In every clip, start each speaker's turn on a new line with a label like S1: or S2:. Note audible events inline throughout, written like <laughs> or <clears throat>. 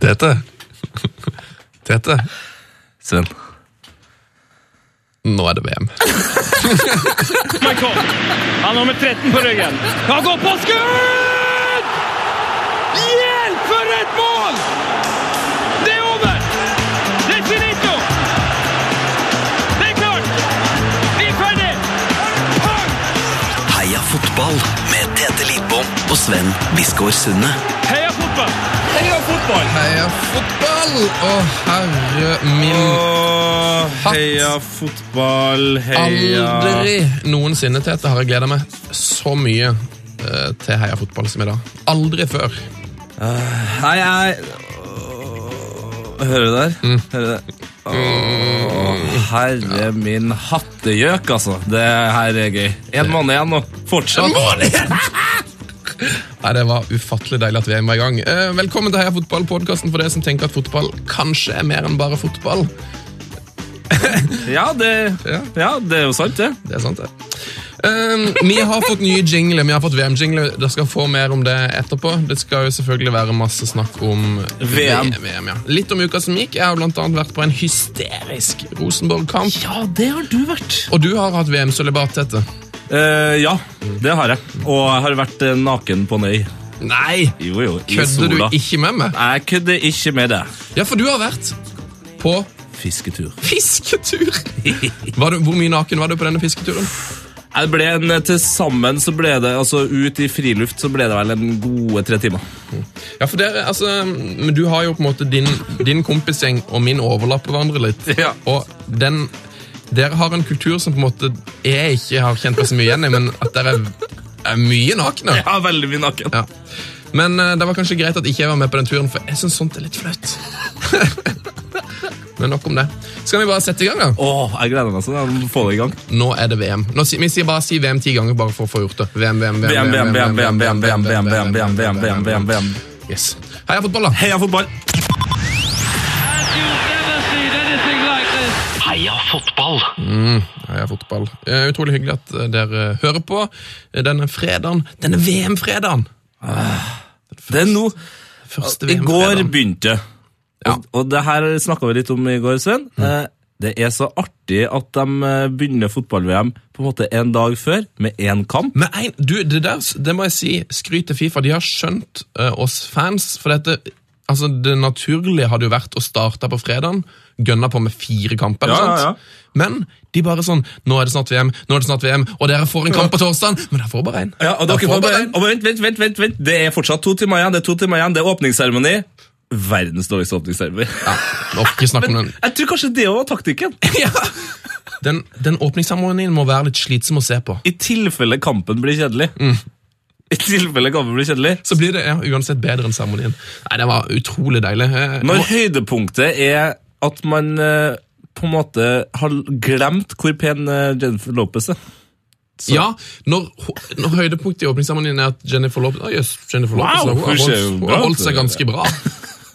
S1: Tete. Tete.
S2: Sven.
S1: Nå er det VM.
S3: Michael. Han har med 13 på ryggen. Han går på skudd! Hjelp for et mål! Det er over! Det er finito! Det er klart! Vi er ferdig! Pang!
S4: Heia fotball med Tete Lidbom og Sven Biskår Sunne.
S3: Heia fotball! Heia fotball!
S1: Heia fotball! Å, herre min
S2: Åh, heia fotball, heia
S1: Aldri noensinne, Tete, har jeg gleda meg så mye eh, til heia fotball som i dag. Aldri før.
S2: Hei, hei. Åh, Hører du der? Hører du det? Åh, herre min hattegjøk, altså. Det her er gøy. En måned igjen nå. Fortsett.
S1: <laughs> Nei, Det var ufattelig deilig at VM var i gang. Eh, velkommen til Heia fotball, podkasten for dere som tenker at fotball kanskje er mer enn bare fotball.
S2: Ja, det,
S1: Ja.
S2: ja, det er jo sant, det.
S1: Det er sant, det. Um, vi har fått nye jingler. Vi har fått VM-jingler. Dere skal få mer om det etterpå. Det skal jo selvfølgelig være masse snakk om
S2: VM.
S1: VM ja. Litt om uka som gikk. Jeg har blant annet vært på en hysterisk Rosenborg-kamp.
S2: Ja, det har du vært.
S1: Og du har hatt VM-sølibat, Tete.
S2: Eh, ja, det har jeg. Og jeg har vært eh, naken på en øy.
S1: Nei!
S2: Jo, jo, i
S1: Kødder
S2: sola.
S1: du ikke med meg?
S2: Jeg kødder ikke med det.
S1: Ja, for du har vært på
S2: Fisketur.
S1: fisketur! Var du, hvor mye naken var du på denne fisketuren?
S2: Jeg ble en, eh, til sammen så ble det, altså ut i friluft, så ble det vel en gode tre timer.
S1: Ja, for dere, altså, men Du har jo på en måte din, din kompisgjeng og min overlapper hverandre litt.
S2: <laughs> Ja.
S1: Og den, dere har en kultur som på en måte jeg ikke har kjent meg så mye igjen i, men at dere er, er mye nakne.
S2: Ja, veldig mye naken.
S1: Ja. Men eh, det var kanskje greit at ikke jeg var med på den turen, for jeg syns sånt er litt flaut. men nok om det. Skal vi bare sette i gang, da?
S2: Åh, jeg gleder meg sånn, jeg må få det i gang.
S1: Nå er det VM. Nå, si- vi sier bare si VM ti ganger bare for å få gjort det. VM, VM,
S2: VM, VM, VM, VM, VM, VM, VM, VM, VM, VM, VM, VM, VM.
S1: Yes. Heia fotball, da!
S2: Heia fotball!
S3: Had you ever seen anything like this?
S4: Heia fotball!
S1: Heia fotball. Eh, Utrolig hyggelig at eh, dere hører på eh, denne fredagen. Denne VM-fredagen!
S2: Det er nå,
S1: Første
S2: i går
S1: VM-fredagen.
S2: begynte.
S1: Ja.
S2: Og, og det her snakket vi litt om i går, Sven. Eh, Det er så artig at de eh, begynner fotball-VM på en måte en dag før, med en kamp.
S1: Men en, du, det der det må jeg si, skryt til Fifa. De har skjønt eh, oss fans. For dette, altså, det naturlige hadde jo vært å starte på fredagen, gønne på med fire kamper. eller
S2: Ja, ja,
S1: sant? Men de bare sånn Nå er det snart VM, nå er det snart VM, og dere får en kamp på torsdag, men dere får bare én.
S2: Ja, og dere får bare en. Og vent, vent, vent, vent, vent. Det er fortsatt to timer igjen, det er to timer igjen, det er åpningsseremoni. Verdens dårligste åpningsseremoni.
S1: Ja, nok ikke snakk om den. <laughs>
S2: Jeg tror kanskje det også var taktikken.
S1: Den, den åpningsseremonien må være litt slitsom å se på.
S2: I tilfelle kampen blir kjedelig.
S1: Mm.
S2: I tilfelle kampen blir kjedelig.
S1: Så blir det ja, uansett bedre enn seremonien. Nei, det var utrolig deilig. Eh,
S2: Når høydepunktet er at man eh, på en måte har glemt hvor pen eh, Jennifer Lopez er.
S1: Ja, når, ho- når høydepunktet i åpningsseremonien er at Jennifer Lopez Å, jøss, Jennifer Lopez
S2: Wow,
S1: hun har
S2: hun ser jo
S1: holdt, hun
S2: bra
S1: har
S2: ut.
S1: holdt seg ganske bra.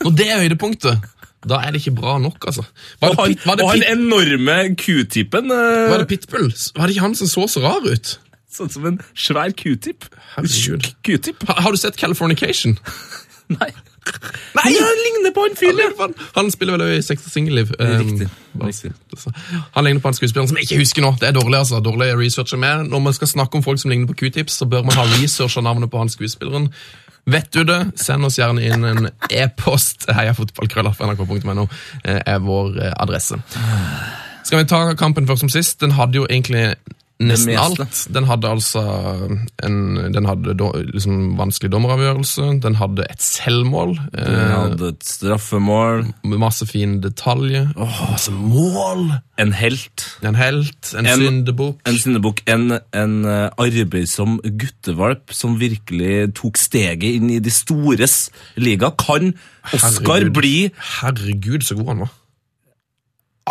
S1: Når det er høydepunktet, da er det ikke bra nok, altså. Var
S2: Og
S1: det,
S2: han,
S1: Pit- var det,
S2: og han
S1: Pit-
S2: enorme q-tippen. eh,
S1: var det Pitbull? Var det ikke han som så så rar ut?
S2: Sånn som en svær q-tip.
S1: Herregud.
S2: Tjukk Q-tip?
S1: Ha, har du sett Californication?
S2: Nei. Nei, han ligner på han
S1: <laughs>
S2: fyren! ja.
S1: Han, han spiller vel også i Sex Um, og Singelliv.
S2: Riktig, riktig.
S1: Han ligner på han skuespilleren som jeg ikke husker nå. Det er dårlig, altså. Dårlig research er med. Når man skal snakke om folk som ligner på Q-tips, så bør man ha researcha navnet på han skuespilleren. Vet du det, send oss gjerne inn en e-post. <laughs> Heiafotballkrøllaf.nrk.no eh, er vår eh, adresse. Skal vi ta kampen først som sist? Den hadde jo egentlig nesten
S2: meste.
S1: alt. Den hadde altså en, den hadde da, liksom vanskelig dommeravgjørelse. Den hadde et selvmål. Eh,
S2: Han hadde et straffemål.
S1: med masse fine detaljer. masse mål!
S2: En helt.
S1: En helt, en,
S2: En-
S1: syndebukk.
S2: En syndebukk. En, en eh, arbeidsom guttevalp som virkelig tok steget inn i de stores liga. Kan Oscar
S1: Herregud.
S2: bli
S1: Herregud, så god han var.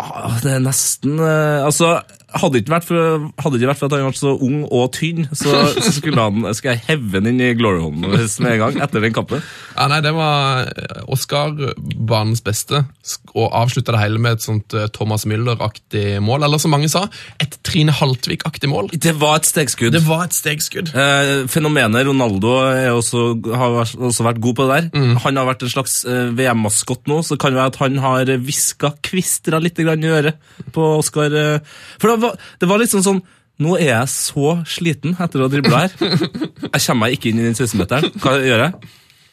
S2: ah, Det er nesten eh, Altså, hadde det ikke vært for, hadde det ikke vært for at han var så ung og tynn, så, så skulle han, skal jeg heve han inn i glory home med en gang etter den kampen.
S1: Ja, nei, Det var eh, Oscar, banens beste, sk- og avslutta det hele med et sånt eh, Thomas Müller-aktig mål. Eller som mange sa, et Trine Haltvik-aktig mål.
S2: Det var et stegskudd.
S1: Det var et stegskudd.
S2: Eh, fenomenet Ronaldo er også, har vært- også vært god på det der. Han har vært en slags eh, VM-maskott nå, så kan det være at han har hviska kvistra litt grann i øret på Oskar. eh. For det var, det var liksom sånn Nå er jeg så sliten etter å ha dribla her. Jeg kommer meg ikke inn i den 16-meteren. Hva gjør jeg?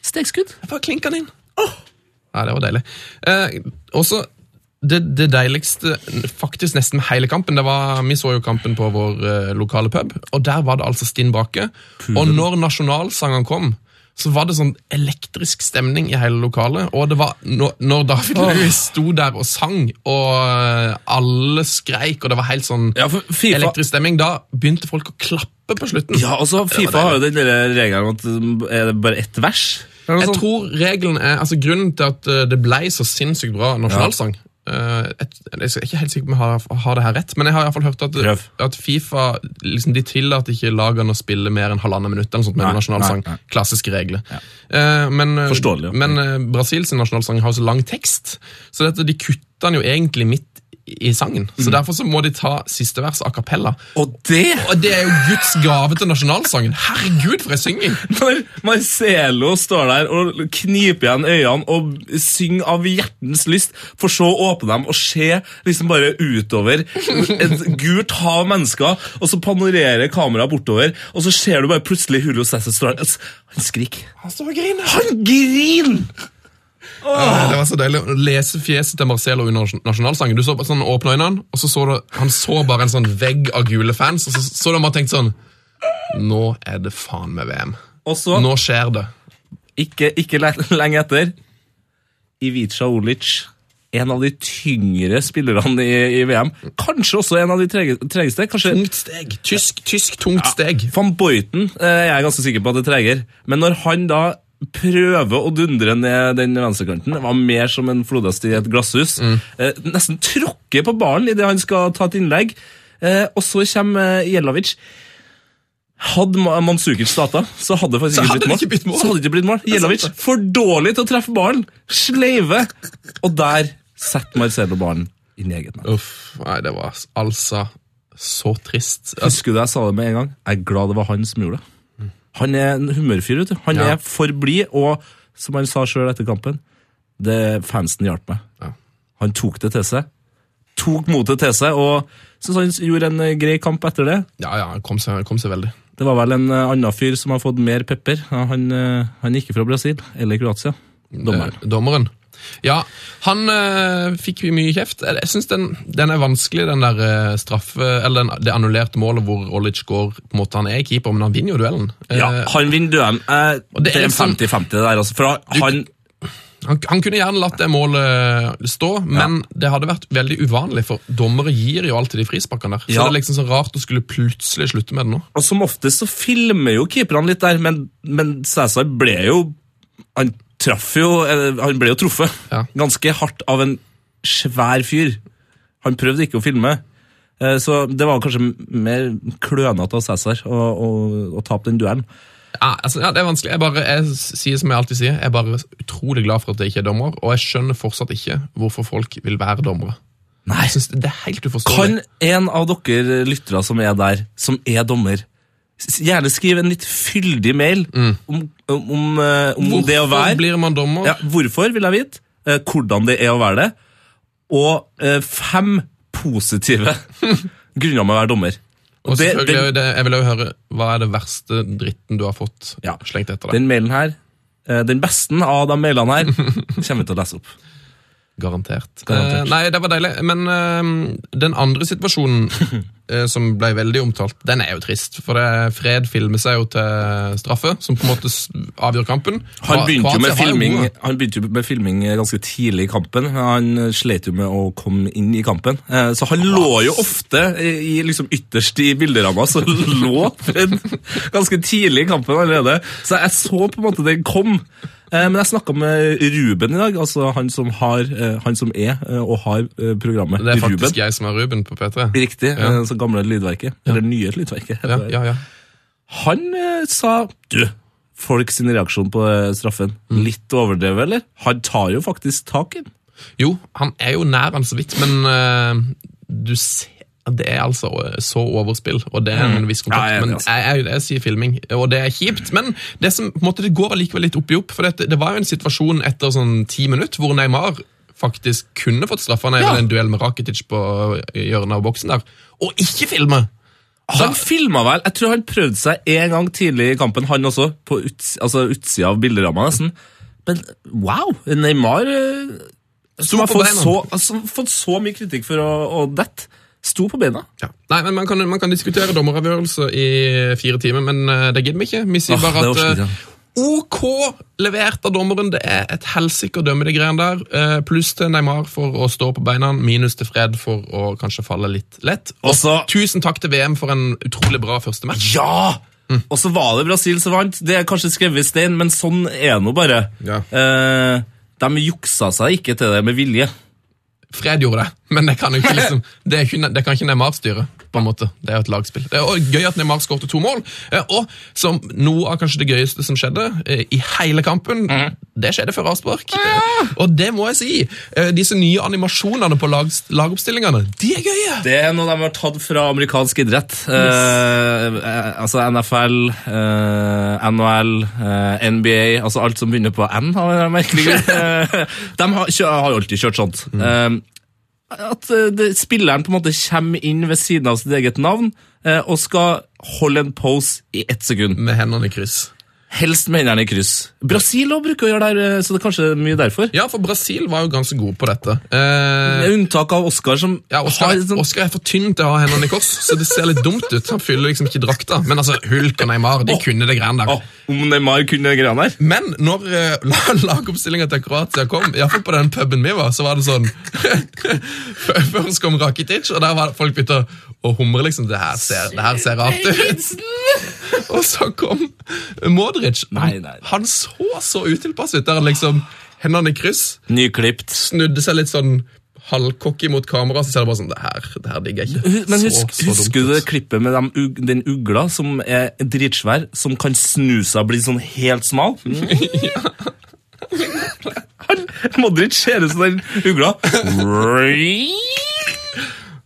S2: Stegskudd.
S1: Bare klink den inn. Nei, det var deilig. Eh, også det, det deiligste, faktisk nesten med hele kampen, det var, vi så jo kampen på vår eh, lokale pub, og der var det altså Stinn Bake. Og når nasjonalsangene kom, så var det sånn elektrisk stemning i hele lokalet. Og det var når, når David Lewis sto der og sang, og eh, alle skreik, og det var helt sånn
S2: Ja, for FIFA,
S1: elektrisk stemning, da begynte folk å klappe på slutten.
S2: ja, altså, FIFA har jo den lille regelen om at mm, er det bare ett vers. Eller noe sånn-
S1: Jeg
S2: sånt?
S1: tror regelen er, altså Grunnen til at eh, det ble så sinnssykt bra nasjonalsang eh, et- Jeg er ikke helt sikker på om jeg har, har det her rett, men jeg har i hvert fall hørt at,
S2: Prøv.
S1: at Fifa liksom, de tillater ikke lagene å spille mer enn halvannet minutt. eller noe sånt med
S2: Nei,
S1: nasjonalsang.
S2: nei, nei.
S1: Klassiske regler. Eh, men eh,
S2: Forståelig, ja.
S1: men eh, Brasils nasjonalsang har jo så lang tekst, så dette, de kutter den jo egentlig midt i sangen.
S2: Mm.
S1: Så Derfor så må de ta siste vers a cappella.
S2: Og det
S1: Og det er jo Guds gave til nasjonalsangen! Herregud, for ei synging!
S2: Når Marcelo står der og kniper igjen øynene og synger av hjertens lyst, for så å åpne dem og se liksom bare utover et gult hav av mennesker, og så panorerer kameraet bortover, og så ser du bare plutselig Julio Cæsar står der altså, Han skriker.
S1: Han står og griner.
S2: Han griner!
S1: Ja, Det var så deilig å lese fjeset til Marcelo under nasjon- nasjonalsangen. Du så bare sånn åpne øynene, og så så du Han så bare en sånn vegg av gule fans, og så så du han bare tenkte sånn Nå er det faen meg VM.
S2: Og så,
S1: Nå skjer det.
S2: ikke, ikke le- lenge etter, Ivica Olic. En av de tyngre spillerne i, i VM. Kanskje også en av de trege- tregeste. Kanskje
S1: Tungt steg. Tysk, tysk tungt steg.
S2: Van Boyten eh, jeg er ganske sikker på at det treger. Men når han da prøver å dundre ned den venstrekanten, det var mer som en flodhest i et glasshus,
S1: Mm.
S2: eh, nesten tråkker på ballen idet han skal ta et innlegg, eh, og så kommer eh, Jelovic. Hadde Ma- Mandzukic starta, så hadde det faktisk
S1: Så
S2: ikke
S1: hadde
S2: blitt
S1: det
S2: mål.
S1: ikke blitt mål.
S2: Så hadde det ikke blitt mål.
S1: er sant,
S2: Jelovic for dårlig til å treffe ballen. Sleive. Og der setter Marcelo ballen inn i eget nett.
S1: Uff. Nei, det var altså så trist. Altså,
S2: Husker du jeg sa det med en gang? Jeg er glad det var han som gjorde det. Han er en humørfyr, vet du. Han
S1: Ja.
S2: er for blid, og som han sa sjøl etter kampen, det fansen hjalp meg.
S1: Ja.
S2: Han tok det til seg. Tok motet til seg, og syns han gjorde en eh, grei kamp etter det.
S1: ja, ja, han kom seg, kom seg veldig.
S2: Det var vel en eh, annen fyr som har fått mer pepper. Ja, Han, eh, han er ikke fra Brasil eller Kroatia. Dommeren.
S1: Eh, dommeren. Ja, han eh, fikk jo mye kjeft. Jeg, jeg synes den, den er vanskelig, den der eh, straffe, eller den, det annullerte målet hvor Olic går, på en måte han er keeper, men han vinner jo duellen. Eh,
S2: Ja, han vinner duellen. Eh,
S1: Og det
S2: det
S1: er
S2: er en
S1: liksom-
S2: 50-50 det der, altså. For han,
S1: han, han kunne gjerne latt det målet eh, stå, men det hadde vært veldig uvanlig, for dommere gir jo alltid de frisparkene der. Så
S2: Ja.
S1: det er liksom så rart å skulle plutselig slutte med det nå.
S2: Og som oftest så filmer jo keeperne litt der, men, men Cæsar ble jo Han traff jo eh, Han ble jo truffet.
S1: Ja.
S2: Ganske hardt av en svær fyr. Han prøvde ikke å filme. Eh, Så det var kanskje m- mer klønete av Cæsar å, å, å tape den duellen.
S1: Ja, altså, ja, det er vanskelig. Jeg bare jeg s- sier som jeg alltid sier, jeg er bare utrolig glad for at jeg ikke er dommer, og jeg skjønner fortsatt ikke hvorfor folk vil være dommere.
S2: Nei,
S1: Jeg synes det er helt uforståelig.
S2: Kan en av dere lyttere som er der, som er dommer, s- gjerne skrive en litt fyldig mail om, om, om, eh, om det å
S1: Mm.
S2: være
S1: Hvorfor blir man dommer?
S2: Ja, hvorfor vil jeg vite eh, hvordan det er å være det, og eh, fem positive <laughs> grunner med å være dommer. Og
S1: og
S2: det-
S1: selvfølgelig,
S2: den-
S1: er jo det, jeg vil jo høre, hva er det verste dritten du har fått
S2: Ja.
S1: slengt etter deg?
S2: Den mailen her, eh, den beste av de mailene her, kommer vi til å lese opp.
S1: Garantert. Eh,
S2: Garantert.
S1: nei, det var deilig. Men eh, den andre
S2: <laughs>
S1: situasjonen eh, som ble veldig omtalt, den er jo trist. For det, Fred filmer seg jo til straffe, som på en måte s- avgjør kampen.
S2: Han
S1: Kro-
S2: begynte, jo med
S1: Kroatia har
S2: filming,
S1: gode.
S2: han begynte jo med filming eh, ganske tidlig i kampen. Han eh, slet jo med å komme inn i kampen. Eh, Så han lå jo ofte eh, i, liksom ytterst i bilderamma, så lå Fred ganske tidlig i kampen allerede. Så jeg så på en måte den kom. Eh, Men jeg snakka med Ruben i dag, altså han som, har, eh, han som er eh, og har eh, programmet
S1: Det er faktisk
S2: Ruben.
S1: jeg som er Ruben på P3.
S2: Riktig. eh, Så gamle Lydverket. Eller nye Lydverket.
S1: Ja,
S2: heter det.
S1: ja, ja.
S2: Han eh, sa Du, folk sin reaksjon på eh, straffen.
S1: Mm.
S2: Litt overdrevet, eller? Han tar jo faktisk tak i den.
S1: Jo, han er jo nær han så vidt, men eh, du ser det er altså eh, så overspill, og det er en viss
S2: Ja,
S1: kontakt.
S2: jeg er enig,
S1: Men
S2: altså.
S1: jeg, jeg, jeg sier filming, og det er kjipt. Men det, som, på en måte, det går allikevel litt opp i opp. For det, det var jo en situasjon etter sånn ti minutter hvor Neymar faktisk kunne fått straffa når det
S2: Ja.
S1: gjelder en duell med Rakitic på eh, hjørnet av boksen der, og ikke filme!
S2: Han filma vel Jeg tror han prøvde seg en gang tidlig i kampen, han også. På uts, altså utsida av bilderamma, nesten. Men wow! Neymar eh, Som har
S1: på
S2: fått
S1: beina.
S2: så, altså, fått så mye kritikk for å, å dette. Sto på beina.
S1: Ja. Nei, men man kan, man kan diskutere dommeravgjørelse i fire timer, men eh, det gidder vi ikke. Vi sier
S2: Åh,
S1: bare at
S2: det orker vi
S1: eh,
S2: ikke.
S1: OK levert av dommeren. Det er et helsike å dømme de greiene der. Eh, Pluss til Neymar for å stå på beina, minus til Fred for å kanskje falle litt lett. Og
S2: Også-
S1: tusen takk til VM for en utrolig bra første match.
S2: Ja!
S1: Mm.
S2: Og så var det Brasil som vant. Det er kanskje skrevet i stein, men sånn er det nå bare.
S1: Ja.
S2: Eh, de juksa seg ikke til det med vilje.
S1: Fred gjorde det, men det kan jo ikke
S2: <laughs>
S1: liksom Det, er ikke, det kan ikke Neymar styre, på en måte. Det er jo et lagspill. Det er også gøy at Neymar skåret to mål. eh, Og som noe av kanskje det gøyeste som skjedde eh, i hele kampen,
S2: Mhm.
S1: det skjedde før avspark. Eh, Og det må jeg si. eh, Disse nye animasjonene på lags, lagoppstillingene, de er gøye!
S2: Det er noe de har tatt fra amerikansk idrett. Eh, eh, altså NFL, eh, NHL, eh, NBA Altså alt som begynner på N, av en eller annen merkelig <laughs> grunn. Eh, de har, kjø, har jo alltid kjørt sånt. Eh, at eh, det, spilleren på en måte kommer inn ved siden av sitt eget navn eh, og skal holde en pose i ett sekund.
S1: Med hendene i kryss.
S2: Helst med hendene i kryss. Brasil også bruker å gjøre det, her, eh, så det er kanskje mye derfor.
S1: Ja, for Brasil var jo ganske gode på dette. Eh,
S2: Med unntak av Oscar, som
S1: Ja, Oskar,
S2: har sånn
S1: Oskar er for tynn til å ha hendene i kors, så det ser litt dumt ut. Han fyller liksom ikke drakta. Men altså, Hulk og Neymar, de
S2: Å.
S1: kunne det greiene der.
S2: Å, Om Neymar kunne de greiene der?
S1: Men når uh, lagoppstillinga til Kroatia kom, i hvert fall på den puben vi var, så var det sånn <laughs> Før- Først kom Rakitic, og der var det folk begynte å- å humre, liksom. Det her ser, det her ser rart ut. Og så kom Modric.
S2: Nei, nei.
S1: Han så så utilpass ut. Der han liksom Hendene i kryss,
S2: Nyklipt.
S1: snudde seg litt sånn halvcocky mot kamera, så ser det bare sånn Det her, det her digger jeg ikke.
S2: Hu- Men husk,
S1: så, så dumt altså.
S2: husker du
S1: ut.
S2: det klippet med dem ug- den ugla som er dritsvær, som kan snu seg og bli sånn helt smal?
S1: <laughs>
S2: Mm. Han, Modric ser ut som den ugla.
S1: <laughs>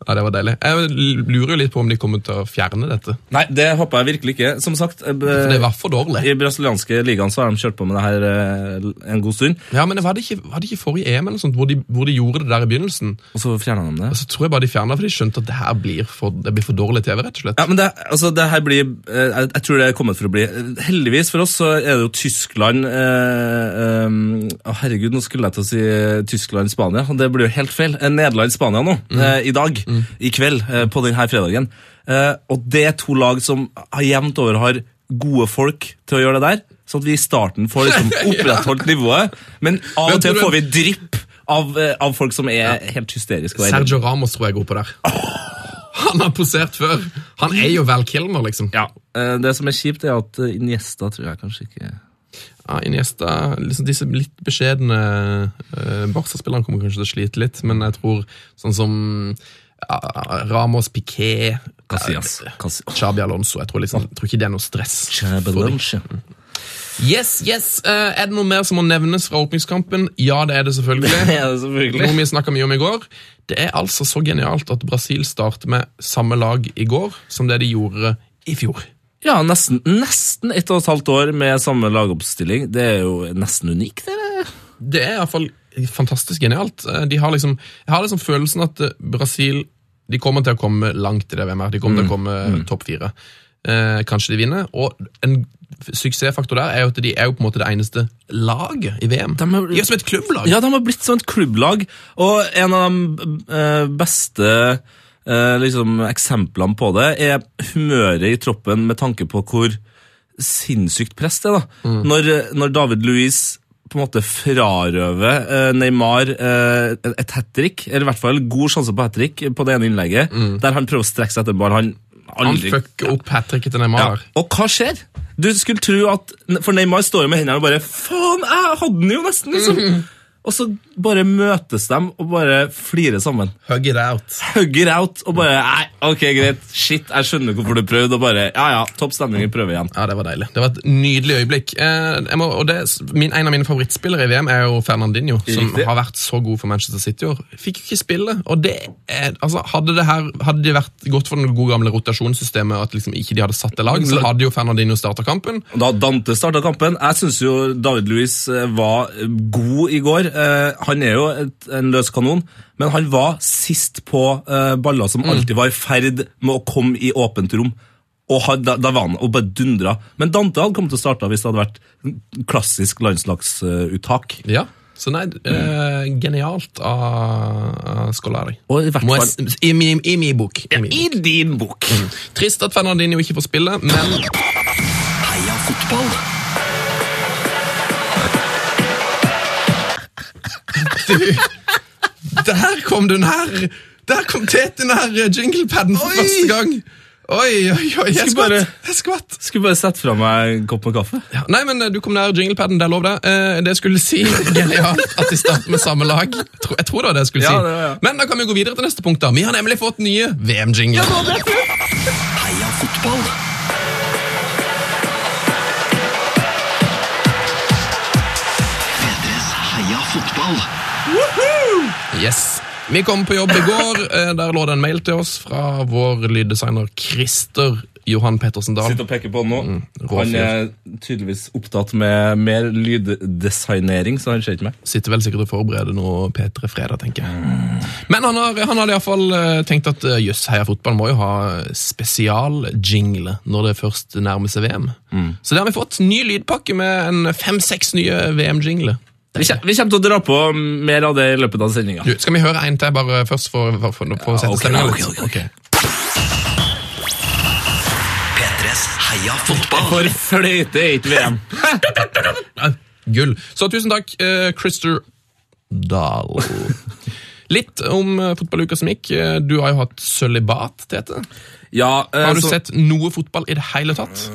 S1: Ja, det var deilig. Jeg lurer jo litt på om de kommer til å fjerne dette.
S2: Nei, det håper jeg virkelig ikke. Som sagt, eh,
S1: For det var for dårlig.
S2: i brasilianske ligaen så har de kjørt på med det her eh, en god stund,
S1: Ja, men det var det ikke, var det ikke forrige EM eller noe sånt, hvor de, hvor de gjorde det der i begynnelsen?
S2: og så fjerna de det.
S1: Så tror jeg bare de fjernet, for de skjønte at det her blir for, det blir for dårlig TV, rett og slett.
S2: Ja, men det, altså, det her blir eh, jeg, jeg tror det er kommet for å bli. Heldigvis for oss så er det jo Tyskland eh, eh, å, Herregud, nå skulle jeg til å si eh, Tyskland-Spania. og Det blir jo helt feil. Eh, Nederland-Spania nå,
S1: Mm.
S2: eh, i dag. I kveld, eh, på denne fredagen. Eh, og det er to lag som har jevnt over har gode folk til å gjøre det der. Sånn at vi i starten
S1: <laughs>
S2: får liksom opprettholdt nivået. Men av
S1: Men
S2: og til
S1: tror
S2: får
S1: du-
S2: vi drypp av, eh, av folk som er helt hysteriske. og er
S1: Sergio Ramos tror jeg er god på der. Han har posert før. Han er jo Val Kilmer, liksom.
S2: Ja. eh, Det som er kjipt, er at eh, Iniesta tror jeg kanskje ikke
S1: Ja, Iniesta, liksom disse litt beskjedne uh, Barca-spillerne kommer kanskje til å slite litt, men jeg tror sånn som ja, Ramos, Piqué,
S2: Casillas.
S1: eh,
S2: Cas-
S1: Xabi Alonso, jeg tror, liksom, jeg tror ikke det er noe stress. for dem. Yes, yes! Eh, er det noe mer som må nevnes fra åpningskampen? Ja, det er det
S2: <laughs>
S1: selvfølgelig.
S2: Ja,
S1: Noe
S2: selvfølgelig.
S1: vi snakket mye om i går. Det er altså så genialt at Brasil starter med samme lag i går som det de gjorde i fjor.
S2: Ja, nesten, nesten ett og et halvt år med samme lagoppstilling. Det er jo nesten unikt, det. eller?
S1: Det er iallfall fantastisk genialt. Eh, De har liksom, jeg har liksom følelsen at eh, Brasil de kommer til å komme langt i det VM-et. De
S2: Mm.
S1: kommer til å komme topp fire. Eh, kanskje de vinner. Og en f- suksessfaktor der er jo at de er jo på en måte det eneste laget i VM. De
S2: er-
S1: er jo som et klubblag.
S2: Ja, de har blitt sånn et klubblag, og en av de eh, beste eh, liksom, eksemplene på det er humøret i troppen med tanke på hvor sinnssykt press det er. da.
S1: Mm.
S2: Når, eh, når David Luiz på en måte frarøver eh, Neymar eh, et hat trick, eller i hvert fall god sjanse på hat trick på det ene innlegget, der han prøver å strekke seg etter en ball han
S1: Mm. Han
S2: aldri
S1: fucker opp hat tricket til Neymar.
S2: ja. Og hva skjer? Du skulle tro at For Neymar står jo med hendene og bare Faen, jeg hadde den jo nesten, liksom! Og så bare møtes de og bare flirer sammen.
S1: Hug it out.
S2: Hugger out og bare Nei, ok, greit. Shit, jeg skjønner hvorfor du prøvde. Og bare Ja, ja, topp stemning, vi prøver igjen.
S1: Ja, Det var deilig. Det var et nydelig øyeblikk. Eh, jeg må, og det, min, En av mine favorittspillere i VM er jo Fernandinho, som
S2: Riktig.
S1: har vært så god for Manchester City i år. Fikk jo ikke spille. og det er, altså, Hadde det her, hadde de vært godt for det gode gamle rotasjonssystemet, og at liksom ikke de hadde satt det lag, så hadde jo Fernandinho starta kampen.
S2: Da Dante starta kampen Jeg syns jo David Louis var god i går. Eh, Han er jo et, en løs kanon, men han var sist på eh, baller som alltid var i ferd med å komme i åpent rom. Og had- da, da var han og bare dundra. Men Dante hadde kommet til å starte hvis det hadde vært klassisk landslagsuttak.
S1: Ja, Så nei, eh, genialt av av Scolari.
S2: Og i hvert
S1: Må jeg,
S2: fall-
S1: s- Mm. i, min- I min bok. I min bok.
S2: din bok!
S1: Trist at Fernandinho ikke får spille, men
S4: Heia fotball.
S1: Der kom den her! Der kom Tetin her, eh, jinglepaden for
S2: Oi!
S1: første gang! Oi, oi, oi, jeg
S2: Skulle
S1: skvatt!
S2: bare-
S1: Jeg skvatt.
S2: Skulle bare sette fra meg en kopp med kaffe.
S1: Ja. Nei, men eh, du kom nær jinglepaden, det er lov det. Eh, det jeg skulle si, genialt, at de starter med samme lag. Jeg tror- Jeg tror det var det jeg skulle si.
S2: Ja, det var det.
S1: Men da kan vi gå videre til neste punkt da. Vi har nemlig fått nye VM-jingler.
S4: Heia fotball. Fedres heia fotball.
S1: Yes. Vi kom på jobb i går. Eh, der lå det en mail til oss fra vår lyddesigner Christer Johan Pettersen Dahl.
S2: Sitter og peker på han nå.
S1: rå
S2: Han er tydeligvis opptatt med mer lyddesignering, så han ser ikke meg.
S1: Sitter vel sikkert og forbereder noe P3 Fredag, tenker jeg. Men han har, han har iallfall tenkt at eh, jøss, Heia Fotball må jo ha spesialjingle når det først nærmer seg VM.
S2: Mm.
S1: Så det har vi fått. Ny lydpakke med en fem-seks nye VM-jingler.
S2: Vi kjem- vi kommer til å dra på mer av det i løpet av sendinga.
S1: Du, Skal vi høre en til bare først for, for, for, for å sette
S2: ok,
S1: stemningen
S2: ok,
S1: litt?
S2: ok,
S1: Ok.
S4: P3s heia fotball.
S2: For fløyte er ikke VM.
S1: Ah, Gull. Så tusen takk, eh, Christer Dahl. Litt om eh, fotballuka som gikk. Eh, Du har jo hatt sølibat, Tete.
S2: Ja, eh,
S1: Har du
S2: så- Eh,
S1: sett noe fotball i det hele tatt?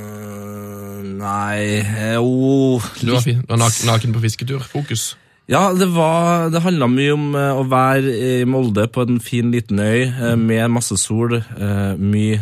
S2: Nei eh, jo
S1: Du var, fi- du var naken, naken på fisketur. Fokus.
S2: Ja, det, var, det handla mye om eh, å være i Molde på en fin, liten øy eh, med masse sol, eh, mye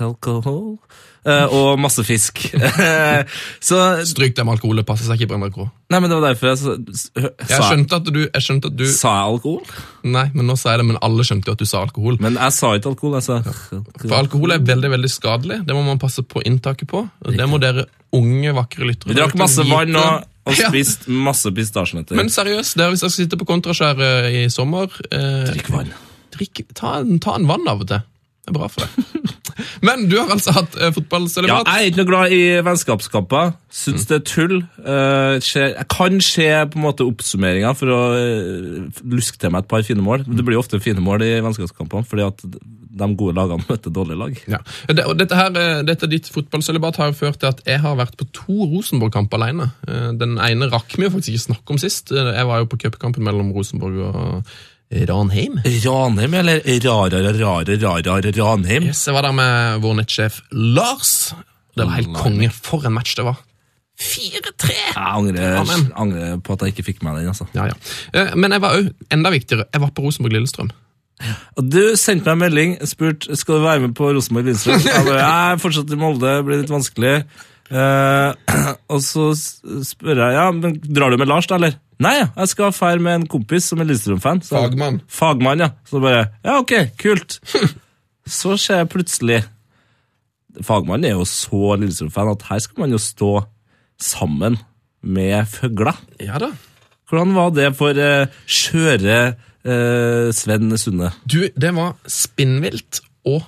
S2: alkohol eh, og masse fisk. <laughs> Eh, Så
S1: Stryk det med alkohol, det passer seg ikke på NRK.
S2: Nei, men det var derfor jeg sa- s- hø-
S1: Jeg
S2: sa jeg,
S1: skjønte at du, jeg skjønte at du
S2: sa jeg alkohol.
S1: Nei, men nå sa jeg det, men alle skjønte jo at du sa alkohol.
S2: Men jeg sa ikke alkohol, jeg sa
S1: For alkohol er veldig veldig skadelig. Det må man passe på inntaket på. Og det må dere unge, vakre lyttere
S2: Vi drakk
S1: der ute
S2: masse
S1: vite.
S2: vann og, og
S1: <laughs> Ja.
S2: spiste masse pistasjenøtter.
S1: Men seriøst, dere, hvis dere skal sitte på kontraskjæret i sommer eh,
S2: Drikk vann.
S1: drikk, ta, en, ta en vann av og til. Det er bra for deg. <laughs> Men du har altså hatt eh,
S2: Ja,
S1: fotballselibat.
S2: jeg er ikke noe glad i vennskapskamper. Syns det er tull. Eh, skjer- jeg kan se på en måte oppsummeringa for å eh, luske til meg et par fine mål. Det blir jo ofte fine mål i vennskapskampene fordi at de gode lagene <laughs> møter dårlige lag.
S1: Ja. Det, og dette, her, eh, dette ditt fotballsølibat har jo ført til at jeg har vært på to Rosenborg-kamper alene. Eh, Den ene rakk vi jo faktisk ikke snakke om sist. Eh, Jeg var jo på cupkampen mellom Rosenborg og Ranheim.
S2: Ranheim, eller rarere, rare, rarere Ranheim?
S1: Yes, jeg var der med vår nettsjef Lars. Det var helt konge. For en match det var. 4-3!
S2: Jeg angrer,
S1: Amen.
S2: angrer på at jeg ikke fikk med den. altså.
S1: Ja, ja. Eh, Men jeg var òg, enda viktigere, jeg var på Rosenborg-Lillestrøm.
S2: Og Du sendte meg en melding spurt skal du være med på Rosenborg Lillestrøm. Jeg bare, «Jeg er fortsatt i Molde, det blir litt vanskelig. Eh, <clears throat> og så s- spør jeg ja, men drar du med Lars, da, eller? Nei, ja, jeg skal feire med en kompis som er Lillestrøm-fan. Så-
S1: Fagmann.
S2: Fagmann, ja. Så bare Ja, ok, kult. Så ser jeg plutselig Fagmann er jo så Lillestrøm-fan at her skal man jo stå sammen med føgla.
S1: Ja da.
S2: Hvordan var det for eh, skjøre eh, Sven Sunde?
S1: Du, det var spinnvilt og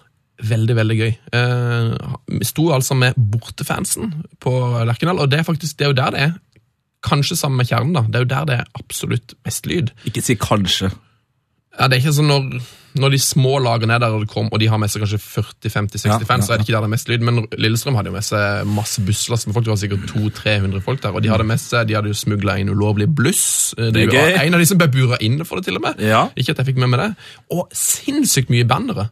S1: veldig, veldig gøy. Eh, vi sto altså med bortefansen på Lerkendal, og det er faktisk det er jo der det er. Kanskje sammen med kjernen, da. Det er jo der det er absolutt best lyd.
S2: Ikke si kanskje.
S1: Ja, det er ikke sånn når, når de små lagene er der og, det kom, og de har med seg kanskje 40-50-60
S2: Ja,
S1: fans,
S2: ja,
S1: så er det ikke der det er mest lyd, men Lillestrøm hadde jo med seg masse busslass med folk, det var sikkert 200-300 folk der, og de hadde med seg, de hadde jo smuglet inn ulovlig bluss, Eh, det
S2: Det er
S1: var
S2: gøy.
S1: en av de som ble buret inn for det til og med,
S2: Ja.
S1: ikke at jeg fikk med meg det, og sinnssykt mye bannere.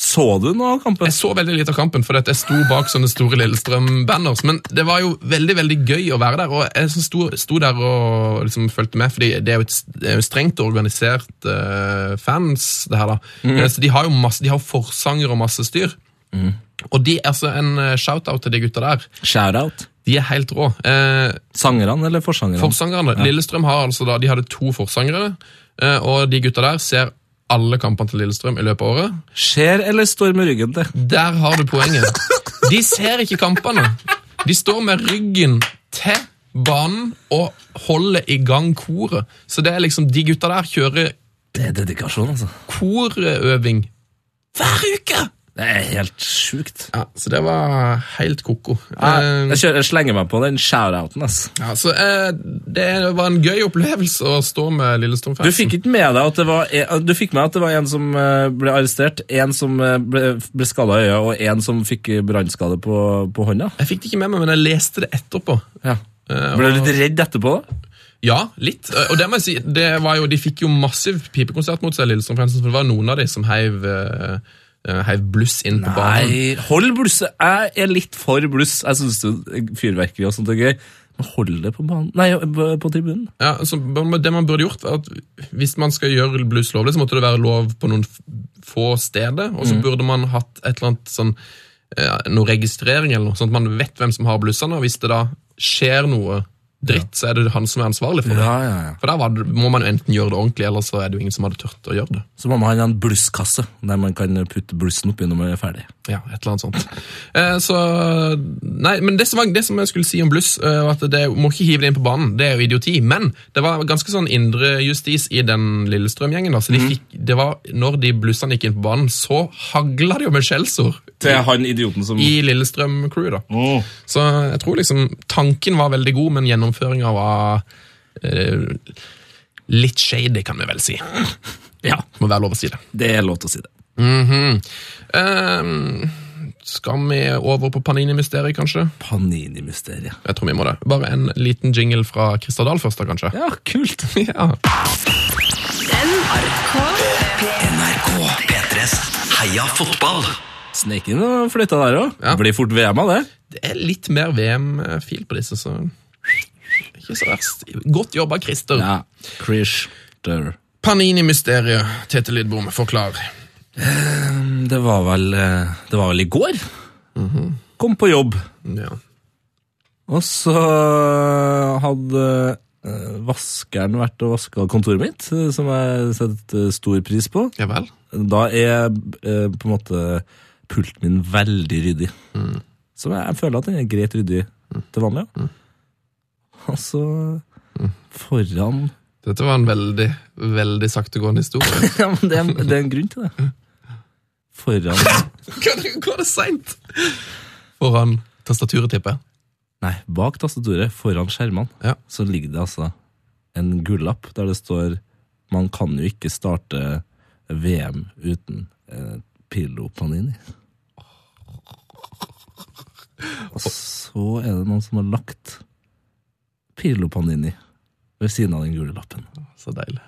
S2: Så du noe av kampen?
S1: Jeg så veldig lite av kampen, for jeg sto bak sånne store Lillestrøm-banners. Men det var jo veldig veldig gøy å være der, og jeg som sto, sto der og liksom fulgte med. fordi det er jo et det er jo strengt organisert eh, fans, det her. da. Eh, Så De har jo masse, de har forsanger og masse styr. Og de, altså en eh, shout-out til de gutta der.
S2: Shout-out.
S1: De er helt rå. Eh,
S2: Sangerne eller forsangerne?
S1: Forsangerne. Lillestrøm har altså da, de hadde to forsangere, eh, og de gutta der ser alle kampene til Lillestrøm i løpet av året.
S2: Skjer eller står med ryggen til?
S1: Der har du poenget. De ser ikke kampene. De står med ryggen til banen og holder i gang koret. Så det er liksom, de gutta der kjører
S2: Det er dedikasjon, altså.
S1: korøving hver uke!
S2: Det er helt sjukt.
S1: Ja, Så det var helt ko-ko. Eh,
S2: Jeg, kjører, jeg slenger meg på den shout-outen, ass.
S1: ja, så, eh, det var en gøy opplevelse å stå med
S2: Du
S1: Lillestrøm-fansen.
S2: fikk ikke med deg at det var en, du fikk med at det var en som eh, ble arrestert, en som eh, ble, ble skada i øya, og en som fikk eh, brannskade på, på hånda?
S1: Jeg fikk det ikke med meg, men jeg leste det etterpå.
S2: Ja.
S1: Eh,
S2: Ble
S1: og-
S2: du litt redd etterpå? da?
S1: Ja, litt. Og det må jeg si, det var jo, de fikk jo massiv pipekonsert mot seg, Lillestrøm-fansen, for det var noen av de som heiv, eh, eh, heiv bluss inn på banen.
S2: Nei, hold blusset. Jeg er litt for bluss. Jeg syns fyrverkeri og sånt er gøy. Men hold det på banen Nei, på på tribunen.
S1: Ja, altså, det man burde gjort, var at hvis man skal gjøre bluss lovlig, så måtte det være lov på noen f- få steder, og så
S2: Mm.
S1: burde man hatt et eller annet sånn, eh, noe registrering eller noe, sånn at man vet hvem som har blussene, og hvis det da skjer noe dritt, så er det han som er ansvarlig for det.
S2: ja, ja.
S1: For da var det- må man jo enten gjøre det ordentlig, eller så er det jo ingen som hadde tørt å gjøre det.
S2: Så må man ha en blusskasse der man kan putte blussen oppi når man er ferdig.
S1: Ja, et eller annet sånt. Eh, så, nei, men det som, var, det som jeg skulle si om bluss, eh, var at det må ikke hive det inn på banen. Det er jo idioti. Men det var ganske sånn indrejustis i den Lillestrøm-gjengen. da, så de fikk, det var, Når de blussene gikk inn på banen, så hagla det jo med skjellsord
S2: Det er han idioten som
S1: i Lillestrøm-crewet. da.
S2: Åh.
S1: Så jeg tror liksom tanken var veldig god, men gjennomføringa var eh, litt shady, kan vi vel si. Ja, må være lov å si det.
S2: Det er lov til å si det.
S1: Eh, skal vi over på Panini-mysteriet, kanskje?
S2: Panini-mysteriet.
S1: Jeg tror vi må det. Bare en liten jingle fra Christer Dahl først, da, kanskje?
S2: Ja, kult.
S1: <laughs> Ja.
S4: NRK P3s Heia fotball.
S2: Snek inn og flytta der òg.
S1: Ja.
S2: Blir fort VM av det.
S1: Det er litt mer VM-fil på disse, så Ikke så verst. Godt jobba, Christer.
S2: Ja. Christer.
S1: Panini-mysteriet, Tete Lidbom, forklar.
S2: Det var vel eh, Det var vel i går. Kom på jobb.
S1: Ja.
S2: Og så hadde eh, vaskeren vært og vaska kontoret mitt, eh, som jeg setter eh, stor pris på.
S1: ja vel?
S2: Da er eh, på en måte pulten min veldig ryddig. Så jeg, jeg føler at den er greit ryddig til vanlig. ja. Og så foran
S1: Dette var en veldig, veldig saktegående
S2: <laughs>
S1: historie.
S2: <laughs> Ja, men det er, det er en grunn til det. Foran
S1: Kan du gå det seint? Foran tastaturet, tipper jeg.
S2: Nei, bak tastaturet, foran skjermene,
S1: Ja.
S2: så ligger det altså en gullapp der det står Man kan jo ikke starte VM uten eh, Pirlo <laughs> Panini. Og så er det noen som har lagt Pirlo Panini ved siden av den gule lappen.
S1: Så deilig.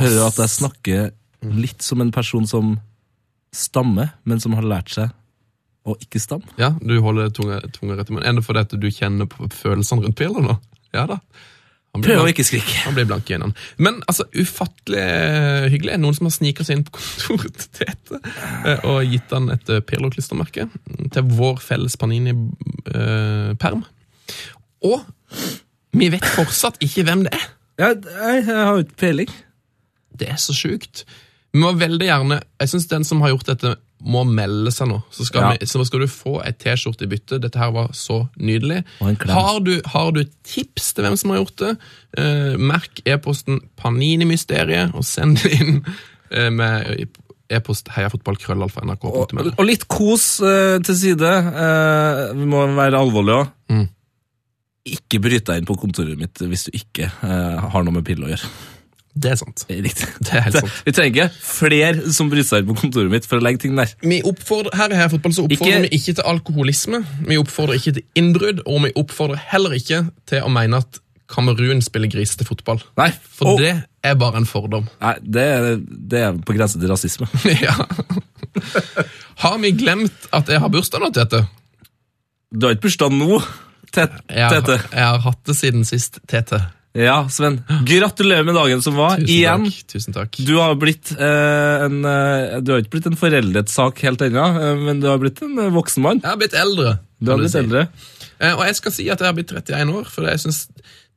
S2: Hører du at jeg snakker litt som en person som stammer, men som har lært seg å ikke stamme?
S1: Ja, du holder tunga, tunga rett i munnen. Er det fordi at du kjenner på følelsene rundt pilen nå? Ja da. Han blir
S2: Prøv
S1: blank.
S2: å ikke skrike.
S1: Han blir blank i øynene. Men altså, ufattelig eh, hyggelig. Er det Noen som har sniket seg inn på kontoret <laughs> til Tete eh, og gitt han et eh, Pirlo-klistremerke mm, til vår felles Panini-perm. Og vi vet fortsatt ikke hvem det er.
S2: Ja, jeg, jeg har jo ikke peiling.
S1: Det er så sjukt. Vi må veldig gjerne Jeg syns den som har gjort dette, må melde seg nå. Så skal,
S2: Ja.
S1: vi, så skal du få ei T-skjorte i bytte. Dette her var så nydelig.
S2: Og en klem.
S1: Har du, har du tips til hvem som har gjort det, eh, merk e-posten Paninimysteriet og send det inn eh, med e-post
S2: Og,
S1: heiafotballkrøllalfa.nrk.no.
S2: og litt kos eh, til side. Eh, vi må være alvorlige òg.
S1: Mm.
S2: Ikke bryt deg inn på kontoret mitt hvis du ikke eh, har noe med piller å gjøre. <laughs>
S1: Det er sant.
S2: Det er riktig.
S1: Det er helt sant.
S2: Vi trenger ikke flere som bryter seg inn på kontoret mitt for å legge ting der.
S1: Vi oppfordrer, her i Heiafotball så oppfordrer
S2: Ikke-
S1: vi ikke til alkoholisme, vi oppfordrer ikke til innbrudd, og vi oppfordrer heller ikke til å mene at Kamerun spiller grisete fotball.
S2: Nei,
S1: For
S2: å,
S1: det er bare en fordom. <laughs>
S2: nei det, er, det er på grensen til rasisme.
S1: ja. Har vi glemt at jeg har bursdag nå, Tete?
S2: Du har ikke bursdag nå, Tet-
S1: Jeg, har-
S2: Tete.
S1: jeg har hatt det siden sist, Tete.
S2: Ja, Sven. Gratulerer med dagen som var.
S1: Tusen
S2: Igjen.
S1: takk. Tusen takk.
S2: Du har blitt eh, en eh, Du har ikke blitt en foreldet sak helt ennå, eh, men du har blitt en eh, voksen mann.
S1: Jeg har blitt eldre.
S2: Du har
S1: kan
S2: blitt
S1: si.
S2: eldre.
S1: Eh, Og jeg skal si at jeg har blitt 31 år, for jeg synes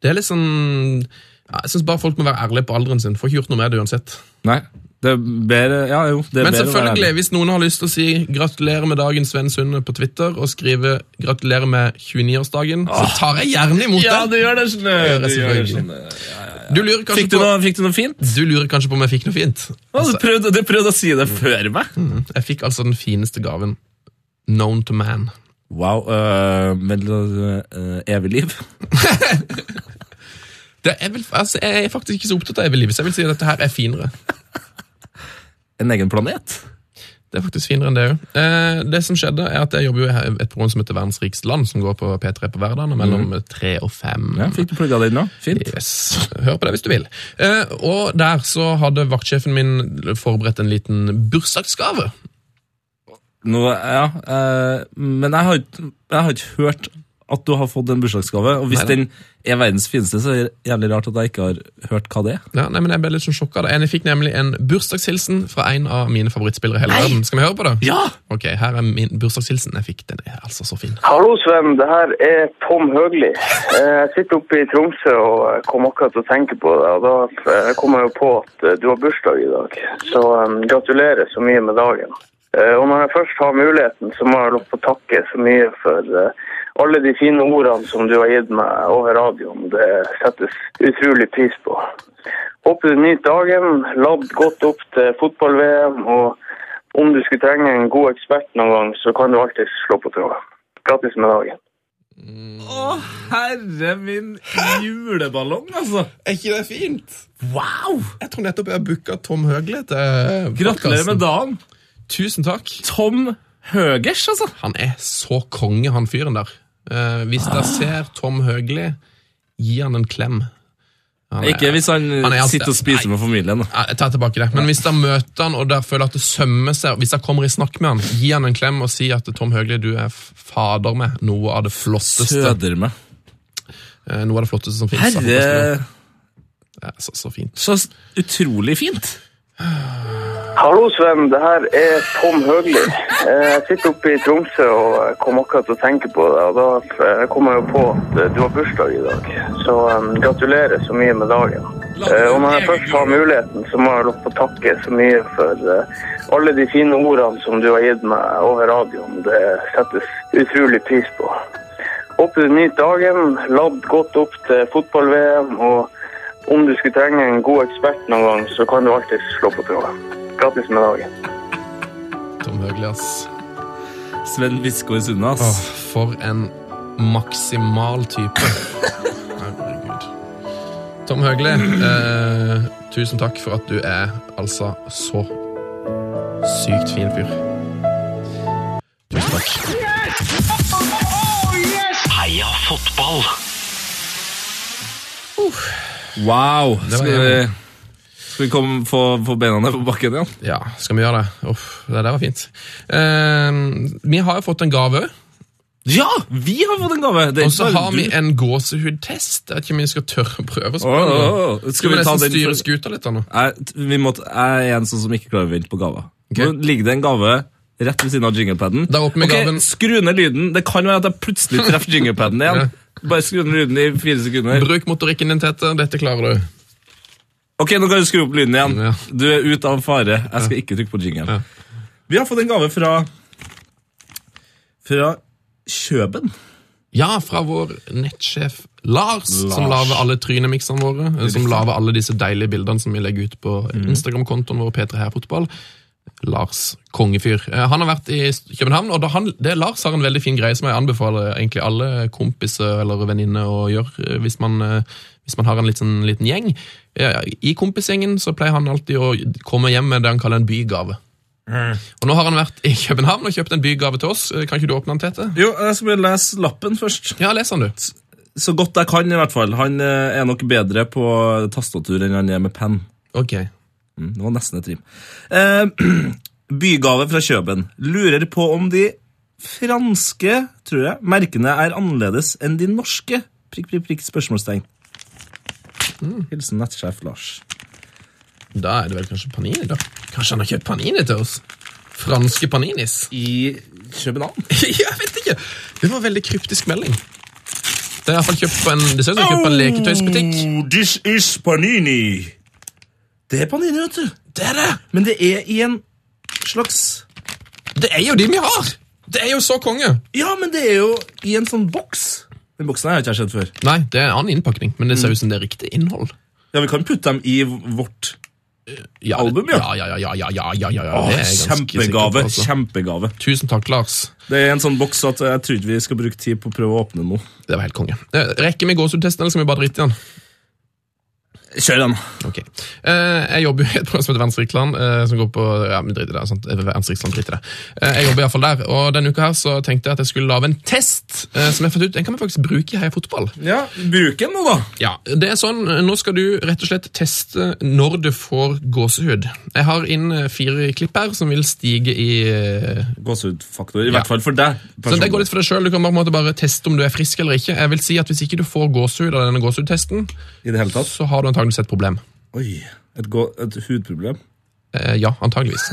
S1: det er litt sånn ja, Jeg syns bare folk må være ærlige på alderen sin. Får ikke gjort noe med det uansett.
S2: Nei. Det er bedre Ja, jo. Det
S1: Men
S2: er bedre å være
S1: selvfølgelig,
S2: ærlig.
S1: hvis noen har lyst til å si gratulerer med dagen Sven Sunde på Twitter, og skrive gratulerer med 29-årsdagen, så tar jeg gjerne imot
S2: Ah. Ja, du
S1: det.
S2: gjør det sånn.
S1: gjør det
S2: du gjør det
S1: selvfølgelig.
S2: sånn.
S1: Du lurer kanskje
S2: Fikk du
S1: på
S2: noe, fikk du noe fint?
S1: du lurer kanskje på om jeg fikk noe fint.
S2: Å, du, prøvde, du prøvde å si det før meg.
S1: Jeg fikk altså den fineste gaven. Known to man.
S2: Wow. Uh, men øh, evig liv.
S1: Det er vel, altså, jeg er faktisk ikke så opptatt av evig liv, så jeg vil si at dette her er finere.
S2: En egen planet.
S1: Det er faktisk finere enn det òg. Eh, det som skjedde, er at jeg jobber jo i et program som heter Verdens rikeste land, som går på P3 på hverdagen mellom tre og fem.
S2: Mhm. Ja, fikk du plugga det inn nå? Fint.
S1: Yes. Hør på det hvis du vil. Eh, og der så hadde vaktsjefen min forberedt en liten bursdagsgave.
S2: Nå, ja, øh, men jeg har, ikke- jeg har ikke hørt at du har fått en bursdagsgave. Og hvis
S1: Neida.
S2: den er verdens fineste, så er det jævlig rart at jeg ikke har hørt hva det er.
S1: Ja, nei, men Jeg ble litt sånn sjokka. da. Jeg fikk nemlig en bursdagshilsen fra en av mine favorittspillere i hele verden. Skal vi høre på det?
S2: Ja!
S1: Ok, Her er min bursdagshilsen. Jeg fikk Den er altså så fin.
S5: Hallo, Sven. Det her er Tom Høgli. Eh, Jeg sitter oppe i Tromsø og eh, kom akkurat til å tenke på det. Og da eh, kom jeg jo på at eh, du har bursdag i dag. Så eh, gratulerer så mye med dagen. Eh, Og når jeg først har muligheten, så må jeg lov til å takke så mye for eh, alle de fine ordene som du har gitt meg over radioen. Det settes utrolig pris på. Håper du nyter dagen. Ladd godt opp til fotball-VM. Og om du skulle trenge en god ekspert noen gang, så kan du alltid slå på tråden. Grattis med dagen.
S2: Å, herre min juleballong, altså!
S1: Er ikke det fint?
S2: Wow!
S1: Jeg tror nettopp jeg har booka Tom Høgli til
S2: Gratulerer med dagen.
S1: Tusen takk.
S2: Tom Høgers, altså.
S1: Han er så konge, han fyren der. Eh, hvis
S2: Ah.
S1: dere ser Tom Høgli, gi han en klem. Han er-
S2: Ikke hvis han,
S1: Han er altså-
S2: sitter og spiser med familien. da.
S1: Ja, Jeg tar tilbake det. Men hvis dere møter han, og dere føler at det sømmer seg, hvis dere kommer i snakk med han, gi han en klem og si at Tom Høgli, du er f- fader med noe av det flotteste,
S2: Søder meg.
S1: eh, noe av det flotteste som finnes.
S2: Herre
S1: Ja, så, så fint.
S2: Så utrolig fint.
S5: Hallo, Sven. Det her er Tom Høgli. Eh, Jeg sitter oppe i Tromsø og eh, kom akkurat til å tenke på det. Og da eh, kom jeg jo på at eh, du har bursdag i dag. Så eh, gratulerer så mye med dagen. Eh, Og når jeg først har muligheten, så må jeg lov til å takke så mye for eh, alle de fine ordene som du har gitt meg over radioen. Det settes utrolig pris på. Håper du nyter dagen. Ladd godt opp til fotball-VM. Og om du skulle trenge en god ekspert noen gang, så kan du alltid slå på tråden. Grattis med dagen.
S1: Tom Høgli, ass.
S2: Sven Biskår Sunde, ass.
S1: Åh, for en maksimal type. Herregud. Tom Høgli, eh, tusen takk for at du er altså så sykt fin fyr. Tusen takk.
S4: Heia fotball!
S2: Wow!
S1: var
S2: Skal vi,
S1: jævlig.
S2: skal vi komme, få, få bena ned på bakken igjen?
S1: Ja, skal vi gjøre det? Uff, det der var fint. Eh, vi har jo fått en gave,
S2: Ja! Vi har fått en gave! Det er
S1: og så
S2: ikke bare
S1: har
S2: du.
S1: vi en gåsehudtest. Jeg vet ikke om vi skal tørre å prøve oss på
S2: Åh,
S1: den.
S2: åh, åh. Skal
S1: Skal vi
S2: vi ta
S1: nesten
S2: den
S1: styre
S2: for-
S1: skuta litt da nå?
S2: Jeg, t- vi må, t- jeg er en sånn som ikke klarer å vente på gaver.
S1: Ok.
S2: Nå ligger det en gave rett ved siden av jinglepaden.
S1: Da åpner vi
S2: Ok,
S1: gaven.
S2: Skru ned lyden. Det kan være at jeg plutselig treffer
S1: <laughs>
S2: jinglepaden igjen. Bare skru ned lyden i fire sekunder.
S1: Bruk motorikken din, Tete. Dette klarer du.
S2: Ok, nå kan du skru opp lyden igjen.
S1: Ja.
S2: Du er ute av fare. Jeg skal ikke trykke på jingelen.
S1: Ja.
S2: Vi har fått en gave fra Fra Kjøben.
S1: Ja, fra vår nettsjef Lars,
S2: Lars.
S1: som lager alle trynemiksene våre. eh, Som lager alle disse deilige bildene som vi legger ut på Instagram-kontoen vår, P3 Her Fotball. Lars Kongefyr. Eh, Han har vært i St- København, og da han, det Lars har en veldig fin greie som jeg anbefaler egentlig alle kompiser eller venninner å gjøre eh, hvis man, eh, hvis man har en liten, liten gjeng. Eh, I kompisgjengen så pleier han alltid å komme hjem med det han kaller en bygave. Og nå har han vært i København og kjøpt en bygave til oss. Eh, Kan ikke du åpne den, Tete?
S2: Jo, jeg skal bare lese lappen først.
S1: Ja, les den, du.
S2: så godt jeg kan, i hvert fall. Han eh, er nok bedre på tastatur enn han er med penn.
S1: Ok.
S2: Mm, det var nesten et rim. Eh, <clears throat> bygave fra Kjøben. Lurer på om de franske tror jeg, merkene er annerledes enn de norske? Prikk, prikk, prikk, spørsmålstegn.
S1: Mm.
S2: Hilsen nettsjef Lars.
S1: Da er det vel kanskje Panini, da. Kanskje han har kjøpt Panini til oss? Franske Paninis? <laughs>
S2: I København?
S1: Jeg vet ikke! Det var en veldig kryptisk melding. Det er i hvert fall kjøpt på en, det ser ut som kjøpt på en leketøysbutikk.
S2: Oh, This is Panini. Det er Panini, vet du.
S1: Det er det!
S2: Men det er i en slags
S1: Det er jo de vi har! Det er jo så konge!
S2: Ja, men det er jo i en sånn boks. Den boksen har jeg ikke sett før.
S1: Nei, det er en annen innpakning, men
S2: Mm.
S1: det ser ut som det er riktig innhold.
S2: Ja, Vi kan putte dem i vårt
S1: Ja,
S2: Album, ja.
S1: Ja, ja, ja, ja, ja, ja, ja, ja, ja.
S2: Åh,
S1: Det er jeg ganske sikker på,
S2: Kjempegave.
S1: altså.
S2: kjempegave.
S1: Tusen takk, Lars.
S2: Det er en sånn boks at jeg tror ikke vi skal bruke tid på å prøve å åpne noe.
S1: Det var helt konge. Eh, Rekker vi gåsehudtesten, eller skal vi bare drite i den?
S2: Kjør den.
S1: Ok. Eh, jeg jobber jo i et program som heter Verdens Rikland, eh, som går på Ja, vi driter i det. Sant? Eh, Verdens Rikland driter i det. Eh, jeg jobber iallfall der, og denne uka her så tenkte jeg at jeg skulle lage en test eh, som jeg har fått ut. Den kan vi faktisk bruke i Heia Fotball.
S2: Ja, Bruk den nå, da.
S1: Ja, det er sånn, Nå skal du rett og slett teste når du får gåsehud. Jeg har inn eh, fire klipp her som vil stige i eh,
S2: Gåsehudfaktor. I hvert fall for deg.
S1: Så det går litt for deg selv. Du kan bare, på en måte bare teste om du er frisk eller ikke. Jeg vil si at Hvis ikke du får gåsehud av denne gåsehudtesten,
S2: I det hele tatt.
S1: så har du antageligvis et problem.
S2: Oi, et, gå et hudproblem.
S1: Eh, ja, antageligvis.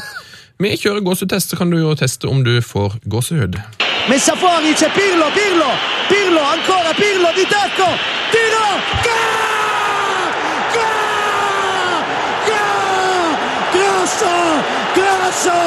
S1: Vi kjører gåsehudtest, så kan du jo teste om du får gåsehud.
S6: Men Safari c'è Pirlo, Pirlo, Pirlo, ancora Pirlo di tacco, tiro, gol! Gol! Gol! Grosso, grosso,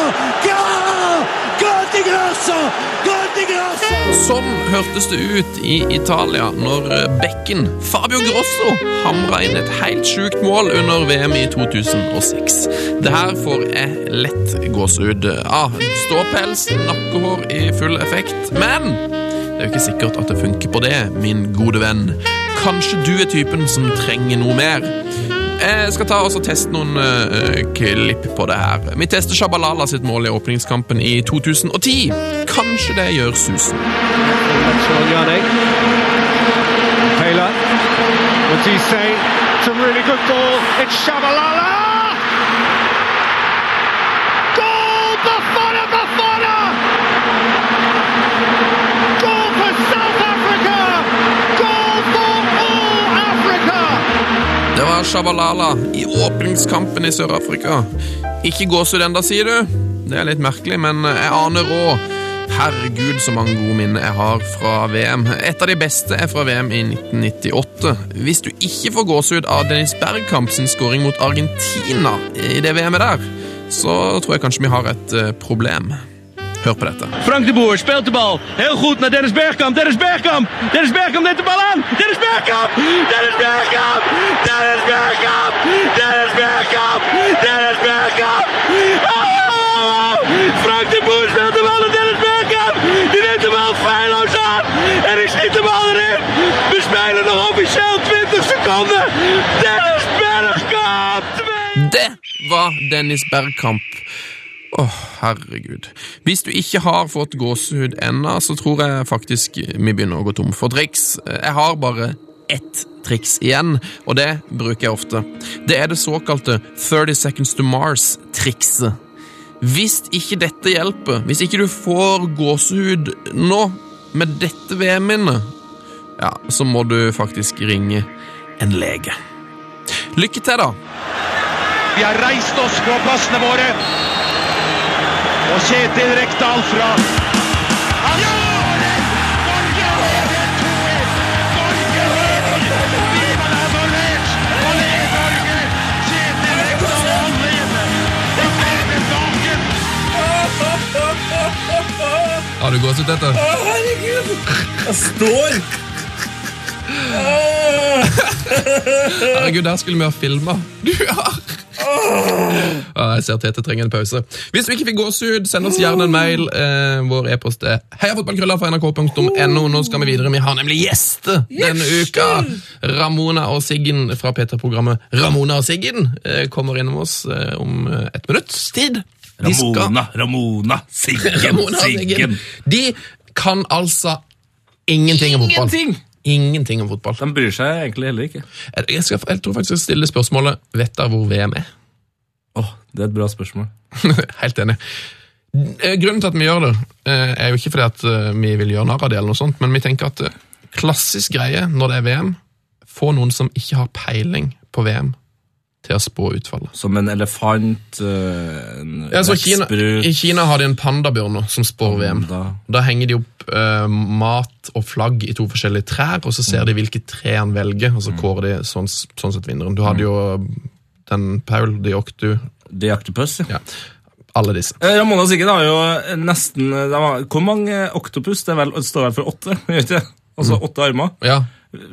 S6: gol! Gol di grosso, gol di grosso!
S1: Sånn hørtes det ut i Italia når bekken Fabio Grosso hamra inn et helt sjukt mål under VM i 2006. Det her får jeg lett gåsehud av. Ståpels, nakkehår i full effekt. Men det er jo ikke sikkert at det funker på det, min gode venn. Kanskje du er typen som trenger noe mer. Jeg skal ta og så teste noen eh, klipp på det her. Vi tester Shabalala sitt mål i åpningskampen i 2010. Kanskje det gjør susen.
S7: Sean Yannick. Taylor. What do you say? It's a really good goal. It's Shabalala! Goal! Bafana! Bafana! Goal for South Africa! Goal for all Africa!
S1: Det var Shabalala i åpningskampen i Sør-Afrika. Ikke gåsehud enda, sier du? Det er litt merkelig, men jeg aner råd. Herregud, så mange gode minner jeg har fra VM. Et av de beste er fra VM i 1998. Hvis du ikke får gåsehud av Dennis Bergkamp sin skåring mot Argentina i det VM-et der, så tror jeg kanskje vi har et eh, problem. Hør på dette.
S3: Frank de Boer speelt de bal. Heel goed naar Dennis Bergkamp. Dennis Bergkamp. Dennis Bergkamp neemt de bal aan. Dennis Bergkamp. Dennis Bergkamp. Dennis Bergkamp. Dennis Bergkamp. Dennis Bergkamp. Oh! Frank de Boer speelt de bal naar Dennis Bergkamp. Die neemt de bal feilloos aan. En ik schiet de bal erin. We spelen nog officieel 20 seconden. Dennis Bergkamp. Twee.
S1: Det var Dennis Bergkamp. Åh, herregud. Hvis du ikke har fått gåsehud ennå, så tror jeg faktisk vi begynner å gå tom for triks. Jeg har bare ett triks igjen, og det bruker jeg ofte. Det er det såkalte 30 Seconds to Mars-trikset. Hvis ikke dette hjelper, hvis ikke du får gåsehud nå, med dette VM-minnet, ja, så må du faktisk ringe en lege. Lykke til, da!
S7: Vi har reist oss fra plassene våre. Og Kjetil Rekdal fra Han gjør det! Norge leder 2-1! Norge leder! Viva la Norvège! Og det er Norge! Kjetil Rekdal, han leder! Det er med dagen!
S1: Har du gåsehud, Tete?
S2: Står!
S1: <laughs> Herregud, der skulle vi ha filma. Du har Ja, Jeg ser Tete trenger en pause. Hvis du ikke fikk gåsehud, send oss gjerne en mail. Eh, vår e-post er heiafotballkrøller.nrk.no. Nå skal vi videre. Vi har nemlig gjester denne uka. Ramona og Siggen fra P3-programmet Ramona og Siggen eh, kommer innom oss eh, om eh, et minutts tid. De skal-
S2: Ramona, Ramona, Siggen,
S1: <laughs> Ramona og Siggen.
S2: Siggen.
S1: De kan altså ingenting om fotball.
S2: Ingenting!
S1: ingenting om fotball.
S2: De bryr seg egentlig heller ikke.
S1: Jeg, skal, jeg tror faktisk jeg stiller spørsmålet Vet dere hvor VM er? <laughs>
S2: Åh, Det er et bra spørsmål.
S1: Helt enig. Eh, Grunnen til at vi gjør det, eh, er jo ikke fordi at eh, vi vil gjøre narr av det, eller noe sånt, men vi tenker at eh, klassisk greie når det er VM, få noen som ikke har peiling på VM, til å spå utfallet.
S2: Som en elefant, øh, en
S1: Ja, så Kina,
S2: lekksprut,
S1: I Kina har de en pandabjørn nå, som spår VM.
S2: da.
S1: Da henger de opp eh, mat og flagg i to forskjellige trær, og så ser de hvilke tre han velger,
S2: Mm.
S1: og så kårer de sånn, sånn sett vinneren. Du hadde jo den Paul de Octu,
S2: The Octopus, ja.
S1: ja, alle disse.
S2: Eh, Ramona og Sigrid har jo nesten eh, de har, Hvor mange oktopus? Det, er vel, det står vel for åtte? <laughs> Gjør ikke det? Altså åtte armer.
S1: Mm. Ja,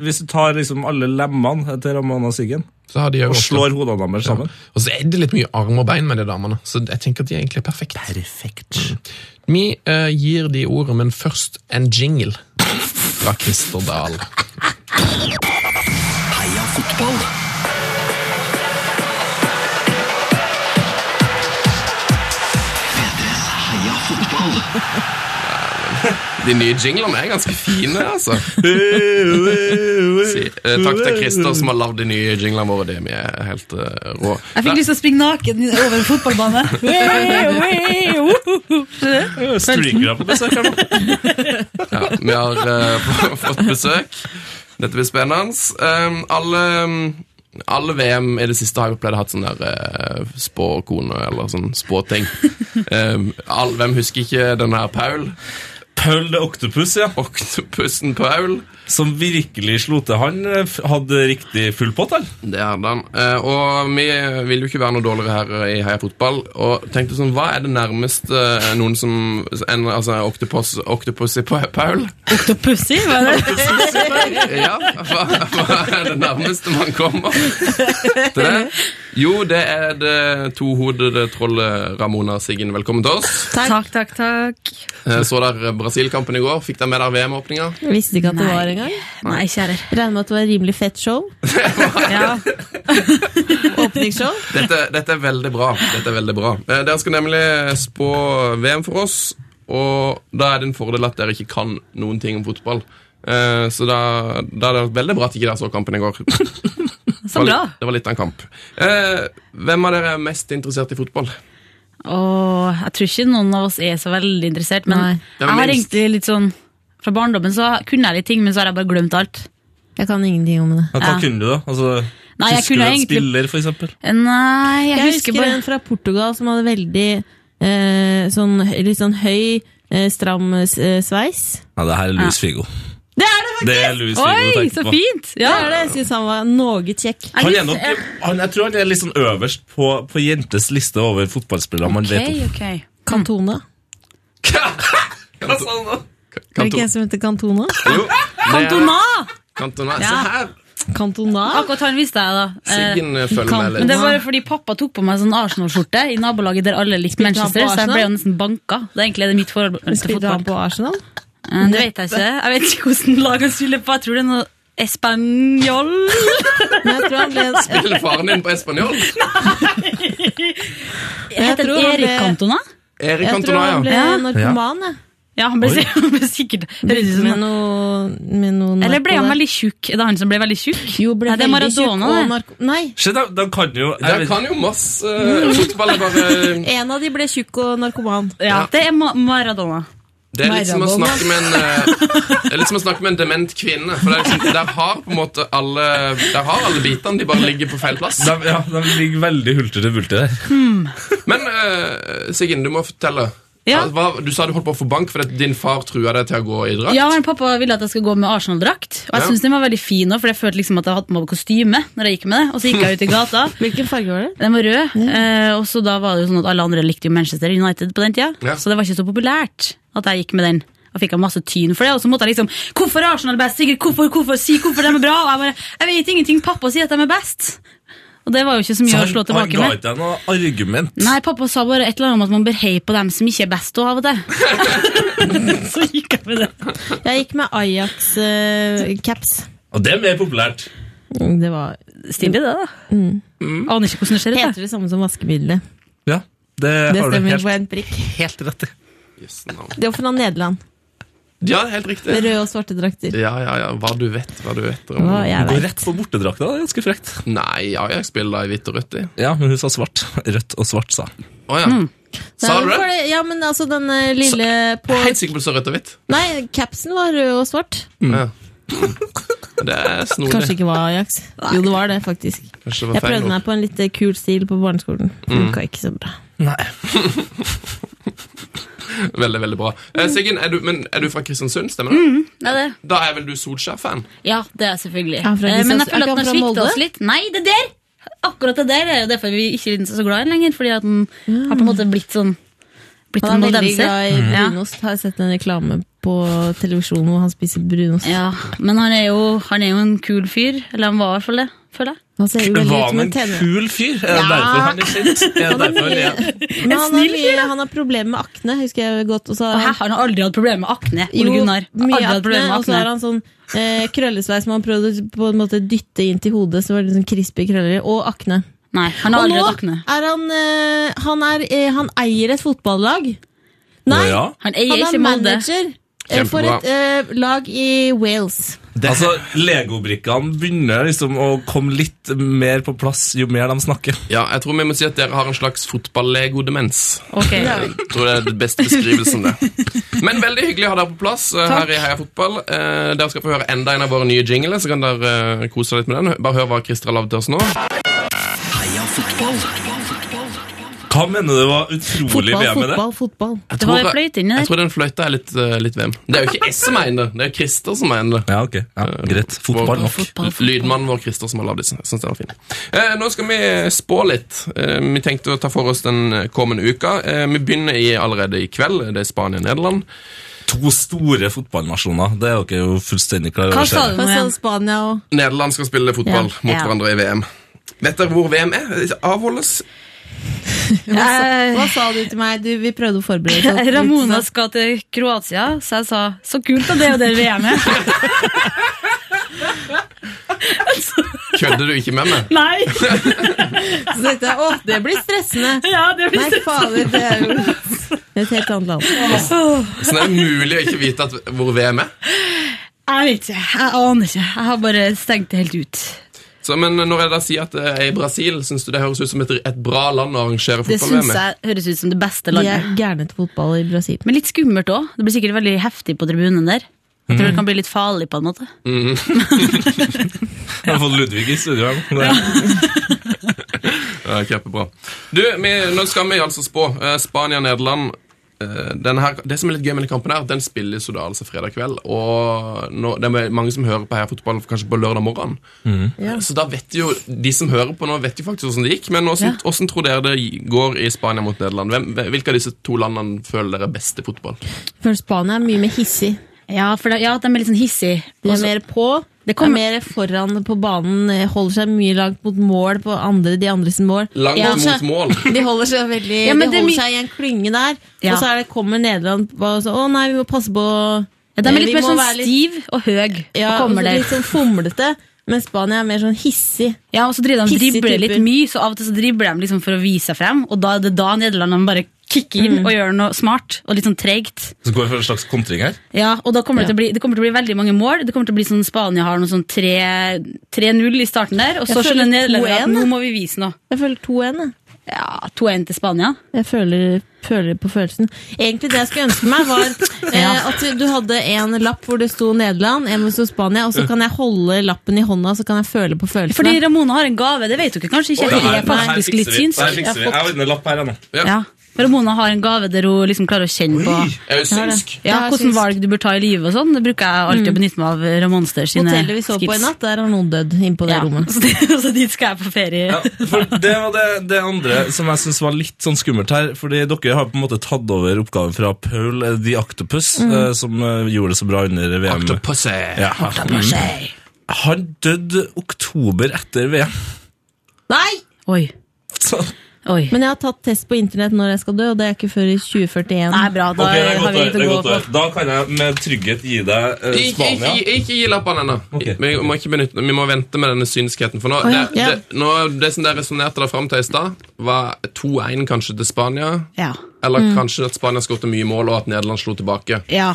S2: Hvis du tar liksom alle lemmene til Ramona og Siggen
S1: så har de jo
S2: og
S1: ofte-
S2: slår hodene deres sammen
S1: Og så er det litt mye arm og bein med de damene, så jeg tenker at de egentlig er perfekte.
S2: Perfekt.
S1: Vi eh, gir de ordet, men først en jingle fra Christer Dahl.
S4: Heia fotball. P3s Heia fotball.
S1: De nye jinglene er ganske fine, altså. Si, eh, takk til Christer som har lagd de nye jinglene våre. De er helt eh, rå.
S8: Jeg fikk lyst til å springe naken over en fotballbane.
S2: Streaker på besøk her nå.
S1: <laughs> Ja, vi har eh, <laughs> få- fått besøk. Dette blir spennende. Um, alle, um, alle VM i det siste har jo pleid å ha sånn der uh, spåkone eller sånn spåting.
S2: <laughs>
S1: Um, all, hvem husker ikke den her Paul?
S2: Paul the Octopus, ja.
S1: Oktopussen Paul.
S2: Som virkelig slo til. Han eh, f- hadde riktig full pott, han.
S1: Det hadde han. Eh, og vi vil jo ikke være noe dårligere her eh, i Heia Fotball. Og tenkte sånn, hva er det nærmeste eh, noen som en, Altså Octopus, Octopus i Pa- Paul?
S8: Octopussy, hva er det?
S1: Ja, hva, hva er det nærmeste man kommer til det? Jo, det er det tohodede trollet Ramona Siggen. Velkommen til oss.
S8: Takk, takk, takk.
S1: Eh, Så der Brasil-kampen i går. Fikk dere med dere VM-åpninga?
S9: Jeg visste ikke at det var engang.
S8: Nei, kjære.
S9: Regner med at det var et rimelig fett show.
S8: Ja.
S9: <laughs> Åpningsshow.
S1: Dette, dette er veldig bra. Dette er veldig bra. Eh, dere skal nemlig spå VM for oss, og da er det en fordel at dere ikke kan noen ting om fotball. Eh, så da, da er det veldig bra at ikke dere så kampen i går.
S8: Så bra.
S1: Det var litt av en kamp. Eh, hvem av dere er mest interessert i fotball?
S8: Og jeg tror ikke noen av oss er så veldig interessert,
S9: Nei.
S8: men
S1: Ja,
S8: jeg har
S1: minst.
S8: egentlig litt sånn Fra barndommen så kunne jeg litt ting, men så har jeg bare glemt alt.
S9: Jeg kan ingenting om det.
S2: Ja, Hva
S8: Ja.
S2: kunne du, da? Altså,
S8: Nei, jeg
S2: husker du
S8: kunne
S2: en
S8: egentlig-
S2: spiller, for eksempel?
S8: Eh, Nei, jeg,
S9: Jeg
S8: husker
S9: husker
S8: bare
S9: en fra Portugal som hadde veldig eh, sånn, litt sånn høy, eh, stram eh, sveis.
S2: Ja, det her er Louis Figo.
S8: Det er det faktisk!
S2: Det er Louis Figo du
S8: Oi,
S2: tenker
S8: så
S2: på.
S8: fint!
S9: Ja,
S8: Ja,
S9: det er det. Jeg synes han var noe kjekk.
S8: Jeg
S2: Han er
S8: likte-
S2: nok, han, jeg tror han er litt sånn øverst på, på jentes liste over fotballspillere man vet om.
S8: Ok, ok.
S9: Kantone.
S1: Hva sa han da?
S9: Er det ikke en som heter Kantone?
S1: Kantona!
S9: Ah,
S1: Kantona. Se
S8: Ja.
S1: her!
S9: Kantona?
S8: Akkurat han visste jeg, da. Eh,
S1: Siggen eh, følger med
S8: Men
S1: litt.
S8: det var fordi pappa tok på meg sånn Arsenal-skjorte i nabolaget der alle likte
S9: Spilte han
S8: Manchester,
S9: på
S8: så jeg
S9: Arsenal?
S8: ble jo nesten banka. Det er egentlig det mitt forhold til
S9: Spilte han
S8: fotball.
S9: på Arsenal?
S8: Eh, Det vet jeg ikke. Jeg vet ikke hvordan lag han spiller på. Jeg tror det er noe Español.
S9: Men jeg tror han ble, jeg,
S1: Spiller faren din på espanjol?
S8: Heter
S9: tror
S8: han
S9: han
S8: Erik
S9: ble-
S8: Cantona?
S1: Erik
S9: jeg tror
S1: Cantona,
S9: han
S1: ja.
S9: ble narkoman, jeg.
S8: Ja, han ble, <laughs> han ble sikkert Høres ut som
S9: Med
S8: han-
S9: noe, med noe
S8: Eller ble han
S9: narko-
S8: veldig tjukk? Er det han som ble veldig tjukk?
S9: Jo, ble
S8: Nei, det er
S9: veldig tjukk
S8: Maradona,
S9: og
S8: det.
S9: narko... Nei,
S2: Se, de, de kan jo jeg
S1: Dere
S2: vet-
S1: kan jo masse eh, fotball. er
S2: eh,
S1: Bare
S9: en av de ble tjukk og narkoman.
S8: Ja, det er Ma Maradona.
S1: Det er litt som å
S9: Maradona.
S1: snakke med en eh, Det er litt som å snakke med en dement kvinne. For det er liksom, der har på en måte alle Der har alle bitene, de bare ligger på feil plass.
S2: De, ja, de ligger veldig hulter til bulter der.
S1: Men eh, Siggen, du må fortelle.
S8: Ja.
S1: Altså, Hva, du sa du holdt på å få bank fordi at din far trua deg til å gå i drakt.
S8: Ja, men Pappa ville at jeg skulle gå med Arsenal-drakt, og
S1: Ja.
S8: jeg synes den var veldig fin òg, for jeg følte liksom at jeg hadde på meg kostyme når jeg gikk med det. Og så gikk jeg ut i gata.
S9: Hvilken farge var det?
S8: Den var rød, eh, og så da var det jo sånn at alle andre likte jo Manchester United på den tida.
S1: Ja.
S8: Så det var ikke så populært at jeg gikk med den. Og fikk jeg masse tyn for det, og så måtte jeg liksom Hvorfor er Arsenal best? Sigrid, hvorfor, hvorfor, si hvorfor de er bra? Og jeg bare Jeg vet ingenting, pappa sier at de er best. Og det var jo ikke så mye å slå
S2: han
S8: tilbake
S2: ga
S8: med.
S2: ikke deg noe argument.
S8: Nei, pappa sa bare et eller annet om at man bør heie på dem som ikke er best og av og til. <laughs> så gikk jeg med det.
S9: Jeg gikk med eh, Ajax-caps.
S2: Og det er mer populært.
S9: det var
S8: Stilig det, da. Aner ikke hvordan det skjer.
S9: Heter det samme som vaskemiddelet.
S2: Ja, det,
S9: Det
S2: har du
S9: stemmer
S2: helt,
S9: på en prikk.
S2: helt rett i.
S1: Yes, no.
S9: Det var fra Nederland.
S1: Ja, helt riktig.
S9: Med røde og svarte drakter.
S1: Ja, ja, ja. Hva du vet, hva du vet. om-
S9: Hva jeg
S2: Går
S9: vet.
S2: rett på bortedrakta. Det er ganske frekt.
S1: Nei, Ajax spiller da i hvitt og rødt, de.
S2: Ja, men hun sa svart. Rødt og svart, sa hun.
S1: Å ja.
S9: Det
S1: Sa du
S9: er vel
S1: det?
S9: fordi- Ja, men altså denne lille på
S1: Helt sikker på at det står rødt og hvitt.
S9: Nei, capsen var rød og svart.
S1: Ja. Det er snodig.
S9: Kanskje ikke var Ajax. Jo, det var det, faktisk.
S1: Kanskje det var
S9: Jeg
S1: feil
S9: prøvde
S1: ord.
S9: meg på en litt eh, kul stil på barneskolen. Funka ikke så bra.
S2: Nei.
S1: Veldig, veldig bra. Eh, Siggen, er du, men er du fra Kristiansund, stemmer det?
S8: Det er det.
S1: Da er vel du Solskjær-fan?
S8: Ja, det er selvfølgelig.
S9: Ja,
S8: Eh, Men
S9: fra
S8: jeg føler at
S9: Kristiansand- Er
S8: den
S9: ikke
S8: har
S9: han fra
S8: svikta
S9: Molde?
S8: oss litt. Nei, det der! Akkurat det der er jo derfor vi ikke er så glad i den lenger. Fordi at den har på en måte blitt sånn Blitt en
S9: Han er veldig
S8: moldenser.
S9: glad i brunost. Har jeg sett en reklame på televisjonen hvor han spiser brunost.
S8: Ja, men han er, jo, han er jo en kul fyr. Eller han var i hvert fall det, føler jeg.
S9: Han ser jo veldig
S2: Var
S9: ut
S2: han
S9: som
S2: en
S9: en tenåring.
S2: kul fyr? Er det derfor han er sint? Er det derfor han er
S9: Men han har, mye, han har problemer med akne, husker jeg godt. Og så
S8: Og
S9: har
S8: her
S9: han
S8: har han aldri hatt problemer med akne. Ole
S9: jo,
S8: Gunnar.
S9: mye
S8: Aldri hatt
S9: akne,
S8: problemer med
S9: og så
S8: akne.
S9: har han sånn eh, krøllesveis som han prøvde å på en måte dytte inn til hodet. Så var det sånn krispige krøller. Og akne.
S8: Nei, han har
S9: Og
S8: aldri
S9: nå
S8: hatt akne.
S9: er han eh, han, er, eh, han eier et fotballag. Nei,
S2: Å, ja.
S8: Han eier ikke
S9: han er
S8: Molde.
S9: manager eh, for
S1: Kjempebra.
S9: et eh, lag i Wales.
S2: Altså, Legobrikkene begynner liksom å komme litt mer på plass jo mer de snakker.
S1: Ja, jeg tror vi må si at dere har en slags fotball-lego-demens. Eh,
S8: Ok.
S1: Jeg tror det er den beste beskrivelsen
S8: <laughs>
S1: det. Men veldig hyggelig å ha dere på plass eh, her i Heia Fotball. Eh, dere skal få høre enda en av våre nye jingler, så kan dere eh, kose dere litt med den. Bare hør hva Christer har lagd til oss nå.
S4: Heia fotball.
S2: Hva mener du var utrolig
S9: Fotball,
S2: VM med det?
S9: fotball, fotball.
S1: Jeg
S8: Det var
S1: tror-
S8: en fløyte inni der.
S1: Jeg tror den fløyta er litt, eh, litt VM. Det er jo ikke jeg som mener det, det er Christer som mener det.
S2: Ja, ok. Ja, greit. Eh, Fotball nok.
S1: L- Lydmannen vår Christer som har lagd disse. Jeg Synes den var fin. Eh, nå skal vi spå litt. Eh, vi tenkte å ta for oss den kommende uka. Eh, vi begynner i, allerede i kveld. Det er Spania-Nederland.
S2: To store fotballnasjoner. Det er dere jo fullstendig klar over.
S8: Hva sa
S2: ser jeg.
S8: du?
S9: Og så Spania og
S1: Nederland skal spille fotball
S9: Ja.
S1: mot
S8: Ja.
S1: hverandre i VM. Vet dere hvor VM er? Det Avholdes
S9: Hva sa du til meg? Du, vi prøvde å forberede oss.
S8: Eh. <laughs> Ramona skal til Kroatia, så jeg sa så kult at det er jo der vi
S9: <laughs>
S8: er med.
S1: Kødder du ikke med meg?
S8: Nei!
S9: Så tenkte jeg, åh, det blir stressende.
S8: <laughs> Ja, det blir
S9: Nei, fader, det er jo et helt annet land.
S1: Sånn er det mulig å ikke vite at, hvor VM er.
S8: Jeg vet ikke. Jeg aner ikke. Jeg har bare stengt det helt ut.
S1: Så, men når jeg da sier at det er i Brasil, syns du det høres ut som et, et bra land å arrangere
S8: Det
S1: fotball-VM
S8: syns
S1: i?
S8: jeg høres ut som det beste
S9: De
S8: landet.
S9: er gærne til fotball i Brasil.
S8: Men litt skummelt òg. Det blir sikkert veldig heftig på tribunen der. Jeg tror det kan bli litt farlig på en måte.
S2: <laughs> Jeg har fått Ludvig i studio her. nå. Det-
S1: Ja, kjempebra. Du, vi, nå skal vi altså spå. Eh, Spania-Nederland. Eh, denne her, det som er litt gøy med den kampen her, den spilles jo da altså fredag kveld. Og nå, det er mange som hører på her fotball kanskje på lørdag morgen. Eh, Så da vet jo de som hører på nå, vet jo faktisk hvordan det gikk. Men hvordan,
S8: Ja.
S1: hvordan tror dere det går i Spania mot Nederland? Hvem, hvilke av disse to landene føler dere er best i fotball?
S9: For Spania er mye mer hissig.
S8: Ja, for det, ja, de er litt sånn hissige.
S9: De er mer på,
S8: Det
S9: er
S8: kommer-
S9: mer foran på banen, eh, holder seg mye langt mot mål på andre, de andre sin mål.
S1: Langt
S9: Ja.
S1: mot mål.
S9: De holder seg veldig
S8: Ja, men
S9: De
S8: det er
S9: holder
S8: my-
S9: seg i en klynge der,
S8: Ja.
S9: og så er det, kommer Nederland og så, Å nei, vi må passe på
S8: Ja, de
S9: eh,
S8: er litt
S9: vi
S8: mer
S9: må
S8: sånn
S9: være litt-
S8: stiv og høy.
S9: ja,
S8: og kommer
S9: og så
S8: der.
S9: litt sånn fomlete, men Spania er mer sånn hissig.
S8: Ja, og så driver de og
S9: Hissige
S8: dribler
S9: typer.
S8: litt mye, så av og til så dribler de liksom for å vise seg frem, og da er det da nederlandene bare kicker inn og gjør noe smart og litt sånn tregt.
S2: Så går vi for en slags kontring her.
S8: Ja, og da kommer det, til å bli, det kommer til å bli veldig mange mål. Det kommer til å bli sånn Spania har noe sånn tre- 3-0 i starten der, og
S9: Jeg
S8: så
S9: føler
S8: skjønner nederlenderne at
S9: 2-1,
S8: nå
S9: jeg.
S8: må vi vise noe.
S9: Jeg føler 2-1. jeg.
S8: Ja, 2-1 til Spania.
S9: Jeg føler, føler på følelsen. Egentlig det jeg skulle ønske meg,
S8: <laughs>
S9: var eh, at du hadde en lapp hvor det sto Nederland, en hvor det sto Spania, og så kan jeg holde lappen i hånda, så kan jeg føle på følelsene.
S8: Fordi Ramona har en gave, det vet dere kanskje ikke.
S2: Å,
S8: Det
S2: ja, her-
S8: er faktisk
S2: her
S8: litt
S2: fikser vi.
S8: synsk.
S2: Her fikser vi. Jeg har en lapp her ennå.
S8: Ja. Ramona har en gave der hun liksom klarer å kjenne på
S1: Er du synsk?
S8: ja,
S9: Ja,
S8: hvordan
S9: synsk.
S8: valg du bør ta i livet og sånn. Det bruker jeg alltid å
S2: Mm.
S8: benytte meg av Ramonster sine
S9: Hotellet vi så på i natt, der har noen dødd inne på det
S8: Ja, <laughs>
S9: rommet.
S8: så, det, så dit skal jeg på ferie.
S2: Ja, for det var det, det andre som jeg synes var litt sånn skummelt her. Fordi dere har på en måte tatt over oppgaven fra Paul eh, The Octopus,
S8: Mm.
S2: eh, som eh, gjorde det så bra under VM. Ja. Mm.
S8: Kanskje.
S2: Han døde oktober etter VM.
S9: Nei!
S2: Mm.
S8: Oi.
S2: Så,
S8: Oi.
S9: Men jeg har tatt test på internett når jeg skal dø, og det er ikke før i 2041.
S8: Nei, bra. Da
S2: Ok, det er
S8: har
S2: godt
S8: vi
S2: å høre,
S8: litt
S2: det
S8: å
S2: er
S8: gå
S2: godt å
S8: på.
S2: høre. Da kan jeg med trygghet gi deg eh,
S1: Ikke, ikke,
S2: Spania.
S1: ikke, ikke gi lappene ennå.
S2: Ok.
S1: Vi, må ikke benytte- vi må vente med denne synskheteten. For nå,
S9: ja.
S1: det,
S9: Ja.
S1: det, nå, det som dere resonnerte dere fram til i stad, var 2-1 kanskje til Spania.
S8: Ja.
S9: Mm.
S1: Eller kanskje at Spania skåret mye mål, og at Nederland slo tilbake.
S8: ja.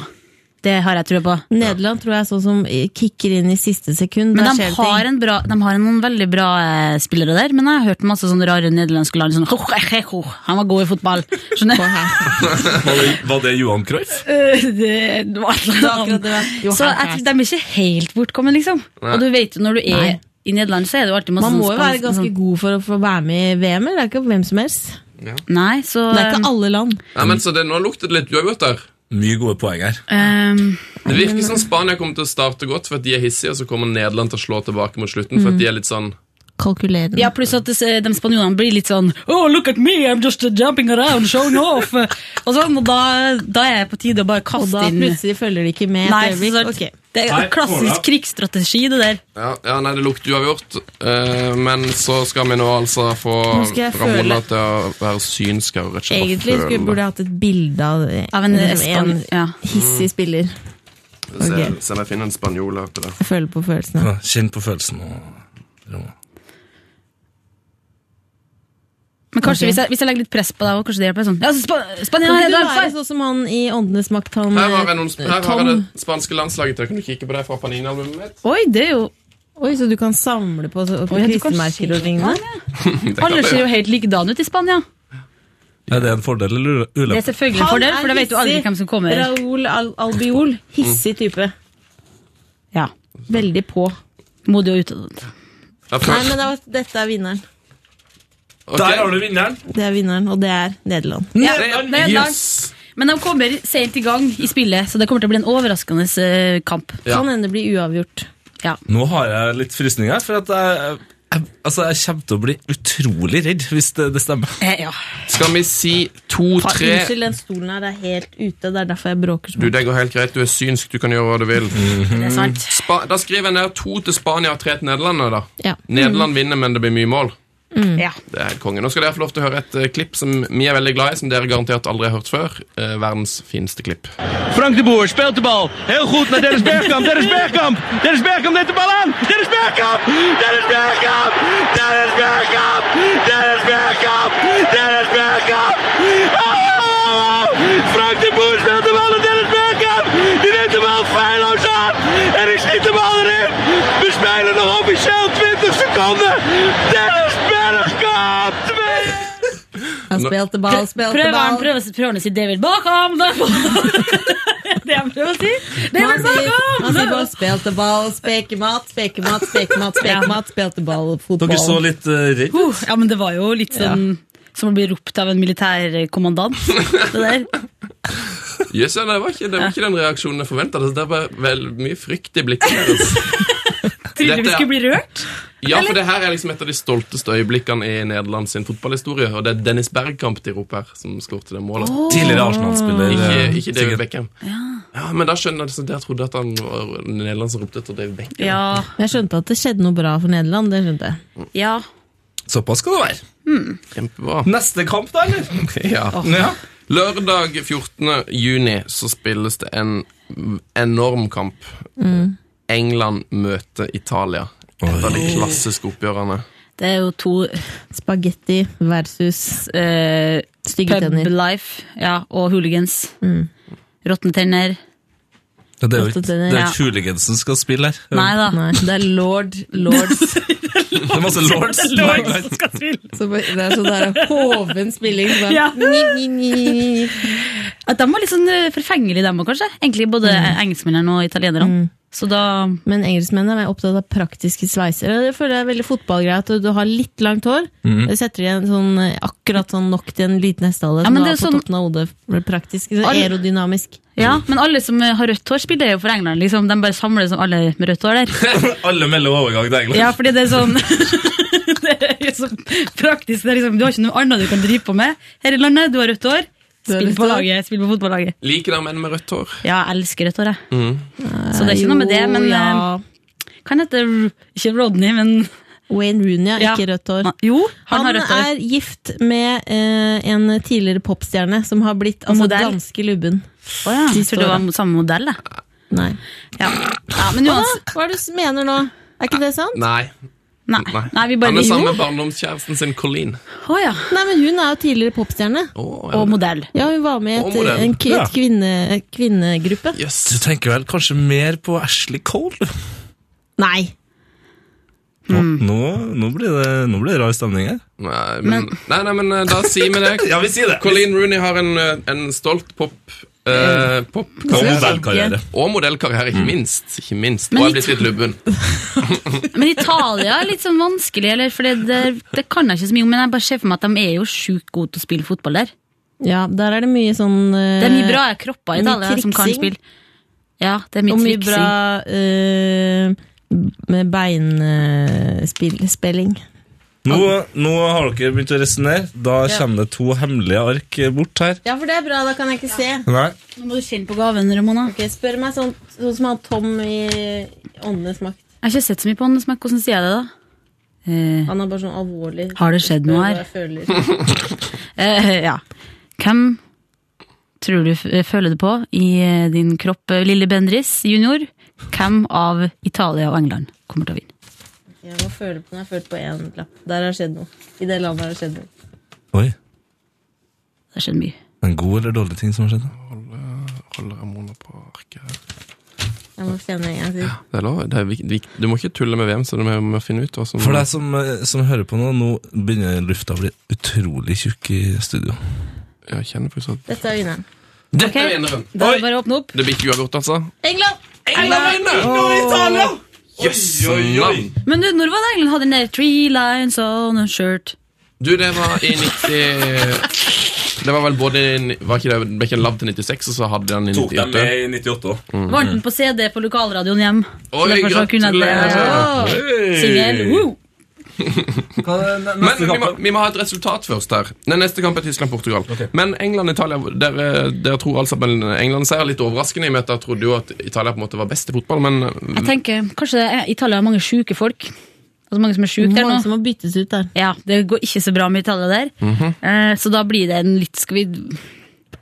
S8: Det har jeg trua på.
S9: Nederland tror jeg sånn som kicker inn i siste sekund.
S8: Men
S9: der
S8: de
S9: skjer det ting.
S8: har, en bra, de har noen veldig bra eh, spillere der, men jeg har hørt masse sånne rare nederlandske land sånn Han var god i fotball. Skjønner du? <laughs> Eh,
S2: Var det, var det Johan Cruyff?
S8: det var et eller
S9: akkurat
S8: annet.
S9: det. Jo,
S8: Så
S9: helt
S8: jeg tror de er ikke helt bortkommet, liksom. Og du vet jo når du er
S9: Nei.
S8: i Nederland, så er det jo alltid masse
S9: Man må
S8: sånn
S9: jo være
S8: spansk-
S9: ganske
S8: sånn-
S9: god for å få være med i VM. eller? Det er ikke hvem som helst.
S8: Nei, så
S9: Det er ikke alle land.
S1: Nei, men så det, Nå lukter det litt uavgjort der.
S2: Mye gode poeng her.
S8: ehm,
S1: Det virker som Spania kommer til å starte godt for at de er hissige, og så kommer Nederland til å slå tilbake mot slutten
S9: Mm.
S1: for at de er litt sånn
S9: Kalkulerende.
S8: Ja, pluss at det- de spanjolene blir litt sånn Oh, look at me, I'm just uh, jumping around, showing
S9: <laughs>
S8: off. Og sånn, og da, da er jeg på tide å bare
S9: Og
S8: kaste
S9: da
S8: inn
S9: plutselig følger de ikke med. et
S8: Nei,
S9: øyeblikk.
S8: så-
S9: Ok.
S8: Det
S2: Nei,
S8: er
S2: Ola.
S8: klassisk krigsstrategi, det der.
S1: Ja, ja nei, det lukter uavgjort. Eh, men så skal vi nå altså få
S9: Nå skal jeg
S1: Ramona
S9: føle.
S1: til å være synsk her. og rett og slett bare
S9: Egentlig skulle,
S1: føle.
S9: burde jeg hatt et bilde av,
S8: Av en
S9: liksom,
S8: span- ja.
S1: Mm.
S9: hissig spiller.
S1: Se,
S9: Ok.
S1: se om jeg finner en spanjol her til det.
S9: Jeg føler på følelsene.
S2: Kjenn på følelsen. nå, Roma.
S8: Men kanskje
S9: Ok.
S8: hvis, jeg, hvis jeg legger litt press på deg, og kanskje det hjelper sånn. Ja, så spa, Spania,
S9: Kan ikke du
S8: Nederland,
S9: være
S8: faen!
S9: sånn som han i Åndenes makt, han
S1: Her har jeg, noen,
S9: eh,
S1: her har
S9: Tom?
S1: jeg det spanske landslaget til. Kan du kikke på det fra Panini-albumet mitt?
S8: Oi, det er jo
S9: Oi, så du kan samle på så-
S8: Oi, ja, du kan
S9: klistremerker og lignende?
S1: Det kan
S8: Alle
S1: jeg
S8: ser
S1: gjøre.
S8: jo helt likedan ut i Spania.
S2: Er det en fordel eller ule-
S8: Det er
S2: ulempe?
S8: selvfølgelig en fordel, for da vet du aldri
S9: hissig.
S8: hvem som kommer.
S9: Raoul Al Albiol.
S1: Mm.
S9: Hissig type.
S8: Ja.
S9: Veldig på.
S8: Modig og utadvendt.
S1: Ja, for-
S9: Nei, men det var, dette er vinneren.
S1: ok.
S2: Der har du vinneren!
S9: Det er vinneren, og det er Nederland.
S8: Ja, Nederland.
S1: Yes.
S8: Men de kommer sent i gang i spillet, så det kommer til å bli en overraskende eh, kamp.
S1: Ja.
S9: Kan hende det blir uavgjort.
S8: Ja.
S2: Nå har jeg litt frysninger, for at jeg, jeg, altså jeg kommer til å bli utrolig redd hvis det, det stemmer.
S8: Eh, ja.
S1: Skal vi si to-tre
S9: Unnskyld, den stolen her er helt ute. Det er derfor jeg bråker
S1: Du,
S9: sånn.
S1: det går helt greit. Du er synsk, du kan gjøre hva du vil.
S9: Mhm.
S8: Det er sant.
S1: Spa da skriver jeg ned to til Spania og tre til Nederland. da.
S9: Ja. Mm.
S1: Nederland vinner, men det blir mye mål.
S8: Ja.
S1: Det er helt konge. Nå skal dere få lov til å høre et eh, klipp som vi er veldig glad i, som dere garantert aldri har hørt før. Eh, verdens fineste klipp.
S3: Frank de Boer speelt de bal. Heel goed naar Dennis Bergkamp. Dennis Bergkamp. Dennis Bergkamp neemt de bal aan. Dennis Bergkamp. Dennis Bergkamp. Dennis Bergkamp. Dennis Bergkamp. Dennis Bergkamp. Oh! Frank de Boer speelt de bal naar Dennis Bergkamp. Die neemt de bal feilloos aan. En ik schiet de bal erin. We spelen nog officieel 20 seconden. Dennis Bergkamp. Twee.
S9: Han spilte ball, spilte
S8: Prøveren
S9: ball.
S8: prøver å si- prøver å si 'David Bakham'. <laughs> Det er det han prøver å si.
S9: Han
S8: David
S9: sier, han sier bare
S8: Bakham!
S9: 'spilte ball, spekemat, spekemat, spekemat', spekemat, spilte ball,
S2: Dere så
S9: fotball.
S2: litt uh, redd
S8: Uh, ja, men det var jo litt sånn som å bli ropt av en militærkommandant. Det <laughs> der.
S1: Jøss, ja, det, var ikke- det var ikke den reaksjonen jeg forventa. Det var vel mye frykt i blikket
S8: <laughs>
S1: deres.
S8: Trodde vi
S1: Dette-
S8: skulle bli rørt.
S1: Ja, for det her er liksom et av de stolteste øyeblikkene i Nederland sin fotballhistorie. Og det er Dennis Bergkamp de roper her, som skåret det målet.
S2: tidligere Arsenal-spiller.
S1: Ikke,
S2: eh,
S1: ikke David
S2: sikkert.
S1: Beckham. Ja. men da skjønner jeg så der trodde jeg at han var Nederland som ropte etter David Beckham.
S8: Ja,
S9: Jeg skjønte at det skjedde noe bra for Nederland. det skjønte jeg.
S8: ja.
S2: Såpass skal det være.
S1: Kjempebra.
S2: <laughs> Neste kamp, da, eller?
S1: Ja.
S2: Ja.
S1: Lørdag 14. juni så spilles det en enorm kamp.
S8: Mm.
S1: England møter Italia. Et av de klassiske oppgjørene.
S8: Det er jo to
S9: Spagetti versus
S8: eh,
S9: stygge
S8: Pub
S9: tenner.
S8: life ja, og hooligans. Råtne tenner.
S2: Ja, Det er jo ikke, det er jo
S9: Ja.
S2: ikke hooligans som skal spille her.
S8: Nei da. <laughs>
S9: Nei, det er lord, lords.
S2: Det er masse lords.
S8: Lords som skal spille.
S9: Så bare- Det er sånn der hoven spilling. så bare-
S8: Ja.
S9: Ni, ni, ni, ni.
S8: At de var litt sånn eh, forfengelige, dem òg, kanskje. Egentlig både engelskmennene og italienerne. Så da
S9: Men engelskmennene er opptatt av praktiske sveiser. Og Jeg føler det er veldig fotballgreie at du har litt langt hår.
S2: Mhm.
S9: Det setter igjen sånn, eh, akkurat sånn nok til en liten hestehale
S8: Ja, men
S9: som du har
S8: det er
S9: på
S8: sånn-
S9: toppen av hodet. for det Praktisk, så
S8: All-
S9: aerodynamisk.
S8: Ja, men alle som eh, har rødt hår, spiller jo for England. Liksom. De bare samler som alle med rødt hår der.
S2: <laughs> Alle melder overgang til England.
S8: Ja, fordi det er sånn <laughs> Det er jo så praktisk. Det er liksom, du har ikke noe annet du kan drive på med her i landet. Du har rødt hår.
S9: har
S8: Spill
S9: rødt
S8: på
S9: hår.
S8: laget, spill på fotballaget.
S1: Liker dere menn med rødt hår?
S8: Ja, jeg elsker rødt hår, jeg.
S1: Mm.
S8: Så det er ikke noe med det, men eh,
S9: ja.
S8: Kan hete Ikke Rodney, men
S9: Wayne Rooney har
S8: Ja.
S9: ikke rødt hår.
S8: Nei, Jo, han,
S9: Han,
S8: har rødt hår.
S9: er gift med eh, en tidligere popstjerne som har blitt altså,
S8: modell.
S9: ganske lubben.
S8: Å ja. Jeg trodde det var samme modell, jeg.
S9: Nei.
S8: Ja. ja, men
S9: Hva,
S8: uansett
S9: Ah, hva er det du mener nå? Er ikke det sant?
S1: Nei.
S8: Nei.
S1: Nei.
S8: Nei, vi bare
S1: Han er
S8: Jo.
S1: sammen med barndomskjæresten sin Colleen.
S8: Å ja.
S9: Nei, men hun er jo tidligere popstjerne.
S1: Å, ja.
S8: Og modell.
S9: Ja, hun var med i et,
S1: Og modell.
S9: en, k-
S2: Ja.
S9: et kvinne, kvinnegruppe.
S1: Yes.
S2: Du tenker vel kanskje mer på Ashley Cole? du?
S9: Nei.
S2: Nå, nå, blir det, nå blir det rar stemning her.
S1: Nei, men, nei, nei, men eh, da sier vi det.
S2: <laughs> Ja, vi sier det.
S1: Colleen Rooney har en, eh, en stolt pop... eh,
S2: Og
S1: popkarriere.
S2: modellkarriere.
S1: Og modellkarriere, ikke minst. Ikke minst. Og
S8: Men
S1: jeg er
S8: litt-
S1: blitt litt lubben.
S8: Men Italia er litt sånn vanskelig, eller? For det, det, det kan jeg ikke så mye om, men jeg bare ser for meg at de er jo sjukt gode til å spille fotball der.
S9: Ja, der er det mye sånn eh,
S8: Det er mye bra kropper i
S9: mye
S8: Italia som kan
S9: triksing.
S8: spille. Ja, det er mye
S9: Og mye
S8: triksing.
S9: bra eh, med beinspilling.
S2: Nå, nå har dere begynt å resonnere. Da
S9: Ja.
S2: kommer det to hemmelige ark bort her.
S9: Ja, for det er bra. Da kan jeg ikke se.
S2: Nei.
S8: Nå må du kjenne på gaven, Ramona.
S9: Ok, Spør meg sånn, sånn som han Tom i Åndenes makt.
S8: Jeg har ikke sett så mye på han, men hvordan sier jeg det, da? Eh,
S9: Han er bare sånn alvorlig.
S8: har det skjedd
S9: Spør
S8: noe
S9: hva
S8: her?
S9: jeg føler.
S8: Eh, ja. Hvem tror du f- føler det på i eh, din kropp, eh, lille Bendris junior? Hvem av Italia og England kommer til å vinne?
S9: Jeg må føle på den. Jeg føler på én lapp. Der har det skjedd noe. I det landet har det skjedd noe.
S2: Oi.
S8: Det har skjedd mye.
S2: En god eller dårlig ting som har skjedd?
S1: Holder Ramona på arket her.
S9: Jeg må finne en gang til.
S1: Det er lov. Det er vik- vik- du må ikke tulle med VM, så du må, må finne ut hva som
S2: For deg som, eh, som hører på nå, nå begynner lufta å bli utrolig tjukk i studio.
S1: Jeg kjenner på sånn.
S9: Dette er vinneren.
S1: Dette
S8: Ok,
S1: er vinneren!
S8: Da er det bare å åpne opp.
S1: Det blir ikke uavgjort, altså?
S9: England!
S1: England vinner! Jøss! navn.
S8: Men du, når var det England hadde den der three lines on a shirt?
S1: Du, det var i 90 Det var vel både i- var ikke det, Ble ikke en lab til 96, og så hadde han i 98?
S2: i 98 òg.
S8: Vant den på CD på lokalradioen hjem. Så
S1: Mm. Oi,
S8: derfor så kunne jeg
S1: gratulerer.
S8: det. Singel. Wow.
S1: Men vi må, vi må ha et resultat først her. Den neste kamp er Tyskland-Portugal. Men England-Italia Dere, dere tror altså at England seier litt overraskende, i og med at dere trodde jo at Italia på en måte var best i fotball, men eh,
S9: Mm.
S8: Jeg tenker, Kanskje det er, Italia har mange sjuke folk. Altså mange som er sjuke der nå.
S9: Mange som må byttes ut der.
S8: Ja, Det går ikke så bra med Italia der.
S9: Mhm.
S8: eh, så da blir det en litt Skal vi
S1: er det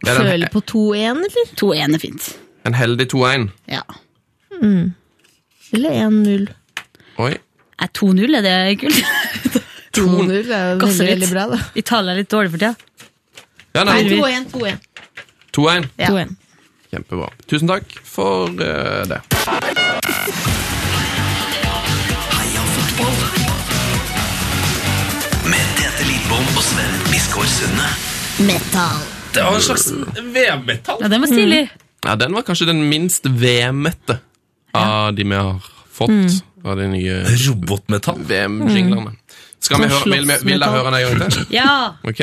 S1: en,
S9: Føler på 2-1, eller?
S8: 2-1 er fint.
S1: en heldig 2-1.
S8: Ja.
S9: Eller 1-0?
S1: Oi.
S8: Er 2-0 er det kult?
S9: <laughs> 2-0 er jo
S8: Gasser
S9: veldig,
S8: litt.
S9: veldig bra, da.
S8: Italia er litt dårlig for tida.
S1: Ja, nei,
S9: 2-1, 2-1.
S1: 2-1.
S8: Ja.
S9: 2-1.
S1: Kjempebra. Tusen takk for eh, det.
S4: Heia fotball Med Tete Lidbom og Sven Biskår Sunde
S9: Metal.
S2: Det var en slags VM-metall.
S8: Ja, Den var stilig.
S9: Mm.
S1: Ja, den var kanskje den minst VM-ete av de vi har fått
S9: Mm.
S1: av de nye
S2: Robotmetall.
S1: VM-jinglene.
S8: Mm.
S1: Skal vi
S9: Sånn
S1: høre, vil, vi- vil dere høre den en gang til?
S8: Ja!
S1: Ok?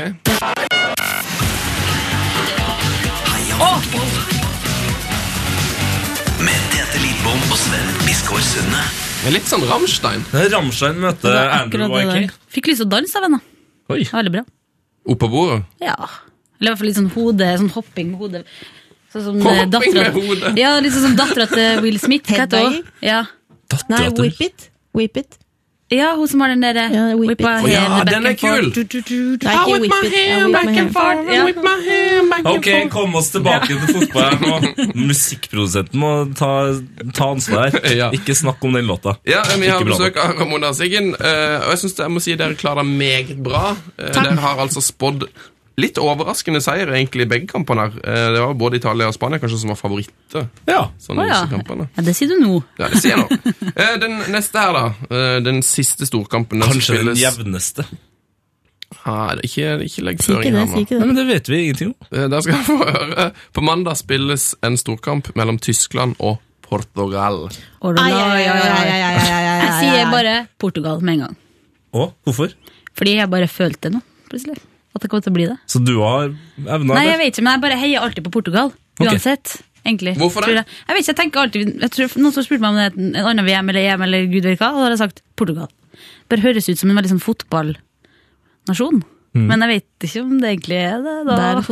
S4: Med Tete Lidbom og Sven Biskår Sunde
S1: Det er Litt sånn Rammstein.
S2: Ramstein møter Andrew
S8: Akkurat det
S2: Wyke.
S8: der. Fikk lyst til å danse av henne.
S1: Oi.
S8: Det var Veldig bra.
S1: Oppå bordet.
S8: Ja. Eller i hvert fall litt sånn hode, sånn hopping med hodet. Sånn som eh,
S1: Hopping
S8: dattera
S1: med hodet.
S8: Ja, litt sånn som dattera til Will Smith. hva heter hun?
S9: Headbanging?
S8: Ja.
S9: Nei,
S2: Dattera til
S9: whip it. Whip it.
S8: ja, hun som har den eh, derre
S9: Ja, whip it.
S8: her
S1: Å ja,
S8: back
S1: den er
S8: and forth.
S1: kul.
S8: Du, du, du, du.
S9: Nei, ikke whip it. Ja, whip my hair.
S8: Ja.
S2: Ok, kom oss tilbake til fotball her nå. <laughs> Musikkprodusenten må ta, ta ansvar her.
S1: Ja.
S2: Ikke snakk om den låta.
S1: Ja, Vi har
S2: Ikke bra nok.
S1: besøk av Ramona Siggen, eh, og jeg synes jeg må si dere klarer det meget bra. Eh, Dere har altså spådd litt overraskende seier egentlig i begge kampene. her. Eh, Det var både Italia og Spania kanskje som var favoritter.
S2: Ja.
S1: Sånn
S8: Å
S1: i
S8: ja.
S1: disse kampene.
S8: ja, det sier du nå.
S1: Ja, det sier jeg nå. Eh, Den neste her, da. eh, Den siste storkampen. Den
S2: Kanskje den
S1: spilles-
S2: jevneste.
S1: Ja, det- ikke, ikke legg
S9: Si ikke
S1: føringer
S9: det,
S1: her
S9: si
S1: nå.
S9: ikke
S2: Nei,
S9: det.
S2: men Det vet vi ingenting om.
S1: Eh, Der skal <laughs> jeg få høre. På mandag spilles en storkamp mellom Tyskland og Portugal.
S9: Ai, ai, ai, ai, ai, ai, ai, ai,
S8: Jeg
S9: ai,
S8: sier
S9: ai.
S8: bare Portugal med en gang.
S2: Å, hvorfor?
S8: Fordi jeg bare følte det nå, plutselig. At det kom til å bli det.
S2: Så du har evna
S8: Nei,
S2: det?
S8: jeg vet ikke, men jeg bare heier alltid på Portugal.
S2: Ok.
S8: Uansett. Egentlig.
S1: Hvorfor det?
S8: Tror Jeg. jeg vet ikke, jeg tenker alltid jeg tror, Noen som spurte meg om det er en annen VM eller EM eller gud vet hva, og da har jeg sagt Portugal. Bare høres ut som en veldig sånn fotballnasjon.
S1: Mm.
S8: Men jeg vet ikke om det egentlig er det. da.
S9: Det er en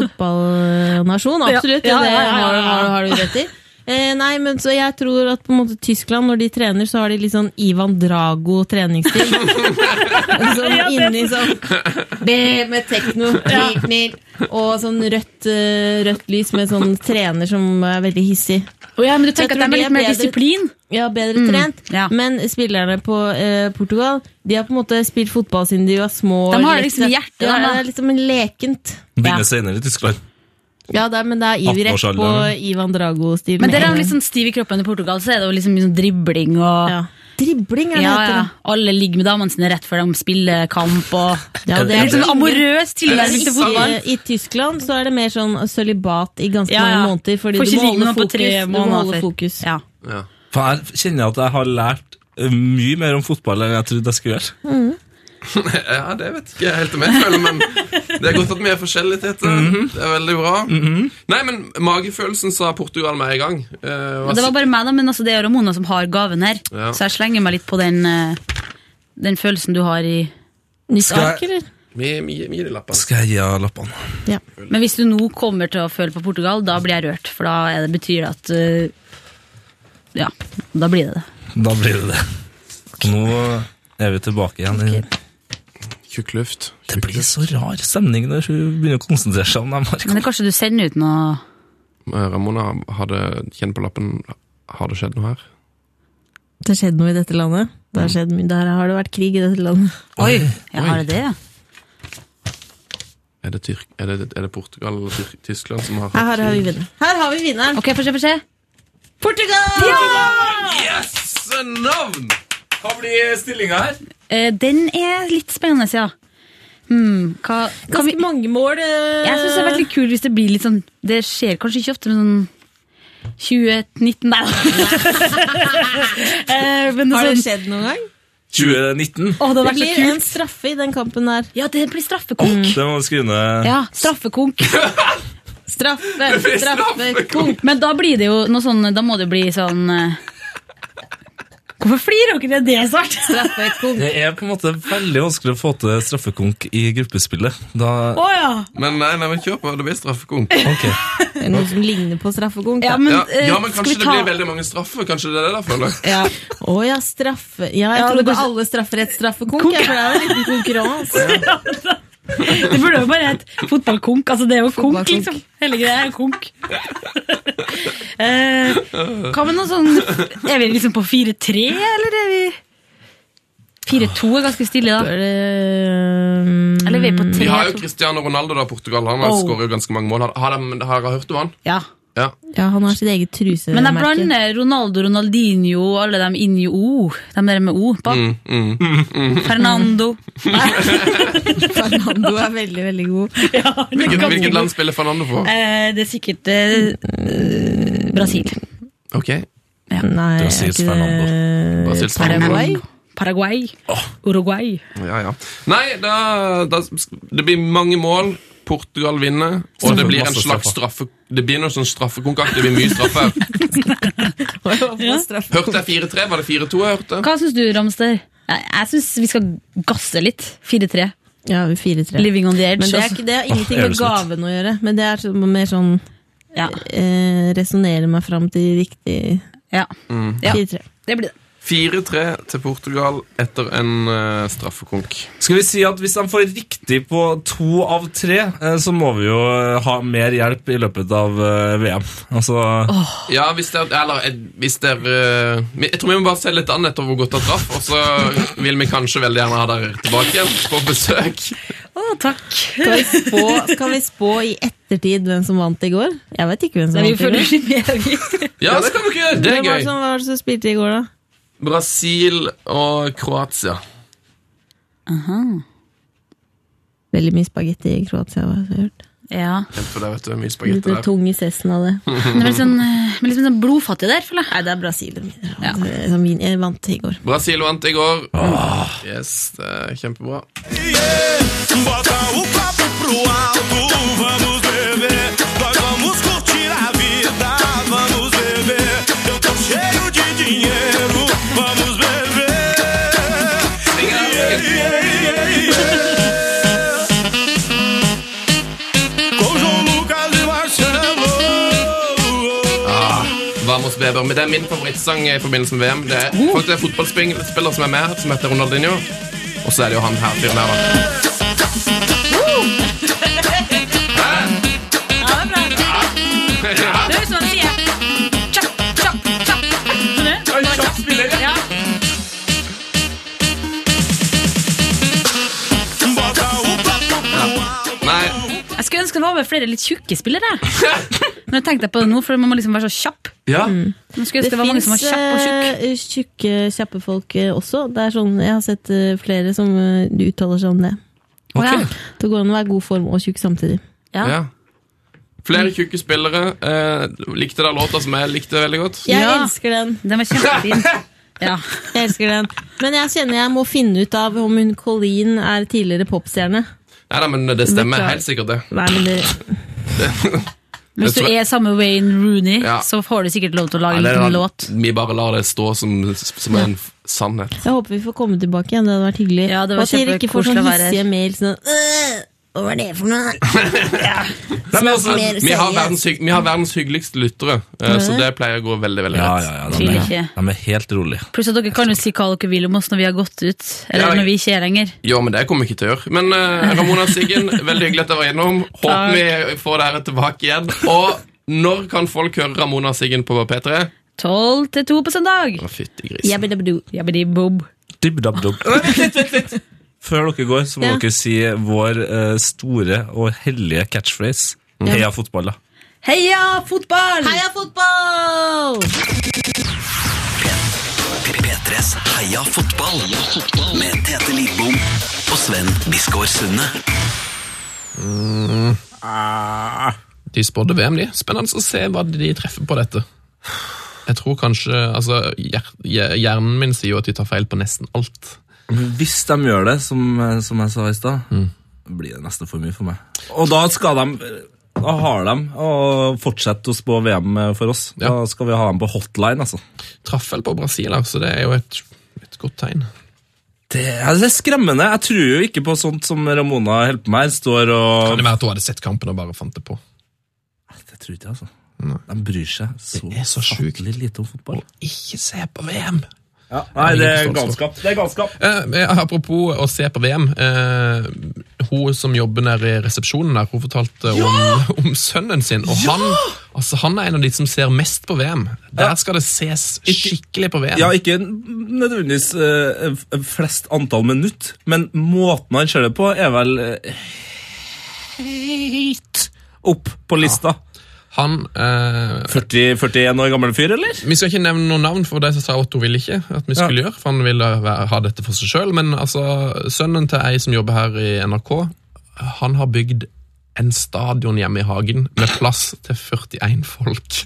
S9: fotballnasjon, absolutt.
S8: Ja, ja,
S9: Det
S8: ja, ja, ja.
S9: har, har, har du rett i. Eh, nei, men så jeg tror at på en måte Tyskland, når de trener, så har de litt sånn Ivan
S8: <laughs>
S9: Drago-treningsstil. sånn
S8: Ja, det-
S9: inni sånn det med tekno. knir, knir, Og sånn rødt, eh, rødt lys med sånn trener som er veldig hissig.
S8: Å ja, men du
S9: Jeg
S8: tenker at
S9: tror
S8: de er
S9: det er
S8: litt mer
S9: bedre-
S8: disiplin?
S9: Ja, bedre trent.
S8: Mm. ja.
S9: Men spillerne på eh, Portugal De har på en måte spilt fotball siden de var små.
S8: De har
S9: Litt-
S8: liksom hjertet,
S9: Ja,
S8: de, da.
S9: det er liksom en lekent.
S2: Begynner senere i Tyskland.
S9: Ja, det er, men det er iver rett på
S2: 18-årsalderen.
S9: Ivan Drago-stil.
S8: Men
S9: med
S8: dere er jo
S9: en gang.
S8: litt sånn stiv i kroppen i Portugal, så er det jo liksom, liksom dribling og
S9: liksom- ja. Dribling er det
S8: Ja,
S9: heter.
S8: ja. Alle ligger med damene sine rett før de spiller kamp. Og...
S9: Ja, det
S8: det er
S9: er
S8: litt sånn amorøs tilnærming til fotball.
S9: Ikke, I Tyskland så er det mer sånn sølibat i ganske
S8: Ja, ja.
S9: mange måneder, fordi
S8: Får
S9: du
S8: ikke
S9: må
S8: ligge med noen
S9: holde
S8: på
S9: fokus.
S8: tre
S9: Du må holde
S8: måneder.
S9: fokus.
S8: Ja.
S1: Ja.
S2: For jeg kjenner at jeg har lært eh, mye mer om fotball enn jeg trodde jeg skulle gjøre.
S1: <laughs> Ja, det vet ikke jeg helt om jeg føler, men det er godt at vi er forskjellige, Tete. Det er veldig bra. Nei, men magefølelsen sa Portugal med en gang. Eh, og
S8: Det var bare meg, da, men altså, det er Ramona som har gaven her.
S1: Ja.
S8: Så jeg slenger meg litt på den, eh, den følelsen du har i
S9: Nytt
S2: jeg-
S9: ark, eller?
S1: Vi vi- vi gir de lappene.
S2: Skal jeg gi av lappene?
S8: Men hvis du nå kommer til å føle på Portugal, da blir jeg rørt. For da er det, betyr det at eh, Ja, da blir det det.
S2: Da blir det det. Nå er vi tilbake igjen. i-
S1: Tjukk luft.
S2: Det blir så rar stemning når hun begynner å konsentrere seg om de her.
S8: Men det er kanskje du sender ut noe
S1: Eh, Ramona hadde kjenn på lappen. Har det skjedd noe her?
S9: Det har skjedd noe i dette landet. Det har skjedd mye. Der har det vært krig i dette landet.
S2: Oi!
S8: Ja, har det det? ja?
S1: Er det, Tyrk er det, er det Portugal eller Tyr- Tyskland som har
S9: Her har vi vinneren. Her har vi vinneren.
S8: Ok, få se, få se.
S9: Portugal!
S1: Yes! Navn!
S2: Hva blir stillinga her?
S8: Eh, den er litt spennende, ja. Hmm, hva, kan vi,
S9: Ganske mange mål. eh,
S8: jeg syns det hadde vært litt kult hvis det blir litt sånn Det skjer kanskje ikke ofte, men sånn 2019
S9: <laughs>
S8: Nei da. Eh, men
S9: Har det
S8: sånn,
S9: skjedd noen gang?
S2: 2019.
S8: å, det hadde
S9: Det
S8: vært så
S9: blir en
S8: kult.
S9: straffe i den kampen der.
S8: Ja, det blir
S9: Mm.
S8: straffekonk.
S2: Det må du skrive ned.
S8: Ja, straffekonk.
S9: Straffe,
S1: blir
S9: straffe, konk.
S8: Men da blir det jo noe sånn Da må det jo bli sånn eh, Hvorfor flirer dere av det snart?
S9: Straffe, konk.
S2: Det er på en måte veldig vanskelig å få til straffekonk i gruppespillet. Da,
S8: Å ja.
S1: Men nei, nei, men kjør på. Det blir straffekonk.
S2: ok.
S9: Noe som ligner på straffekonk.
S8: Ja,
S9: da.
S8: men,
S1: Ja,
S8: eh,
S1: ja, men
S8: skal vi
S1: kanskje det
S8: ta-
S1: blir veldig mange straffer? Kanskje det er det der, føler
S8: <laughs>
S1: jeg.
S8: ja.
S9: <laughs> Å ja, straffe Ja, jeg
S8: Ja, det
S9: trodde
S8: går så-
S9: alle straffer het straffekonk. jeg, for Det er jo en liten konkurranse.
S8: Det burde jo bare hett fotballkonk. Altså, det er jo konk,
S9: Fotballkonk.
S8: liksom. Hele greia er jo konk. Eh, Hva med noe sånn Er vi liksom på 4-3, eller er vi 4-2 er ganske stille, da. Eh,
S9: Mm.
S8: Eller er vi på
S1: De mm, har jo
S8: 3-2?
S1: Cristiano Ronaldo, da, Portugal. Han
S8: Oh.
S1: skårer jo ganske mange mål. Har, har, de, har dere hørt om han?
S8: Ja.
S1: Ja.
S9: Ja, han har sitt eget trusemerke.
S8: Men jeg blander Ronaldo, Ronaldinho og alle dem inn i O. De der med O bak.
S1: Mm, <laughs>
S8: Fernando.
S9: <laughs> Fernando er veldig, veldig god.
S1: Hvilket, hvilket land spiller Fernando for?
S8: Eh, det er sikkert eh, Brasil.
S1: Ok,
S9: Nei, er
S2: Brasils
S9: ikke det-
S2: Fernando.
S1: Brasils
S9: Paraguay?
S8: Paraguay. Uruguay.
S1: Ja, ja. Nei, da, da Det blir mange mål. Portugal vinner, og det blir en
S2: Masse
S1: slags straffe... Det blir noe sånn straffekonkurranse. Det blir mye
S8: <laughs>
S1: straffe.
S9: Ja. Straff.
S1: Hørte jeg 4-3? Var det 4-2 jeg hørte?
S8: Hva syns du, Ramster? Jeg, jeg syns vi skal gasse litt. 4-3.
S9: Ja, 4-3.
S8: Living on the edge.
S9: Men det, er,
S8: altså.
S9: ikke- det har ingenting med
S2: Åh, Aerosmith.
S9: gaven å gjøre. Men det er så- mer sånn
S8: ja.
S9: eh, resonnere meg fram til riktig
S8: Ja. Ja.
S9: 4-3.
S8: Det blir det.
S1: 4-3 til Portugal etter en eh, straffekonk.
S2: Skal vi si at hvis de får riktig på to av tre, eh, så må vi jo eh, ha mer hjelp i løpet av eh, VM. Altså,
S1: Ja, hvis dere Eller eh, hvis dere eh, vi- Jeg tror vi må bare se litt an etter hvor godt han traff, og så vil vi kanskje veldig gjerne ha dere tilbake igjen på besøk.
S8: Å, takk.
S9: Skal vi, spå, skal vi spå i ettertid hvem som vant i går? Jeg vet ikke hvem som
S8: Nei, vi
S9: vant i
S8: følger
S9: går.
S8: ikke med. vi. <laughs>
S1: Ja, det kan dere gjøre! Det er sånn-
S9: Hvem var det
S1: gøy.
S9: som, var det som spilte i går, da?
S1: Brasil og Kroatia.
S9: Veldig mye spagetti i Kroatia. Hva jeg har hørt.
S8: Ja. <laughs>
S1: For det vet du, mye
S9: Litt
S1: spagetti der.
S9: tung i cessen av det.
S8: Men det er litt sånn, eh, men liksom sånn blodfattig der, føler jeg.
S9: Nei, det er Brasil de vinner.
S8: Ja.
S9: Det- som vin- jeg vant i går.
S1: Brasil vant i går. Yes, det er kjempebra.
S10: Bota o papo pro alto, vamos beber. Nós vamos curtir a vida, vamos beber. Eu tô cheio de dinheiro, vamos beber. Com João Lucas e Marcelo.
S1: Hva Vamos Weber. Men det er min favorittsang i forbindelse med VM. Det er faktisk det er fotballspiller som er med, her, som heter Ronaldinho. Og så er det jo han her fyren her, da.
S8: Ja, det er bra. Det høres ut som han sier Chop, chop, chop. Skjønner du? Ja.
S1: Nei,
S8: Jeg skulle ønske det var med flere litt tjukke spillere. <laughs> Når jeg tenkte på det nå, for man må liksom være så kjapp.
S2: Ja.
S8: Jeg skulle ønske det var mange som var kjapp og tjukk.
S9: eh, tjukke, kjappe folk eh, også. Det er sånn, jeg har sett eh, flere som eh, uttaler seg om det.
S8: Å, ja.
S9: Det går an å være god form og tjukk samtidig.
S8: Ja.
S1: ja. Flere tjukke spillere. Eh, likte dere låta som jeg likte veldig godt?
S9: Jeg
S8: Ja.
S9: elsker den.
S8: Den var kjempefin. <laughs> Ja.
S9: Jeg elsker den. Men jeg kjenner jeg må finne ut av om hun Colleen er tidligere popstjerne.
S1: Nei da, men det stemmer helt sikkert, det.
S9: Nei, men det,
S8: Hvis du
S1: tror jeg-
S8: er samme Wayne Rooney,
S1: Ja.
S8: så får du sikkert lov til å lage
S1: Nei,
S8: en
S1: det er
S8: liten
S1: da-
S8: låt.
S1: Vi bare lar det stå som, som en f- sannhet.
S9: jeg håper vi får komme tilbake igjen. Det hadde vært hyggelig.
S8: Ja, det var
S9: og at dere ikke får
S8: kjempekoselig
S9: sånn
S8: å være her.
S9: hissige mail sånn «Øh, Hva var det for noe?
S1: Nei, men altså,
S9: mer
S1: vi, har
S9: seriøst.
S1: verdens, hygg- vi har verdens hyggeligste lyttere, eh, så det pleier å gå veldig veldig
S2: Ja,
S1: greit.
S2: ja, ja,
S8: Tviler
S2: de, er,
S8: ikke.
S2: de er helt rolig.
S8: Pluss at dere kan jo si hva dere vil om oss når vi har gått ut. Eller
S1: Ja, jeg-
S8: når vi ikke er lenger.
S1: Jo, men det kommer jeg ikke til å gjøre. Men eh, Ramona og Siggen, veldig hyggelig at dere var innom. Håper vi får dere tilbake igjen. Og når kan folk høre Ramona og Siggen på P3?
S8: 12 til 2 på søndag.
S1: Å, fytti grisen.
S9: Jabba-dabba-doo.
S8: Jabbidi-bob.
S2: <laughs> Dibb-dabb-dubb. Før dere går, så må
S9: Ja.
S2: dere si vår eh, store og hellige catchphrase. Heia fotball, da.
S8: Heia fotball!
S9: Heia fotball!
S4: P3s Heia fotball med Tete Lidbom og Sven Biskår Sunde.
S1: De spådde VM, de. Spennende å se hva de treffer på dette. Jeg tror kanskje altså, hjer hjer- Hjernen min sier jo at de tar feil på nesten alt.
S2: Men Hvis de gjør det, som, eh, som jeg sa i stad, blir det nesten for mye for meg. Og da skal de da har de å fortsette å spå VM for oss.
S1: Ja.
S2: Da skal vi ha dem på hotline, altså.
S1: Traff vel på Brasil, her, så det er jo et, et godt tegn.
S2: Det er, det er skremmende. Jeg tror jo ikke på sånt som Ramona holder på med her. Står
S1: Kan
S2: og
S1: det være at hun hadde sett kampen og bare fant det på?
S2: Det tror ikke jeg, altså. De bryr seg så,
S1: Det er så sjukt.
S2: fattelig lite om fotball.
S1: Ikke se på VM!
S2: Nei,
S1: det
S2: det
S1: er
S2: er
S1: galskap.
S2: galskap. Det er galskap.
S1: Eh, apropos å se på VM. Eh, hun som jobber nede i resepsjonen der, hun fortalte <laughs> om, om sønnen sin. Og han, altså, han er en av de som ser mest på VM. Der skal det ses skikkelig på VM.
S2: Ja, ikke nødvendigvis eh, f- flest antall minutt, men måten han ser det på, er vel uh, helt opp på lista.
S1: Han eh,
S2: 40, 41 år gammel fyr, eller?
S1: Vi skal ikke nevne noen navn, for det sa hun at hun ville ikke at vi skulle
S2: Ja.
S1: gjøre, for han ville være- ha dette for seg sjøl. Men altså, sønnen til ei som jobber her i NRK, han har bygd en stadion hjemme i hagen med plass til 41 folk.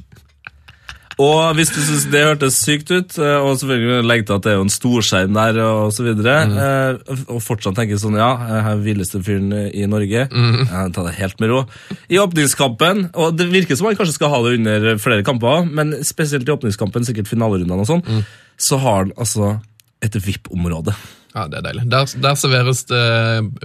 S2: Og hvis du syns det hørtes sykt ut, eh, og selvfølgelig legg til at det er jo en storskjerm der, og så videre, eh, og fortsatt tenker sånn ja, jeg er den villeste fyren i Norge, eh, ta det helt med ro. I åpningskampen, og det virker som han kanskje skal ha det under flere kamper, men spesielt i åpningskampen, sikkert finalerundene og sånn, så har han altså et VIP-område.
S1: Ja, det er deilig. Der, der serveres det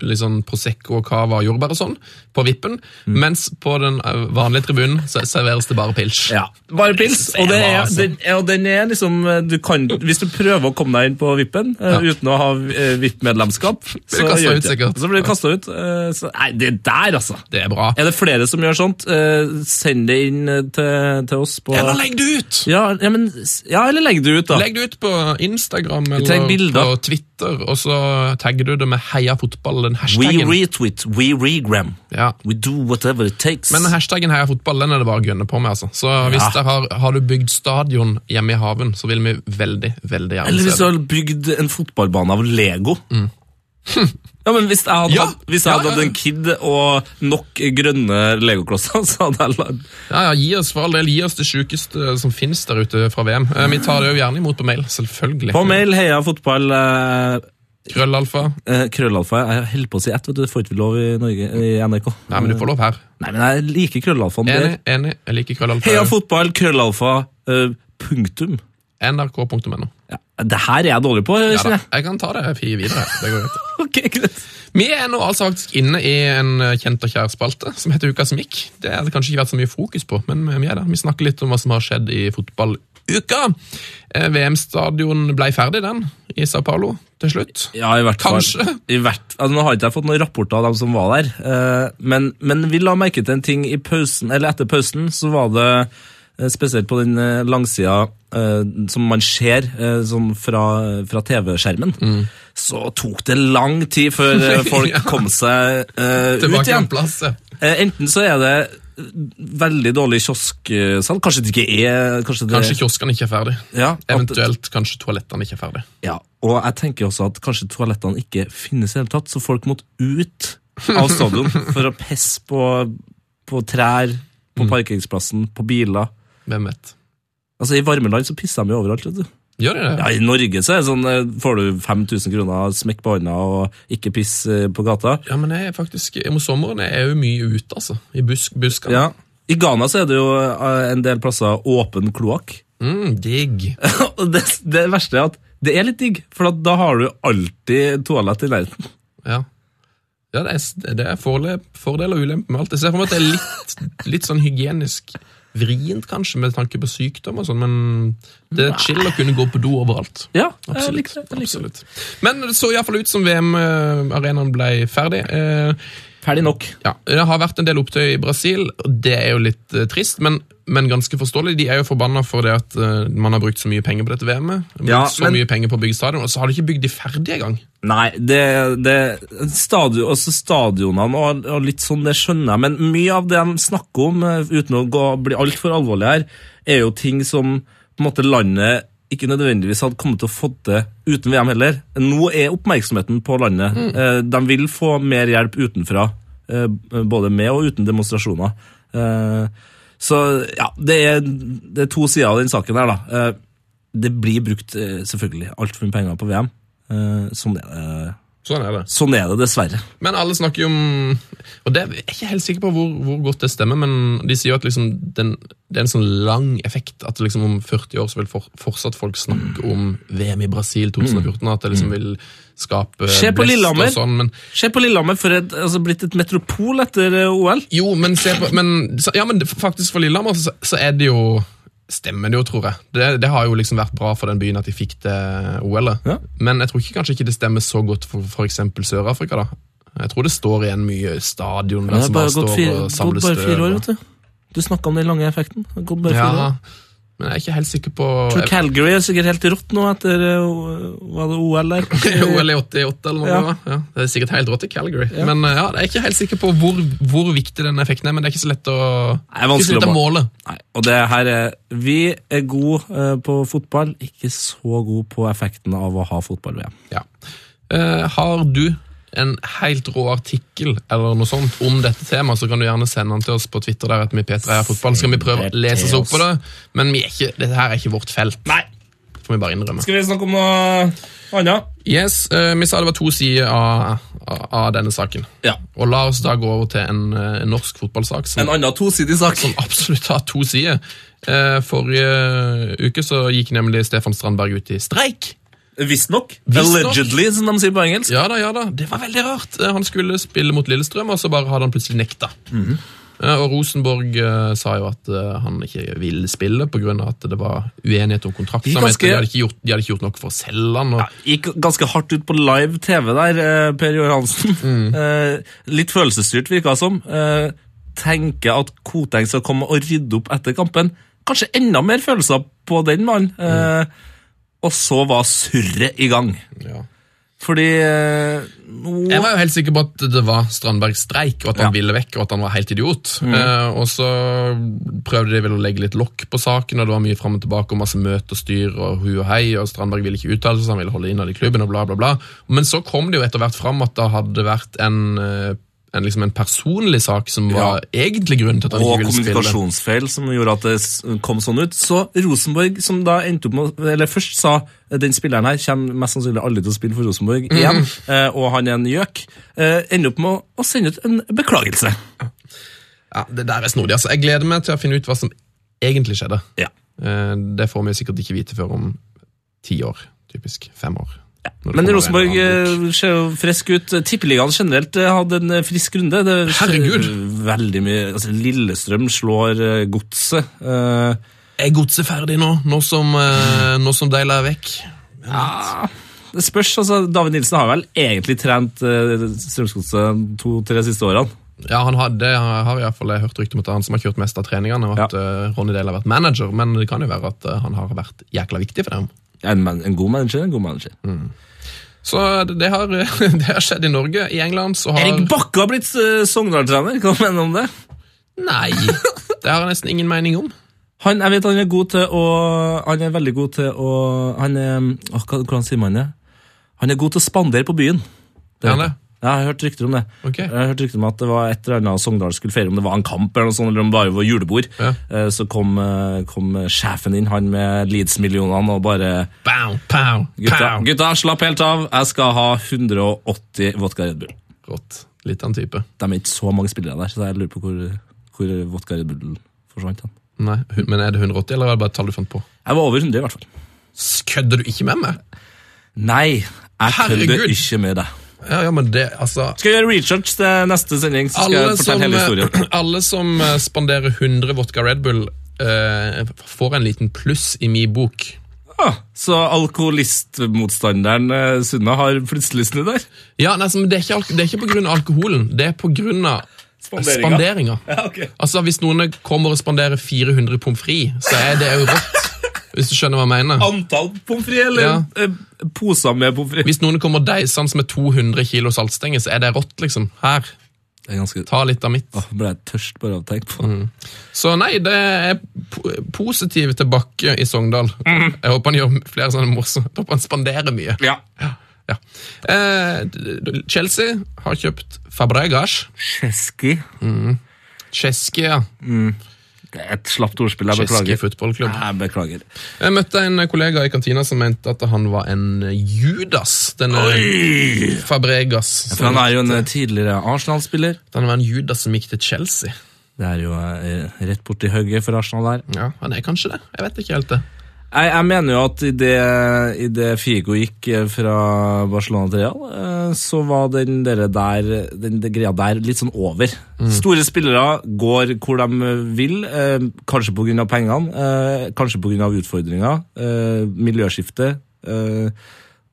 S1: litt sånn Prosecco og cava og jordbær og sånn på vippen,
S2: Mm.
S1: mens på den eh, vanlige tribunen så serveres det bare pils.
S2: Ja, Bare pils. Og, det er,
S1: altså.
S2: den, og den er liksom du kan, Hvis du prøver å komme deg inn på vippen eh, uten å ha eh, VIP-medlemskap, så,
S1: kastet ut,
S2: gjør ikke det.
S1: sikkert.
S2: så blir du kasta ut. eh, så, nei, det der, altså!
S1: Det er bra.
S2: Er det flere som gjør sånt? eh, send det inn eh, til, til oss på
S1: Eller legg det ut!
S2: ja, ja, men, s- ja, eller legg det ut, da.
S1: Legg det ut på Instagram
S2: Tenk
S1: eller
S2: bilder.
S1: på Twitter, og så tagger du det med heia fotball, den
S2: We
S1: hashtaggen.
S2: retweet, we regram.
S1: Ja.
S2: We do whatever it takes.
S1: Men hashtaggen heia fotball, den er det bare å gønne på med, altså. Så hvis
S2: Ja.
S1: dere har, har du bygd stadion hjemme i haven, så vil vi veldig, veldig gjerne
S2: Eller hvis
S1: se
S2: du
S1: det.
S2: har bygd en fotballbane av Lego. Mm. <laughs> Ja, men Hvis jeg hadde,
S1: Ja!
S2: hatt- hvis jeg
S1: Ja,
S2: hadde
S1: ja,
S2: hatt en kid og nok grønne legoklosser, <laughs> så hadde jeg lagd
S1: Ja, ja, gi oss for all del, gi oss det sjukeste som finnes der ute fra VM. Eh, Vi tar det jo gjerne imot på mail, selvfølgelig.
S2: På mail heia fotball eh,
S1: Krøllalfa.
S2: eh, krøllalfa. Jeg holder på å si ett, vet du. Det får ikke vi lov i, Norge, i NRK.
S1: Nei, men du får lov her.
S2: Nei, men jeg liker krøllalfaen bedre.
S1: Enig, enig. Jeg liker krøllalfa.
S2: Heia fotball, krøllalfa, eh, punktum.
S1: nrk.no.
S2: Det her er jeg dårlig på,
S1: Ja, da.
S2: kjenner jeg. <laughs>
S1: jeg kan ta det fire videre. Det går greit.
S2: Ok, greit.
S1: Vi er nå altså faktisk inne i en eh, kjent og kjær spalte som heter Uka som gikk. Det har det kanskje ikke vært så mye fokus på, men vi er der. Vi snakker litt om hva som har skjedd i fotballuka. Eh, VM-stadion ble ferdig, den, i Sao Paulo til slutt.
S2: Ja, i hvert fall.
S1: Kanskje.
S2: I hvert, altså, nå har ikke jeg fått noen rapporter av dem som var der, eh, men, men vi la merke til en ting i pausen, eller etter pausen, så var det eh, spesielt på den eh, langsida eh, som man ser eh, sånn fra, fra TV-skjermen, så tok det lang tid før eh,
S1: <laughs>
S2: folk
S1: Mm. Ja.
S2: kom seg eh, ut
S1: Tilbake
S2: igjen.
S1: på plass. ja.
S2: Eh, Enten så er det veldig dårlig kiosksalg, kanskje det ikke er Kanskje, det,
S1: Kanskje kioskene ikke er ferdig.
S2: ja, at-
S1: Eventuelt kanskje toalettene ikke er ferdig.
S2: Ja, og jeg tenker også at kanskje toalettene ikke finnes i hele tatt, så folk måtte ut av <laughs> stadion for å pisse på, på trær, på parkeringsplassen, på biler.
S1: Hvem vet?
S2: Altså, I varme land så pisser de jo overalt. vet du.
S1: Gjør de det?
S2: Ja, I Norge så er det sånn, eh, får du 5000 kroner, smekk på hånda og ikke piss eh, på gata.
S1: Ja, men jeg er faktisk, om sommeren er jeg jo mye ute, altså. I busk, buskene.
S2: Ja. I Ghana så er det jo eh, en del plasser åpen kloakk.
S1: Mm, digg.
S2: Og det, det verste er at det er litt digg, for at da har du alltid toalett i nærheten.
S1: Ja. Ja, det er, det er fordel, fordel og ulempe med alt. Jeg ser for meg at det er litt, litt sånn hygienisk vrient, kanskje, med tanke på sykdom og sånn, men det er chill å kunne gå på do overalt.
S2: <laughs> Ja, jeg
S1: Absolutt.
S2: likte det.
S1: absolutt. Men det så iallfall ut som VM-arenaen ble ferdig. Eh,
S2: Ferdig nok.
S1: ja, Det har vært en del opptøy i Brasil, og det er jo litt eh, trist, men, men ganske forståelig. De er jo forbanna for det at eh, man har brukt så mye penger på dette VM-et. Brukt
S2: Ja,
S1: så
S2: men-
S1: mye penger på å bygge stadion, og så har de ikke bygd de ferdige engang.
S2: Nei, det, det stadion, altså Stadionene og, og litt sånn, det skjønner jeg, men mye av det de snakker om, eh, uten å gå, bli altfor alvorlig her, er jo ting som på en måte landet ikke nødvendigvis hadde kommet til å få til uten VM heller. Nå er oppmerksomheten på landet. Eh, De vil få mer hjelp utenfra, eh, både med og uten demonstrasjoner. Eh, Så ja, det er, det er to sider av den saken her, da. Eh, det blir brukt eh, selvfølgelig altfor mye penger på VM. Eh, Sånn er det,
S1: Sånn er det.
S2: sånn er det dessverre.
S1: Men alle snakker jo om Og det er jeg ikke helt sikker på hvor, hvor godt det stemmer, men de sier jo at liksom den, det er en sånn lang effekt. At liksom om 40 år så vil for, fortsatt folk snakke om VM i Brasil 2014. At det liksom vil skape
S2: Se Mm. på
S1: blest
S2: Lillehammer.
S1: Og sånn, men,
S2: Se på Lillehammer, for et, altså blitt et metropol etter eh, OL.
S1: jo, men se på men, så, Ja, men faktisk for Lillehammer så, så er det jo Stemmer det jo, tror jeg. Det, det har jo liksom vært bra for den byen at de fikk det OL-et.
S2: Ja.
S1: Men jeg tror ikke, kanskje ikke det stemmer så godt for f.eks. Sør-Afrika. da Jeg tror det står igjen mye stadion der
S2: Det har
S1: som bare
S2: bare gått
S1: står
S2: fire,
S1: og
S2: gått
S1: samler
S2: bare fire
S1: støv.
S2: år,
S1: og-
S2: vet du. Du snakka om den lange effekten. Det har gått bare fire
S1: Ja,
S2: år.
S1: men jeg er ikke helt sikker på
S2: Jeg tror Calgary er sikkert helt rått nå etter eh, O- var det OL
S1: <laughs>
S2: der.
S1: OL i 88 eller noe.
S2: Ja.
S1: det var. Ja, det er sikkert helt rått i Calgary. Men eh, ja, jeg er ikke helt sikker på hvor, hvor viktig den effekten er, men det er ikke så lett å,
S2: er vanskelig
S1: ikke så lett
S2: å
S1: å
S2: måle.
S1: måle.
S2: Nei, og det her er, Vi er gode eh, på fotball, ikke så gode på effekten av å ha fotball-VM.
S1: Ja. Eh, har du en helt rå artikkel eller noe sånt om dette temaet, så kan du gjerne sende den til oss på Twitter. der etter vi P3 er fotball. Så kan vi prøve å lese oss opp på det, men vi er ikke, dette her er ikke vårt felt. Nei. Får vi bare innrømme.
S2: Skal vi snakke om noe annet?
S1: Yes, eh, Vi sa det var to sider av, av, av denne saken.
S2: Ja.
S1: Og la oss da gå over til en, eh, en norsk fotballsak som
S2: En annen tosidig sak.
S1: <laughs> absolutt har to sider. Eh, Forrige uke så gikk nemlig Stefan Strandberg ut i streik.
S2: Visstnok.
S1: Visstnok.
S2: Allegedly, som de sier på engelsk.
S1: Ja da, ja da, det var veldig rart. Eh, Han skulle spille mot Lillestrøm, og så bare hadde han plutselig nekta. Eh, Og Rosenborg eh, sa jo at eh, han ikke ville spille pga. at det var uenighet om kontrakten.
S2: De
S1: De,
S2: er ganske-
S1: de, hadde ikke gjort, de hadde ikke gjort nok for å selge han. Og...
S2: Gikk ganske hardt ut på live TV der, eh, Per Joar Hansen.
S1: Mm.
S2: <laughs> Eh, litt følelsesstyrt, virka det som. Eh, tenker at Koteng skal komme og rydde opp etter kampen. Kanskje enda mer følelser på den mannen.
S1: Mm.
S2: Eh, Og så var surret i gang.
S1: Ja.
S2: Fordi eh, nå-
S1: Jeg var jo helt sikker på at det var Strandbergs streik, og at han
S2: Ja. Mm.
S1: ville vekk, og at han var helt idiot. Eh, og så prøvde de vel å legge litt lokk på saken, og det var mye fram og tilbake og masse møte og styr og hu og hei, og Strandberg ville ikke uttale seg, så han ville holde innad i klubben og bla, bla, bla. Men så kom det jo etter hvert fram at det hadde vært en, eh, en, liksom en personlig sak som var egentlig grunnen til at han
S2: og
S1: ikke ville spille.
S2: kommunikasjonsfeil som gjorde at det s- kom sånn ut. Så Rosenborg, som da endte opp med, å- eller først sa eh, den spilleren her kommer mest sannsynlig aldri til å spille for Rosenborg igjen, eh, og han er en gjøk, eh, ender opp med å- å sende ut en beklagelse.
S1: Ja, det der er snodig, altså. Jeg gleder meg til å finne ut hva som egentlig skjedde.
S2: Ja.
S1: Eh, Det får vi sikkert ikke vite før om ti år. Typisk fem år. Når det
S2: Men
S1: kommer
S2: Rosenborg
S1: en eller annen bok.
S2: eh, ser jo frisk ut. Tippeligaen generelt eh, hadde en eh, frisk runde. Det skjer
S1: Herregud.
S2: Veldig mye. Altså, Lillestrøm slår eh, Godset. Eh,
S1: Er godset ferdig nå, nå som, eh, nå som Deila er vekk?
S2: Det spørs, altså, David Nilsen har vel egentlig trent eh, Strømsgodset to-tre siste årene.
S1: Ja, han hadde, det har i hvert fall jeg hørt rykte om at det er han som har kjørt mest av treningene, og at eh, Ronny Deila har vært manager, men det kan jo være at eh, han har vært jækla viktig for dem.
S2: En, man, en god manager er en god manager.
S1: Så eh, det, det, har, <laughs> det har skjedd i Norge. I England så har
S2: Erik Bakke har blitt eh, Sogndal-trener. Hva mener du om det?
S1: <laughs> Nei! Det har jeg nesten ingen mening om.
S2: Han, jeg vet han er god til å Han er veldig god til å Han er åh, hva- Hvordan sier man det? Han er god til å spandere på byen.
S1: Er han det?
S2: Ja, jeg har hørt rykter om det.
S1: Ok.
S2: Jeg har hørt rykter om at det var et eller annet Sogndal skulle feire, om det var en kamp eller noe sånt, eller om det bare var julebord.
S1: Ja.
S2: Eh, Så kom, eh, kom sjefen inn, han med Leeds-millionene, og bare
S1: Bow, pow,
S2: gutta,
S1: pow.
S2: gutta, slapp helt av, jeg skal ha 180 vodka Red Bull.
S1: Rått. Litt av en type.
S2: De er ikke så mange spillere der, så jeg lurer på hvor, hvor vodka Red Bull forsvant. hen.
S1: Nei, hun- Men er det 180, eller er det bare et tall du fant på?
S2: Jeg var over 100 i hvert fall.
S1: Kødder du ikke med meg?
S2: Nei, jeg kødder
S1: Herregud.
S2: ikke med deg.
S1: Ja, ja, men det, altså...
S2: Skal jeg gjøre research til neste sending, så skal
S1: Alle
S2: jeg
S1: som,
S2: fortelle hele historien.
S1: alle som eh, <clears throat> spanderer 100 vodka Red Bull, eh, får en liten pluss i min bok.
S2: Ah, så alkoholistmotstanderen eh, Sunna har plutselig snudd der?
S1: Ja, nei, så- men det er, ikke alk- det er ikke på grunn av alkoholen, det er på grunn av
S2: Spanderinga.
S1: spanderinga.
S2: Ja, ok.
S1: Altså, Hvis noen kommer og spanderer 400 pommes frites, så er det jo rått. Hvis du skjønner hva jeg mener.
S2: Antall pommes frites, eller
S1: Ja.
S2: eh, poser med pommes frites?
S1: Hvis noen kommer deisende med 200 kilo saltstenger, så er det rått, liksom. Her,
S2: Det er ganske...
S1: ta litt av mitt.
S2: Åh, ble jeg tørst bare av å tenke på.
S1: Så nei, det er po positiv tilbake i Sogndal.
S2: Mhm.
S1: Jeg håper han gjør flere sånne morsomme Jeg håper han spanderer mye.
S2: Ja.
S1: Ja. Eh, d- d- Chelsea har kjøpt Fabregas.
S2: Cheski.
S1: Cheske, ja.
S2: Et slapt ordspill, jeg
S1: Cheske
S2: beklager.
S1: fotballklubb.
S2: Jeg beklager.
S1: Jeg møtte en kollega i kantina som mente at han var en Judas. Denne Fabregas.
S2: For
S1: Som,
S2: han er jo en eh, tidligere Arsenal-spiller.
S1: han var en Judas som gikk til Chelsea.
S2: Det er jo eh, rett borti hugget for Arsenal der.
S1: Ja, Han er kanskje det. Jeg vet ikke helt det.
S2: Jeg, jeg mener jo at i det, i det Figo gikk eh, fra Barcelona til Real, eh, så var den, dere der, den, den greia der litt sånn over. Store spillere går hvor de vil, eh, kanskje pga. pengene, eh, kanskje pga. utfordringer, eh, miljøskifte. Eh,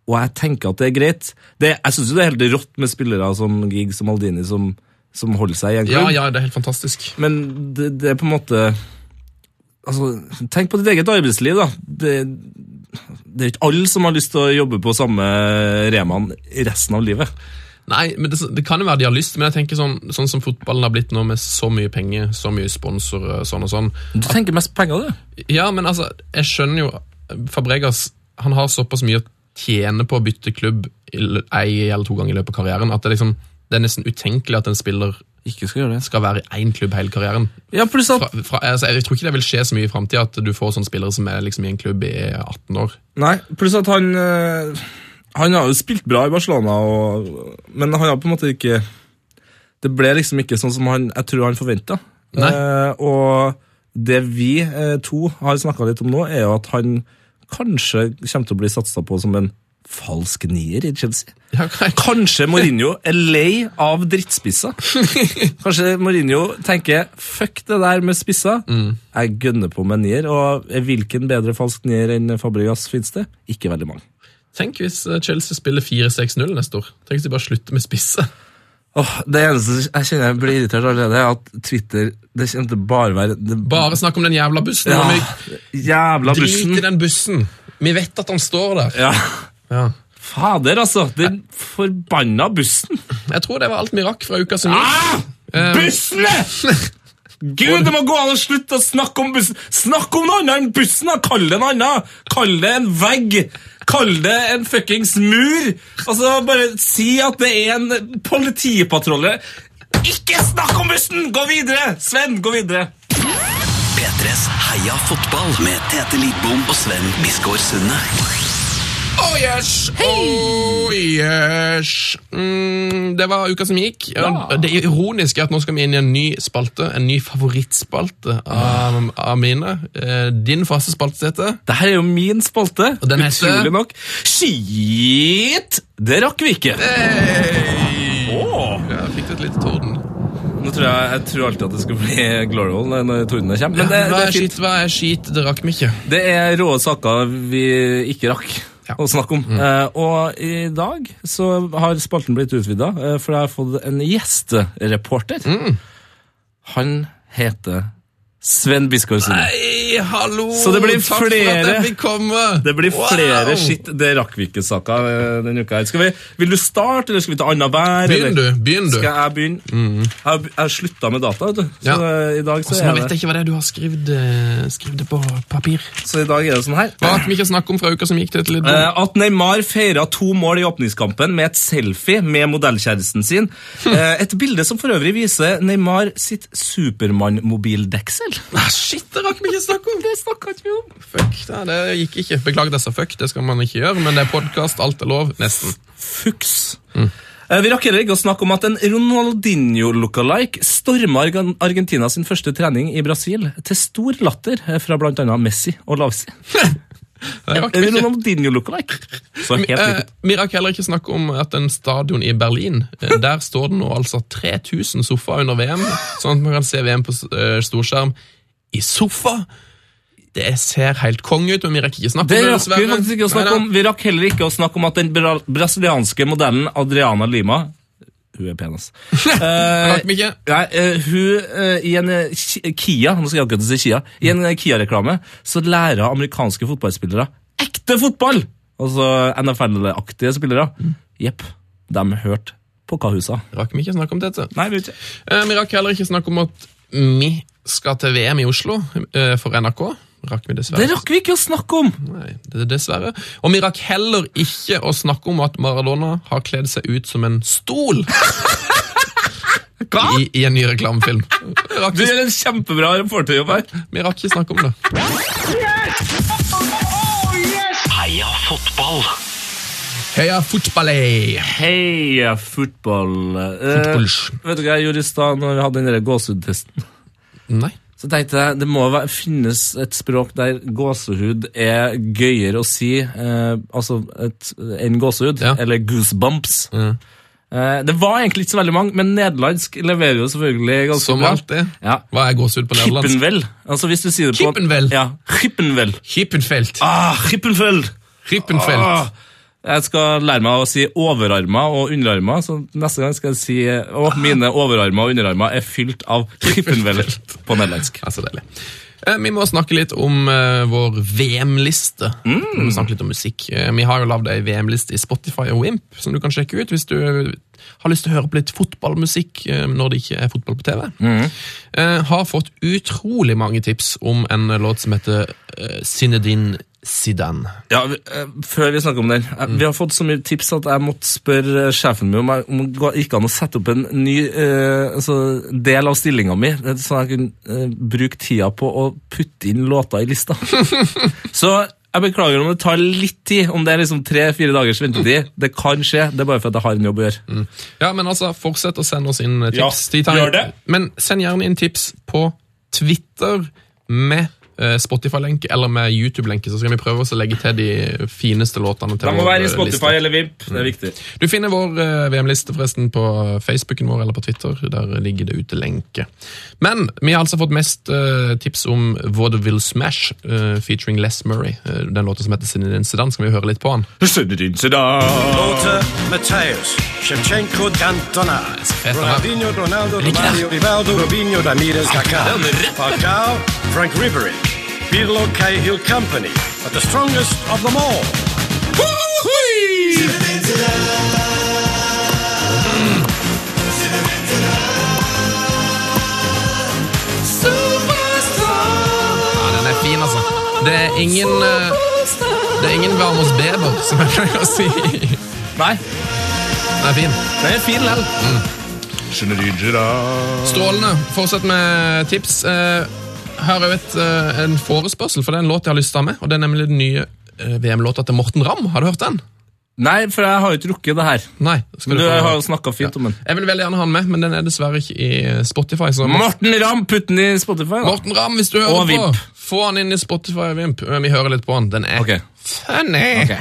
S2: og jeg tenker at det er greit. Det, jeg syns det er helt rått med spillere som Giggs og Maldini som, som holder seg i en
S1: Ja,
S2: klubb.
S1: ja, det er helt fantastisk.
S2: Men det, det er på en måte Altså, tenk på ditt eget arbeidsliv, da. Det, det er ikke alle som har lyst til å jobbe på samme remaen resten av livet.
S1: Nei, men det, det kan jo være de har lyst, men jeg tenker sånn, sånn som fotballen har blitt nå, med så mye penger, så mye sponsorer, sånn og sånn.
S2: Du tenker mest på penger, du.
S1: Ja, men altså, jeg skjønner jo Fabregas, han har såpass mye å tjene på å bytte klubb i l- ei eller to ganger i løpet av karrieren, at det, liksom, det er nesten utenkelig at en spiller
S2: Ikke skal gjøre det.
S1: skal være i én klubb hele karrieren.
S2: Ja, pluss at
S1: Fra, fra, altså, jeg tror ikke det vil skje så mye i framtida at du får sånne spillere som er liksom, i en klubb i 18 år.
S2: Nei, pluss at han eh, Han har jo spilt bra i Barcelona, og, men han har på en måte ikke Det ble liksom ikke sånn som han, jeg tror han forventa.
S1: Nei.
S2: og det vi eh, to har snakka litt om nå, er jo at han kanskje kommer til å bli satsa på som en falsk nier i Chelsea.
S1: Ja, jeg,
S2: Kanskje Mourinho er lei av <laughs> drittspisser. Kanskje Mourinho tenker 'fuck det der med spisser', jeg gønner på med en nier. Og hvilken bedre falsk nier enn Fabregas finnes det? Ikke veldig mange.
S1: tenk hvis eh, Chelsea spiller 4-6-0 neste år. Tenk hvis de bare slutter med spisse.
S2: Åh, det eneste jeg kjenner jeg blir irritert allerede, er at Twitter Det kommer til å bare være det,
S1: Bare snakk om den jævla bussen.
S2: ja,
S1: og
S2: Jævla
S1: Vi drit i
S2: bussen.
S1: den bussen. Vi vet at han står der.
S2: Ja.
S1: Ja.
S2: Fader, altså. Den forbanna bussen.
S1: Jeg tror det var alt vi rakk fra uka som gikk.
S2: Ah!
S1: Eh.
S2: Bussene! Gud, det må gå an å slutte å snakke om bussen. Snakk om noe annet enn bussen! da! Kall det noe annet! Kall det en vegg! Kall det en fuckings mur! Altså, Bare si at det er en politipatrulje. Ikke snakk om bussen! Gå videre! Sven, gå videre.
S4: P3s Heia fotball med Tete Lidbom og Sven Biskår Sunde.
S1: Oh yes! Oh yes! Mm, det var uka som gikk. Det ironiske er at nå skal vi inn i en ny spalte. En ny favorittspalte av, av mine. Eh, Din faste spalte heter
S2: Det her er jo min spalte.
S1: Og den heter-
S2: Utrolig nok. Shit! Det rakk vi ikke.
S1: hey!
S2: Åh.
S1: Ja, jeg fikk du et lite torden?
S2: Nå tror jeg, jeg tror alltid at det skal bli glory hole når tordene kommer.
S1: Ja,
S2: Men det,
S1: hva
S2: det,
S1: er
S2: er fint.
S1: skit, hva er skit? Det rakk vi ikke.
S2: det er rå saker vi ikke rakk
S1: Ja. Mm.
S2: å snakke om. Eh, og i dag så har spalten blitt utvida, eh, for jeg har fått en gjestereporter.
S1: Mm.
S2: Han heter Sven Biskår Sunde.
S1: Hei, hallo!
S2: Så det blir
S1: Takk for at
S2: flere-
S1: jeg fikk komme!
S2: Det blir
S1: Wow!
S2: flere skitt. Det rakk vi ikke, Saka, eh, denne uka. her. Skal vi, vil du starte, eller skal vi ta annet hver?
S1: Begynn du,
S2: eller?
S1: begynn du. Mm.
S2: Skal jeg begynne? Jeg har- Jeg har slutta med data, vet du. Så,
S1: Ja.
S2: eh, i dag så,
S1: Så nå
S2: er
S1: vet
S2: det,
S1: jeg ikke hva det er du har skrevet, eh, skrevet på papir.
S2: så i dag er det sånn her.
S1: Hva rakk vi ikke snakke om fra uka som gikk? til et litt
S2: Eh, At Neymar feira to mål i åpningskampen med et selfie med modellkjæresten sin. Eh, Et bilde som for øvrig viser Neymar sitt Supermann-mobildeksel.
S1: Ah, shit, det rakk vi ikke snakke om! Det snakka vi om. Fuck, nei, det gikk ikke. Beklager disse fuck, det skal man ikke gjøre, men det er podkast, alt er lov, nesten.
S2: Fuchs. Eh, Vi rakk heller ikke å snakke om at en Ronaldinho-lookalike storma Argan- Argentina sin første trening i Brasil, til stor latter eh, fra bl.a. Messi og Lavsi.
S1: Det rakk vi ikke.
S2: Ronaldinho-lookalike. Så helt
S1: Eh,
S2: riktig.
S1: vi rakk heller ikke snakke om at en stadion i Berlin eh, Der står det nå altså 3000 sofaer under VM, sånn at man kan se VM på s- eh, storskjerm i sofa. Det ser helt konge ut, men vi rekker ikke snakke
S2: Det
S1: om det.
S2: rakk vi
S1: dessverre.
S2: faktisk ikke å snakke
S1: Neida.
S2: om. Vi rakk heller ikke å snakke om at den bra brasilianske modellen Adriana Lima Hun er pen, <laughs> altså.
S1: Det rakk vi ikke.
S2: Nei, eh, hun eh, i en eh, Ki- Kia, nå skal jeg akkurat si Kia, i en eh, Kia-reklame så lærer amerikanske fotballspillere ekte fotball! Altså NFL-aktige spillere. Jepp, de hørte på hva hun sa.
S1: Rakk vi ikke snakke om dette.
S2: Nei, vet ikke.
S1: Eh, Vi rakk heller ikke snakke om at vi skal til VM i Oslo eh, for NRK. Rakk vi dessverre.
S2: Det rakk vi ikke å snakke om!
S1: Nei, det er dessverre. Og vi rakk heller ikke å snakke om at Maradona har kledd seg ut som en
S2: <laughs>
S1: stol. I, I en ny reklamefilm. Vi rakk,
S2: Du
S1: ikke-
S2: gjør en kjempebra reporterjobb her.
S1: vi rakk ikke snakke om det.
S4: Heia fotball.
S1: Heia eh. fotballet!
S2: Heia fotball. Eh,
S1: Fotballs.
S2: vet du hva jeg gjorde i stad når vi hadde den der gåsehudtesten?
S1: Nei.
S2: Så tenkte jeg, Det må være, finnes et språk der gåsehud er gøyere å si eh, altså et, enn gåsehud,
S1: Ja.
S2: eller goosebumps.
S1: Ja.
S2: Eh, det var egentlig ikke så veldig mange, men nederlandsk leverer jo selvfølgelig ganske
S1: Som
S2: bra.
S1: alltid.
S2: Ja.
S1: Hva er gåsehud på nederlandsk?
S2: Kippenvel. Altså hvis du sier det på...
S1: Kippenvel?
S2: Ja, Kippenvel.
S1: Kippenfelt.
S2: Ah, Kippenvel!
S1: Kippenfelt.
S2: Ah, jeg skal lære meg å si overarmer og underarmer, så neste gang skal jeg si at mine overarmer og underarmer er fylt av Kippenvel på nederlandsk.
S1: Det er så deilig. Eh, Vi må snakke litt om eh, vår VM-liste. Vi må snakke litt om musikk. Eh, vi har jo lagd ei VM-liste i Spotify og Wimp, som du kan sjekke ut hvis du eh, har lyst til å høre på litt fotballmusikk eh, når det ikke er fotball på TV. Eh, har fått utrolig mange tips om en låt som heter eh, Zinedine Zidane.
S2: Ja, vi- eh, Før vi snakker om den eh, Vi har fått så mye tips at jeg måtte spørre eh, sjefen min om jeg- om det går- gikk an å sette opp en ny eh, altså, del av stillinga mi, eh, sånn at jeg kunne eh, bruke tida på å putte inn låter i <laughs> lista. så jeg beklager om det tar litt tid, om det er liksom tre-fire dagers ventetid. Det kan skje. Det er bare for at jeg har en jobb å gjøre.
S1: Ja, men altså, fortsett å sende oss inn eh, tips.
S2: Ja,
S1: De tar-
S2: gjør det.
S1: Men send gjerne inn tips på Twitter med eh, Spotify-lenke eller med YouTube-lenke, så skal vi prøve oss å legge til de fineste låtene. til vår, eh, liste.
S2: eller Vimp. Det er viktig.
S1: Du finner vår eh, VM-liste forresten på Facebooken vår eller på Twitter. Der ligger det ute lenke. Men vi har altså fått mest eh, tips om Vaudeville Smash eh, featuring Les Murray. Eh, den låten som heter Sin Incident. Skal vi høre litt på den?
S10: Lothar, Matthäus, Shevchenko, Cantona,
S1: fett, da.
S10: Ronaldinho, Ronaldo, Romario, Rivaldo, Robinho, Ramirez, Kaká, Falcao, Frank Ribery, Pirlo, Cahill Company, but the strongest of them all.
S1: Ja, den er fin, altså. Det er ingen eh, Det er ingen Vamos Beber, som jeg pleier å si. Den
S2: Nei,
S1: er fin.
S2: det er fin lell.
S1: Strålende. Fortsett med tips. Eh, Her er jo et, eh, en forespørsel, for det er en låt jeg har lyst til å ha med. Og det er nemlig den nye eh, VM-låta til Morten Ramm. Har du hørt den?
S2: Nei, for jeg har jo ikke rukket det her.
S1: Nei. skal
S2: Men du
S1: få-
S2: har jo snakka fint om den.
S1: Jeg vil veldig gjerne ha den med, men den er dessverre ikke i eh, Spotify. Så
S2: Morten Ramm, putt den i Spotify. da.
S1: Morten Ramm, hvis du hører
S2: Og
S1: på,
S2: Vimp.
S1: få han inn i Spotify og Vimp. Eh, Vi hører litt på han. Den er
S2: Ok.
S1: funny!
S2: Ok.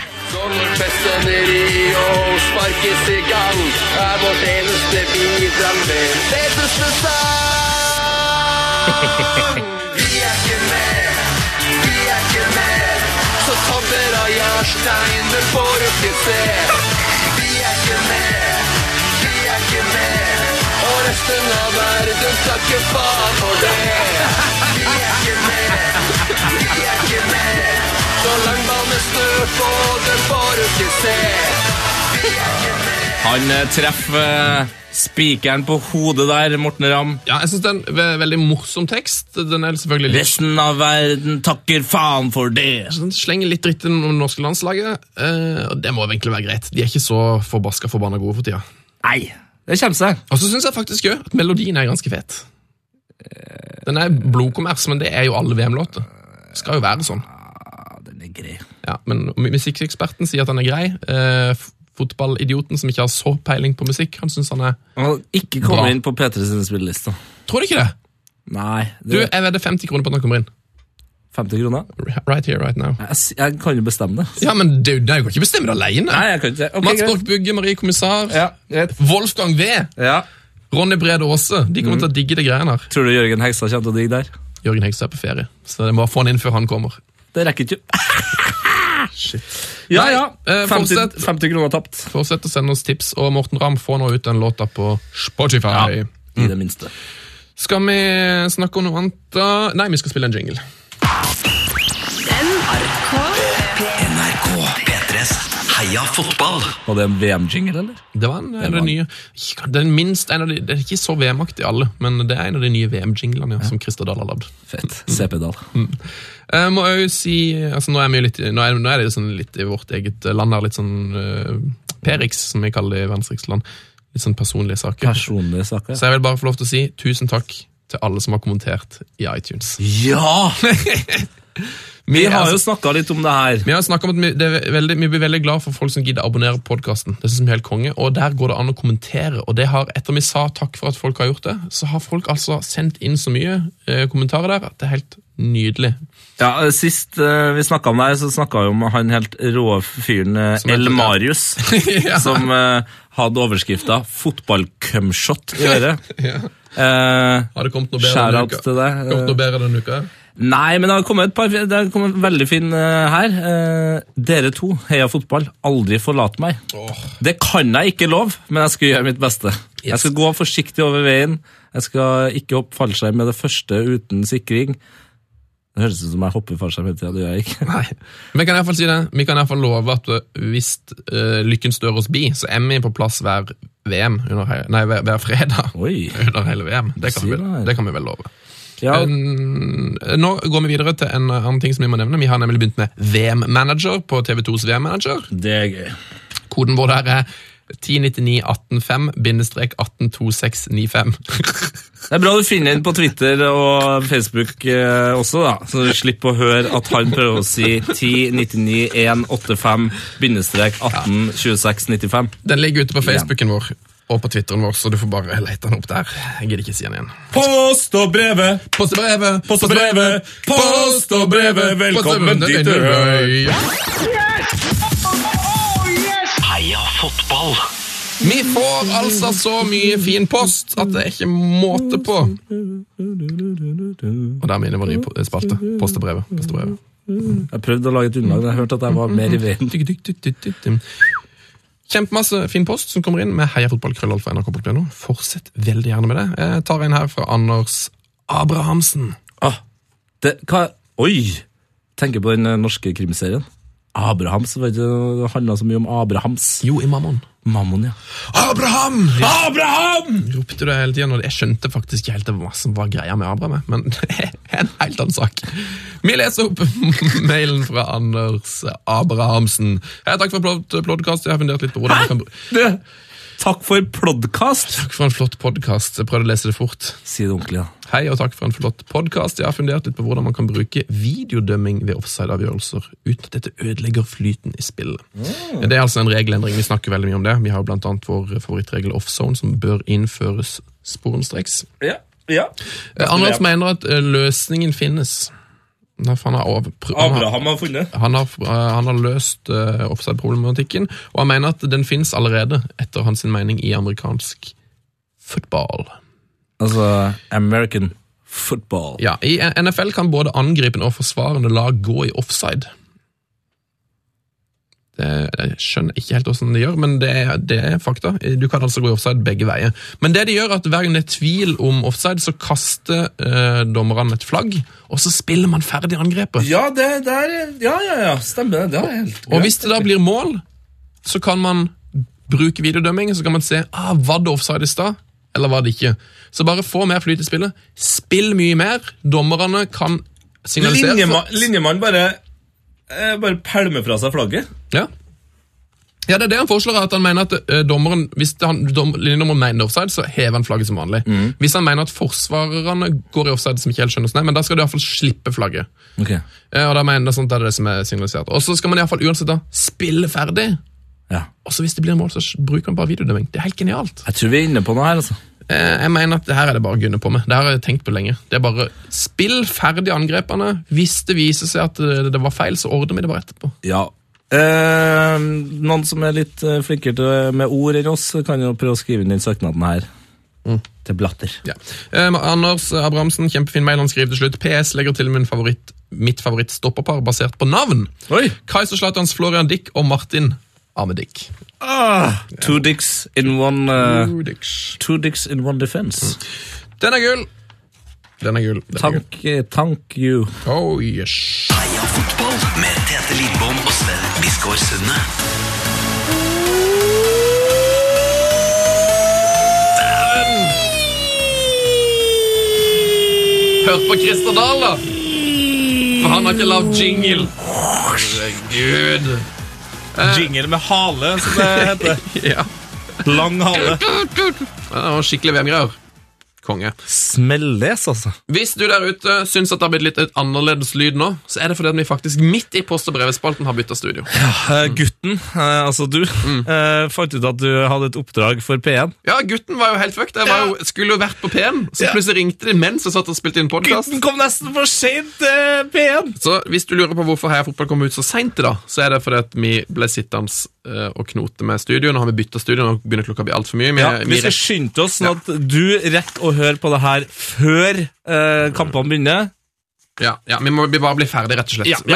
S2: Han eh, treffer eh, spikeren på hodet der, Morten Ramm.
S1: Ja, jeg synes det er en ve- veldig morsom tekst. Den er selvfølgelig litt
S2: Resten av verden takker faen for det.
S1: sånn, slenger litt dritt inn om det norske landslaget. eh, og Det må egentlig være greit. De er ikke så forbaska forbanna gode for tida.
S2: Nei, det kommer seg.
S1: Og så syns jeg faktisk jo at melodien er ganske fet. Den er blodkommers, men det er jo alle VM-låter. Skal jo være sånn.
S2: Ja, den er grei.
S1: Ja, men Musikkeksperten sier at han er grei. Eh, f- Fotballidioten som ikke har så peiling på musikk, han syns han er
S2: Han ikke kommer
S1: Bra.
S2: inn på P3 sin spilleliste.
S1: Tror du ikke det?
S2: Nei,
S1: Du,
S2: det er
S1: Jeg vedder 50 kroner på at han kommer inn.
S2: 50 kroner.
S1: Right here, right now.
S2: Jeg, s- jeg kan jo bestemme det.
S1: Ja, men du, du kan ikke bestemme det
S2: Nei,
S1: aleine.
S2: jeg kan ikke det. Ok,
S1: Mats
S2: greit.
S1: Borch Bugge, Marie Kommissar,
S2: Ja, greit.
S1: Wolfgang V.
S2: Ja.
S1: Ronny Brede Aase. De kommer til å digge det greiene her.
S2: Tror du Jørgen Hegstad kommer til å digge der?
S1: Jørgen Hegstad er på ferie, så jeg må få han inn før han kommer.
S2: Det rekker <laughs> ikke. Ja, ja.
S1: Nei, eh,
S2: 50,
S1: fortsett.
S2: 50 kroner tapt,
S1: Fortsett å sende oss tips, og Morten Ramm får nå ut den låta på Spotify.
S2: i det minste.
S1: Skal vi snakke om noe annet? da? Nei, vi skal spille en jingle.
S4: NRK P3s Heia fotball.
S2: Var det en VM-jingle, eller?
S1: Det var en av de nye Ikke- Den minst, en av de, Det er ikke så VM-aktig alle, men det er en av de nye VM-jinglene ja, som Christer Dahl har lagd.
S2: Fett. CP Dahl.
S1: Jeg må jo si altså Nå er, vi jo litt, i- nå er, nå er det jo sånn litt i vårt eget land her, litt sånn eh, Perix, som vi kaller det i verdensriksland. Litt sånn personlige saker.
S2: Personlige saker.
S1: Så jeg vil bare få lov til å si tusen takk til alle som har kommentert i iTunes. <laughs>
S2: Ja! <laughs> Vi
S1: er
S2: har jo
S1: altså-
S2: snakka litt om det her.
S1: Vi har snakket om at vi, det er veldig, vi blir veldig glad for folk som gidder abonnere på podkasten. Det synes vi er helt konge, og der går det an å kommentere. og det har, Etter vi sa takk for at folk har gjort det, så har folk altså sendt inn så mye eh, kommentarer der at det er helt nydelig.
S2: Ja, eh, Sist eh, vi snakka om det her, så snakka vi om han helt rå fyren eh,
S1: Som heter-
S2: El Marius. <laughs>
S1: Ja.
S2: Som eh, hadde overskrifta 'Fotballcumshot' i <laughs> øret.
S1: Ja.
S2: Eh,
S1: Har det kommet noe bedre denne
S2: Shout-out
S1: uka?
S2: til deg.
S1: Kommet noe bedre denne uka?
S2: Nei, men det har kommet et par Det har kommet veldig fin eh, her. Eh, dere to, heia fotball, aldri forlat meg.
S1: Åh,
S2: Det kan jeg ikke love, men jeg skal gjøre mitt beste. Jeg skal gå forsiktig over veien. Jeg skal ikke hoppe fallskjerm med det første uten sikring. Det høres ut som jeg hopper fallskjerm hele tida. Det gjør jeg ikke.
S1: nei. Men jeg kan i hvert fall si det. Vi kan i hvert fall love at eh, hvis eh, lykken stør oss bi, så er vi på plass hver VM under, he- nei, hver, hver fredag
S2: Oi.
S1: <laughs> under hele VM. Det kan,
S2: Si
S1: vi,
S2: det her.
S1: det kan vi vel love.
S2: Ja,
S1: Mm, Nå går vi videre til en annen ting som vi må nevne. Vi har nemlig begynt med VM-manager på TV2s VM-manager.
S2: det er gøy.
S1: Koden vår der er 1099-185-182695.
S2: Det er bra du finner den på Twitter og Facebook eh, også, da. Så du slipper å høre at han prøver å si 10 99 185 bindestrek 18 26 95.
S1: <laughs> Den ligger ute på Facebooken vår og på Twitteren vår, så du får bare lete den opp der. Jeg gidder ikke si den igjen.
S2: Post og brevet,
S1: Post og brevet!
S2: post og brevet, post og brevet, velkommen dit du hører.
S4: Heia fotball.
S1: Vi får altså så mye fin post at det er ikke måte på. Og der minner vår nye po- spalte. Post og brevet. Post og brevet.
S2: Jeg prøvde å lage et unnlag, men jeg hørte at jeg var mer i veien.
S1: Kjempemasse fin post som kommer inn med heiafotballkrøllalfa.nrk.no. Fortsett veldig gjerne med det. Jeg tar en her fra Anders Abrahamsen.
S2: Ah, det, hva, oi! Tenker på den eh, norske krimserien. Abrahams, vet du, det handla så mye om Abrahams.
S1: Jo, i Mammon.
S2: Mammon, ja.
S1: Abraham!
S2: Abraham!
S1: Ropte du det hele tiden, og jeg skjønte faktisk ikke helt hva som var greia med Abraham, jeg, men <laughs> det er en helt annen sak. Vi leser opp <laughs> mailen fra Anders Abrahamsen. Hei, takk for plod- podcast, jeg har fundert litt på hvordan man kan... bru-
S2: Det, Takk for podcast!
S1: Takk for en flott podkast. Jeg prøvde å lese det fort.
S2: Si det ordentlig, da.
S1: Hei og takk for en flott podkast. Jeg har fundert litt på hvordan man kan bruke videodømming ved offside-avgjørelser uten at dette ødelegger flyten i spillet. Det er altså en regelendring. Vi snakker veldig mye om det. Vi har jo blant annet vår favorittregel offzone, som bør innføres sporenstreks.
S2: Ja, ja.
S1: Eh, Andreas mener at eh, løsningen finnes. Nei, for han har over- pr- han har-
S2: Abraham har funnet.
S1: han har, eh, han har løst eh, offside-problematikken, og han mener at den finnes allerede, etter hans mening, i amerikansk football.
S2: Altså American football.
S1: Ja, I NFL kan både angripende og forsvarende lag gå i offside. Det, jeg skjønner ikke helt hvordan de gjør, men det, er- det er fakta. Du kan altså gå i offside begge veier. Men det de gjør er at hver gang det er tvil om offside, så kaster eh, dommerne et flagg, og så spiller man ferdig angrepet.
S2: Ja, det der Ja, ja, ja. Stemmer det. Det er helt
S1: Og hvis det da blir mål, så kan man bruke videodømming, så kan man se ah, var det offside i stad, eller var det ikke. Så bare få mer flyt i spillet. Spill mye mer. Dommerne kan signalisere.
S2: Linjema, linjemannen bare eh, Bare pælmer fra seg flagget.
S1: Ja. ja, det er det han foreslår, at han mener at eh, dommeren, hvis det- han, dom, linjedommeren mener offside, så hever han flagget som vanlig. Hvis han mener at forsvarerne går i offside, som ikke helt skjønner hvordan det er, men da skal de i hvert fall slippe flagget.
S2: Ok
S1: Eh, Og da mener jeg sånn, at det er det som er signalisert. Og så skal man i hvert fall uansett da spille ferdig.
S2: Ja.
S1: Og så hvis det blir mål, så bruker man bare videodømming. Det er helt genialt.
S2: Jeg tror vi er inne på noe her, altså.
S1: Eh, Jeg mener at det her er det bare å gunne på med. Det her har jeg tenkt på lenge. Det er bare spill ferdig angrepene. Hvis det viser seg at eh, det det var feil, så ordner vi det bare etterpå.
S2: Ja. Eh, noen som er litt eh, flinkere til, med ord enn oss, kan jo prøve å skrive inn den søknaden her. Til Blatter.
S1: Ja. Eh, Anders Abrahamsen, kjempefin mail. Han skriver til slutt PS legger til min favoritt, mitt favorittstopperpar basert på navn.
S2: Oi!
S1: Kaiser Zlatans, Florian Dick og Martin Amedick.
S2: Ah, two dicks in one eh, Two dicks in one defense.
S1: Den er gull! Den er gull. Den er gull.
S2: Tank, eh, tank you.
S1: Oh, yes.
S4: Heia fotball med Tete Lidbom og Sven Biskår Sunde.
S1: Hørt på Christer Dahl, da! For han har ikke lagd jingle. Herregud.
S2: Eh. Jingle med hale, som det heter. <laughs>
S1: Ja.
S2: Lang hale.
S1: Det var skikkelig VM-greier. Konge.
S2: Smelles, altså.
S1: Hvis du der ute syns at det har blitt litt et annerledes lyd nå, så er det fordi at vi faktisk midt i post- og brevespalten har bytta studio.
S2: Eh, gutten, eh, altså du, eh, fant ut at du hadde et oppdrag for P1.
S1: Ja, gutten var jo helt fucked. Jeg var jo, skulle jo vært på P1, så
S2: Ja.
S1: plutselig ringte de mens jeg satt og spilte inn podkast.
S2: kom nesten for seint til P1!
S1: Så hvis du lurer på hvorfor Heia Fotball kom ut så seint i dag, så er det fordi at vi ble sittende eh, og knote med studio. Nå har vi bytta studio, nå begynner klokka å bli altfor mye. Vi,
S2: Ja,
S1: vi
S2: vi skal
S1: rekker-
S2: skynde oss, sånn at du rekker å høre på det her før eh, kampene begynner.
S1: ja, ja, vi må bare bli ferdig, rett og slett.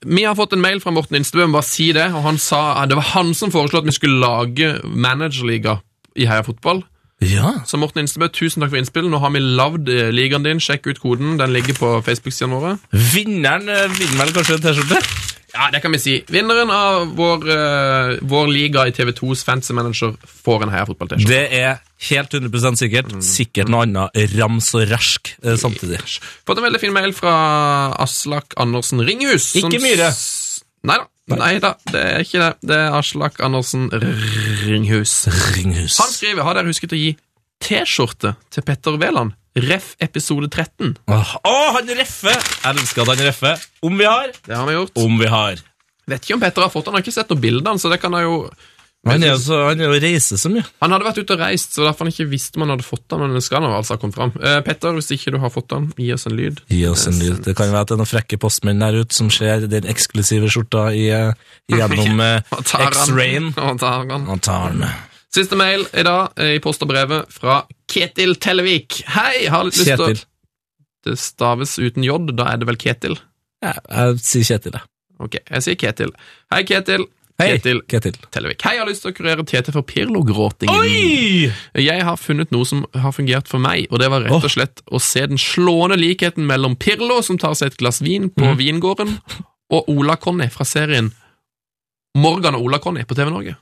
S1: Men vi har fått en mail fra Morten Instebø, men bare si det. Og han sa, det var han som foreslo at vi skulle lage managerliga i Heia Fotball.
S2: Ja.
S1: Så Morten Instebø, tusen takk for innspill. Nå har vi lagd eh, ligaen din. Sjekk ut koden. Den ligger på Facebook-sidene våre.
S2: Vinneren eh, vinner vel kanskje en T-skjorte?
S1: Ja, det kan vi si. Vinneren av vår, eh, vår liga i TV2s Fancy Manager får en heiafotball-T-skjorte.
S2: Det er helt 100 sikkert. Sikkert noe annet rams og rask eh, samtidig.
S1: Fått en veldig fin mail fra Aslak Andersen Ringhus. som
S2: Ikke Myhre.
S1: s- Nei da. Nei da, det er ikke det. Det er Aslak Andersen Ringhus.
S2: Ringhus.
S1: Han skriver har dere husket å gi T-skjorte til Petter Wæland. Ref episode 13.
S2: Åh, åh, han reffer! Jeg elsker at han reffer. Om vi har?
S1: Det har vi gjort.
S2: Om vi har.
S1: Vet ikke om Petter har fått den. Har ikke sett noen bilder, så det kan jeg jo
S2: Han er jo så- han er jo reise så mye.
S1: Han hadde vært ute og reist, så derfor han ikke visste om han hadde fått den. Men det skal han altså ha kommet fram. Eh, Petter, hvis ikke du har fått den, gi oss en lyd.
S2: Gi oss en lyd. Det kan jo være at det er noen frekke postmenn der ute som ser den eksklusive skjorta i, eh, <laughs> gjennom eh,
S1: <laughs> Og tar han.
S2: X-rayen.
S1: <laughs> Og tar han.
S2: Han tar den.
S1: Siste mail i dag eh, i post og brevet fra Ketil Tellevik. Hei! Har litt lyst til å
S2: Kjetil.
S1: Det staves uten J, da er det vel Ketil?
S2: Ja, jeg sier Kjetil, jeg.
S1: Ok, jeg sier Ketil. Hei, Ketil.
S2: Hei,
S1: Kjetil
S2: Kjetil.
S1: Tellevik. Hei, jeg har lyst til å kurere TT for Pirlo-gråtingen. Jeg har funnet noe som har fungert for meg, og det var rett og slett å se den slående likheten mellom Pirlo, som tar seg et glass vin på vingården, og Ola Conny fra serien Morgan og Ola Conny på TV Norge.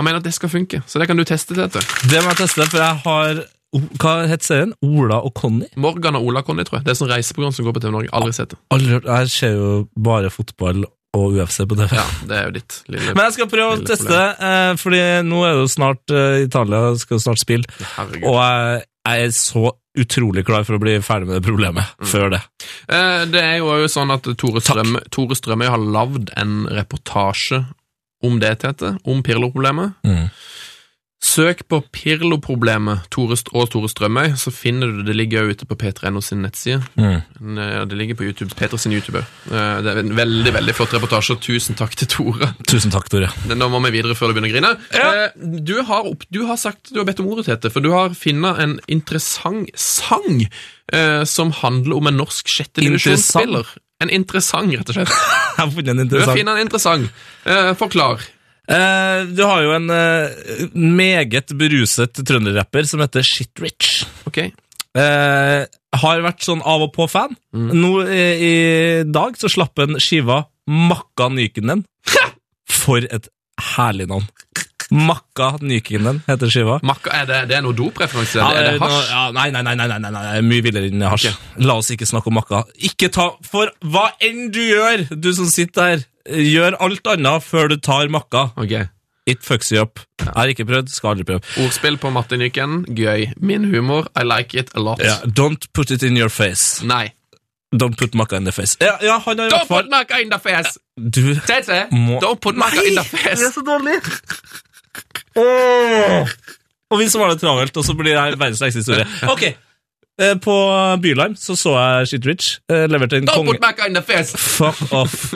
S1: Han mener at det skal funke, så det kan du teste, Tete.
S2: Det må jeg teste, for jeg har O- Hva het serien? Ola og Conny?
S1: Morgan og Ola Conny, tror jeg. Det er sånn reiseprogram som går på TV Norge. Aldri sett det.
S2: Aldri hørt Jeg ser jo bare fotball og UFC på TV.
S1: Ja, det er jo ditt lille
S2: Men jeg skal prøve å
S1: Lille
S2: teste, eh, fordi nå er det jo snart eh, Italia skal snart spille,
S1: Herregud.
S2: og jeg, jeg er så utrolig klar for å bli ferdig med det problemet før det.
S1: Eh, det er jo også sånn at Tore, Strøm, Tore Strømøy har lagd en reportasje om det, Tete, om Pirlo-problemet.
S2: Mm.
S1: Søk på Pirlo-problemet Tore St- og Tore Strømøy, så finner du det. Det ligger jo ute på P3NO sin nettside.
S2: Mm.
S1: Men, eh, Det ligger på YouTube, Peter sin YouTube òg. Det er en veldig veldig flott reportasje. Tusen takk til Tore. <laughs>
S2: Tusen takk, <laughs> Tore.
S1: Men Nå må vi videre før du begynner å grine. Eh, Du, har opp, du har sagt Du har bedt om ordet, Tete, for du har funnet en interessant sang eh, som handler om en norsk
S2: Interessant?
S1: sjettedivisjonsspiller. En interessant, rett og slett.
S2: <laughs> Jeg har funnet en
S1: Du har
S2: interessant
S1: funnet en interessant. Eh, Forklar.
S2: Eh, du har jo en eh, meget beruset trønderrapper som heter Shitrich.
S1: Ok.
S2: Eh, har vært sånn av og på-fan.
S1: Mm.
S2: Nå eh, i dag så slapp han skiva Makka Nykinen. For et herlig navn. Makka Nykinen heter skiva.
S1: Makka, er det, det er noe dopreferanse? eller er det
S2: nå-
S1: hasj?
S2: Ja, nei, nei, nei, nei, nei, nei, nei, nei, mye villere enn hasj.
S1: Ok.
S2: La oss ikke snakke om makka. Ikke ta, for hva enn du gjør, du som sitter der, gjør alt annet før du tar makka.
S1: Ok.
S2: It fucks you up. Jeg har ikke prøvd, skal aldri prøve.
S1: Ordspill på Martin Nyken. Gøy. Min humor. I like it a lot.
S2: Ja, don't put it in your face.
S1: Nei.
S2: Don't put makka in the face. Ja, ja han har i
S1: Don't
S2: hvert
S1: put
S2: fall
S1: Makka in the face!
S2: Du
S1: Tete,
S2: Må-
S1: don't put Makka in the face!
S2: så dårlig! Åh. Og vi som har det travelt, og så blir det her verdens lengste historie. Ok, eh, På Bylarm så så jeg Shit Rich. eh, Leverte en
S1: Don't
S2: konge...
S1: put Makka in the face!
S2: Fuck off,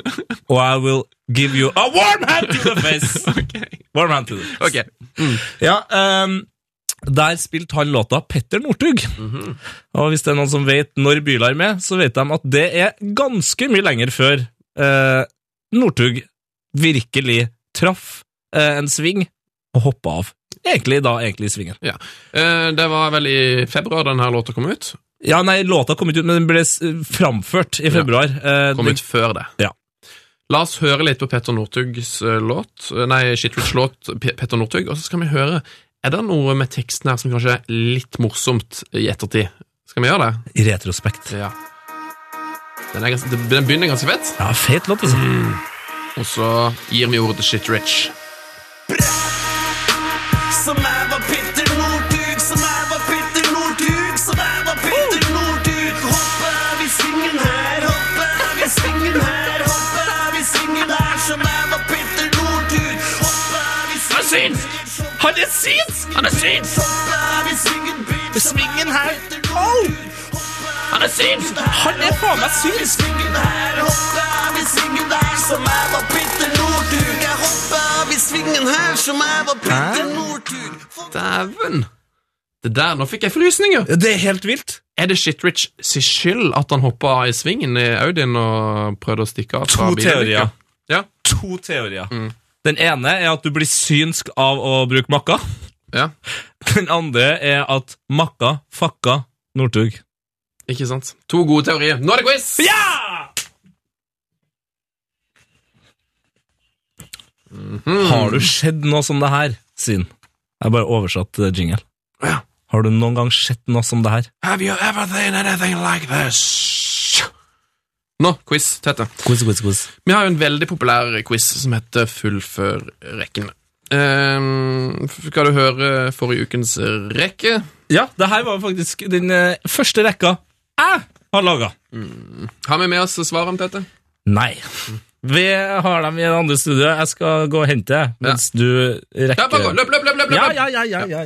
S2: og I will give you a warm hand to the face! Warm hand to the face.
S1: Ok.
S2: Ja, ehm, der spilte han låta Petter Northug. Og hvis det er noen som vet når Bylarm er, så vet de at det er ganske mye lenger før eh, Northug virkelig traff eh, en sving og hoppa av. Egentlig da, egentlig i svingen.
S1: Ja. Eh, det var vel i februar denne låta kom ut.
S2: Ja, nei, låta kom ikke ut, men den ble s- framført i februar. Eh,
S1: Kom
S2: den-
S1: ut før det.
S2: Ja.
S1: La oss høre litt på Petter Northugs eh, låt, eh, nei, Shitrich låt P- Petter Northug, og så skal vi høre Er det noe med teksten her som kanskje er litt morsomt i ettertid? Skal vi gjøre det?
S2: I retrospekt.
S1: Ja. Den, er ganske, den begynner ganske fett,
S2: Ja, fet låt, altså.
S1: og så gir vi ordet til Shitrich.
S10: Som er var Petter Northug, som er var Petter Northug, som er var Petter Northug. Hoppe er vi svingen her, hoppe er vi svingen her, hoppe er vi svingen her, som er var Petter Northug. Hoppe er vi svingen her,
S2: Han er sinns! Han er sinns!
S10: hoppe er vi svingen bitch. Som er
S2: Svingen
S10: var
S2: her.
S10: Petter Northug.
S2: Han er sinns! Han er faen meg
S10: Vi
S2: sinns!
S10: svingen her, hoppe er vi svingen der, som er var Petter Northug. Jeg hopper er vi svingen her, som er var Petter Northug.
S1: Dæven! Det der, nå fikk jeg frysninger!
S2: Det er helt vilt.
S1: Er det Shitrich sin skyld at han hoppa i svingen i Audien og prøvde å stikke av? fra
S2: To
S1: bilulykka?
S2: teorier.
S1: Ja.
S2: To teorier. Mm. Den ene er at du blir synsk av å bruke makka. <laughs>
S1: Ja,
S2: Den andre er at makka fucka Northug.
S1: ikke sant? To gode teorier. Nå er det quiz!
S2: Har du sett noe som det her, Siden? Jeg bare oversatt eh, jingle.
S1: Ja.
S2: Har du noen gang sett noe som det her?
S1: Have you ever seen anything like this? Nå, quiz, Tete.
S2: Quiz, quiz, quiz.
S1: Vi har jo en veldig populær quiz som heter Fullfør rekken. Ehm, skal du høre forrige ukens rekke?
S2: Ja, det her var faktisk den eh, første rekka jeg har laga.
S1: Har vi med oss svarene, Tete?
S2: Nei. Vi har dem i det andre studioet. Jeg skal gå og hente det, mens du
S1: Ja,
S2: rekker
S1: bare gå. Løp, løp, løp! løp, løp.
S2: Ja, ja, ja, ja, ja.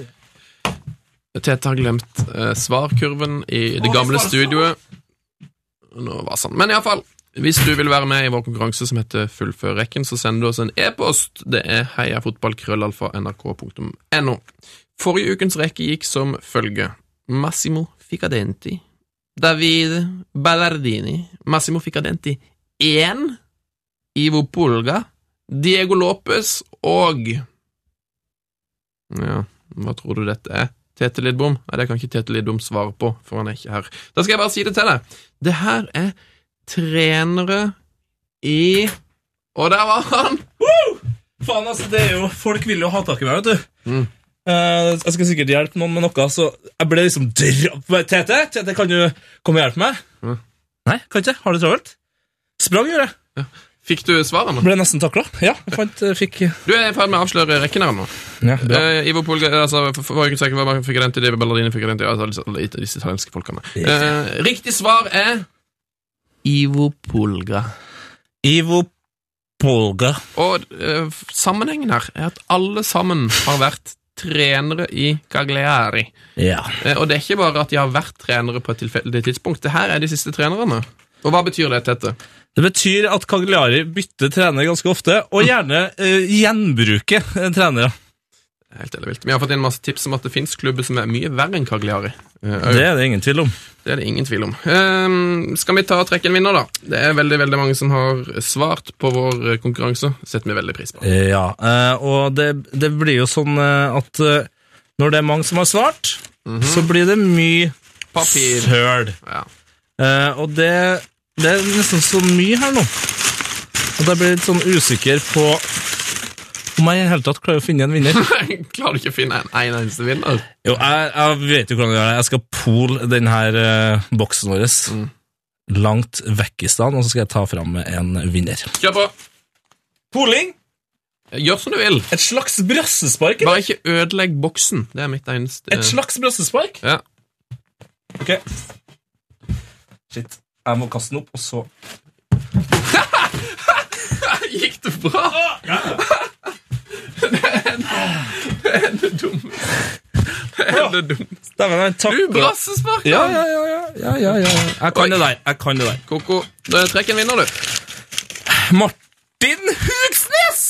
S1: Tete har glemt eh, svarkurven i det gamle studioet. Nå var sånn. Men iallfall, hvis du vil være med i vår konkurranse som heter Fullfør rekken, så sender du oss en e-post. Det er heiafotballkrøllalfa.nrk.no. Forrige ukens rekke gikk som følge. Massimo Ficadenti. David Ballardini. Massimo Ficadenti 1. Ivo Pulga. Diego Lopez og Ja, hva tror du dette er? Tete Lidbom? Nei, det kan ikke Tete Lidbom svare på, for han er ikke her. Da skal jeg bare si det til deg. Det her er trenere i Og der var han!
S2: Faen, altså, det er jo Folk vil jo ha tak i meg, vet du.
S1: Mm.
S2: Eh, jeg skal sikkert hjelpe noen med noe, så jeg ble liksom dra- Bare, Tete, Tete,
S1: Mm.
S2: kan du komme og hjelpe meg? Nei, kan ikke. Har du travelt? Sprang, gjorde jeg.
S1: Fikk du svarene?
S2: Ble nesten takla. Ja, fant, eh, fikk
S1: Du er i ferd med å avsløre rekken her nå.
S2: ja, bra.
S1: Eh, Ivo Polga, altså, for- forrige uke var Figurentti, David Ballardini, Figurentti altså, disse- Disse italienske folkene. Eh, riktig svar er Ivo Polga.
S2: Ivo Polga.
S1: Og eh, f- sammenhengen her er at alle sammen har vært trenere i Cagliari.
S2: Ja.
S1: Eh, og det er ikke bare at de har vært trenere på et tilfeldig tidspunkt. Det her er de siste trenerne. Og hva betyr det, Tette?
S2: Det betyr at Cagliari bytter trener ganske ofte, og gjerne eh, gjenbruker eh, trenere.
S1: Helt eller vilt. Vi har fått inn masse tips om at det fins klubber som er mye verre enn Cagliari. Eh,
S2: Det er det ingen tvil om.
S1: Det er det ingen tvil om. Ehm, skal vi ta og trekke en vinner, da? Det er veldig veldig mange som har svart på vår eh, konkurranse. setter vi veldig pris på.
S2: Eh, Ja, eh, og det, det blir jo sånn eh, at eh, når det er mange som har svart, så blir det mye
S1: Mhm. Papir.
S2: søl.
S1: Ja.
S2: Eh, og det, det er nesten så mye her nå. Og da blir jeg litt sånn usikker på om jeg i det hele tatt klarer å finne en vinner.
S1: <laughs> Klarer du ikke å finne en, en eneste vinner?
S2: Jo, jeg, jeg vet jo hvordan jeg gjør det. Jeg skal pole den her eh, boksen vår langt vekk i stand, og så skal jeg ta fram en vinner.
S1: Kjør på!
S2: Poling?
S1: Gjør som du vil.
S2: Et slags brassespark?
S1: Bare ikke ødelegg boksen. Det er mitt eneste
S2: slags brassespark?
S1: ja. <laughs>
S2: Ok. Shit. Jeg må kaste den opp, og så
S1: Gikk det bra? det er det dummeste Det er det dummeste
S2: Dæven, jeg
S1: Du,
S2: takler
S1: brassespark!
S2: Ja, ja, ja, ja, ja, ja, ja. Jeg kan
S1: Oi.
S2: det der. Jeg kan det der.
S1: Koko, da eh, trekk en vinner, du.
S2: Martin Hugsnes!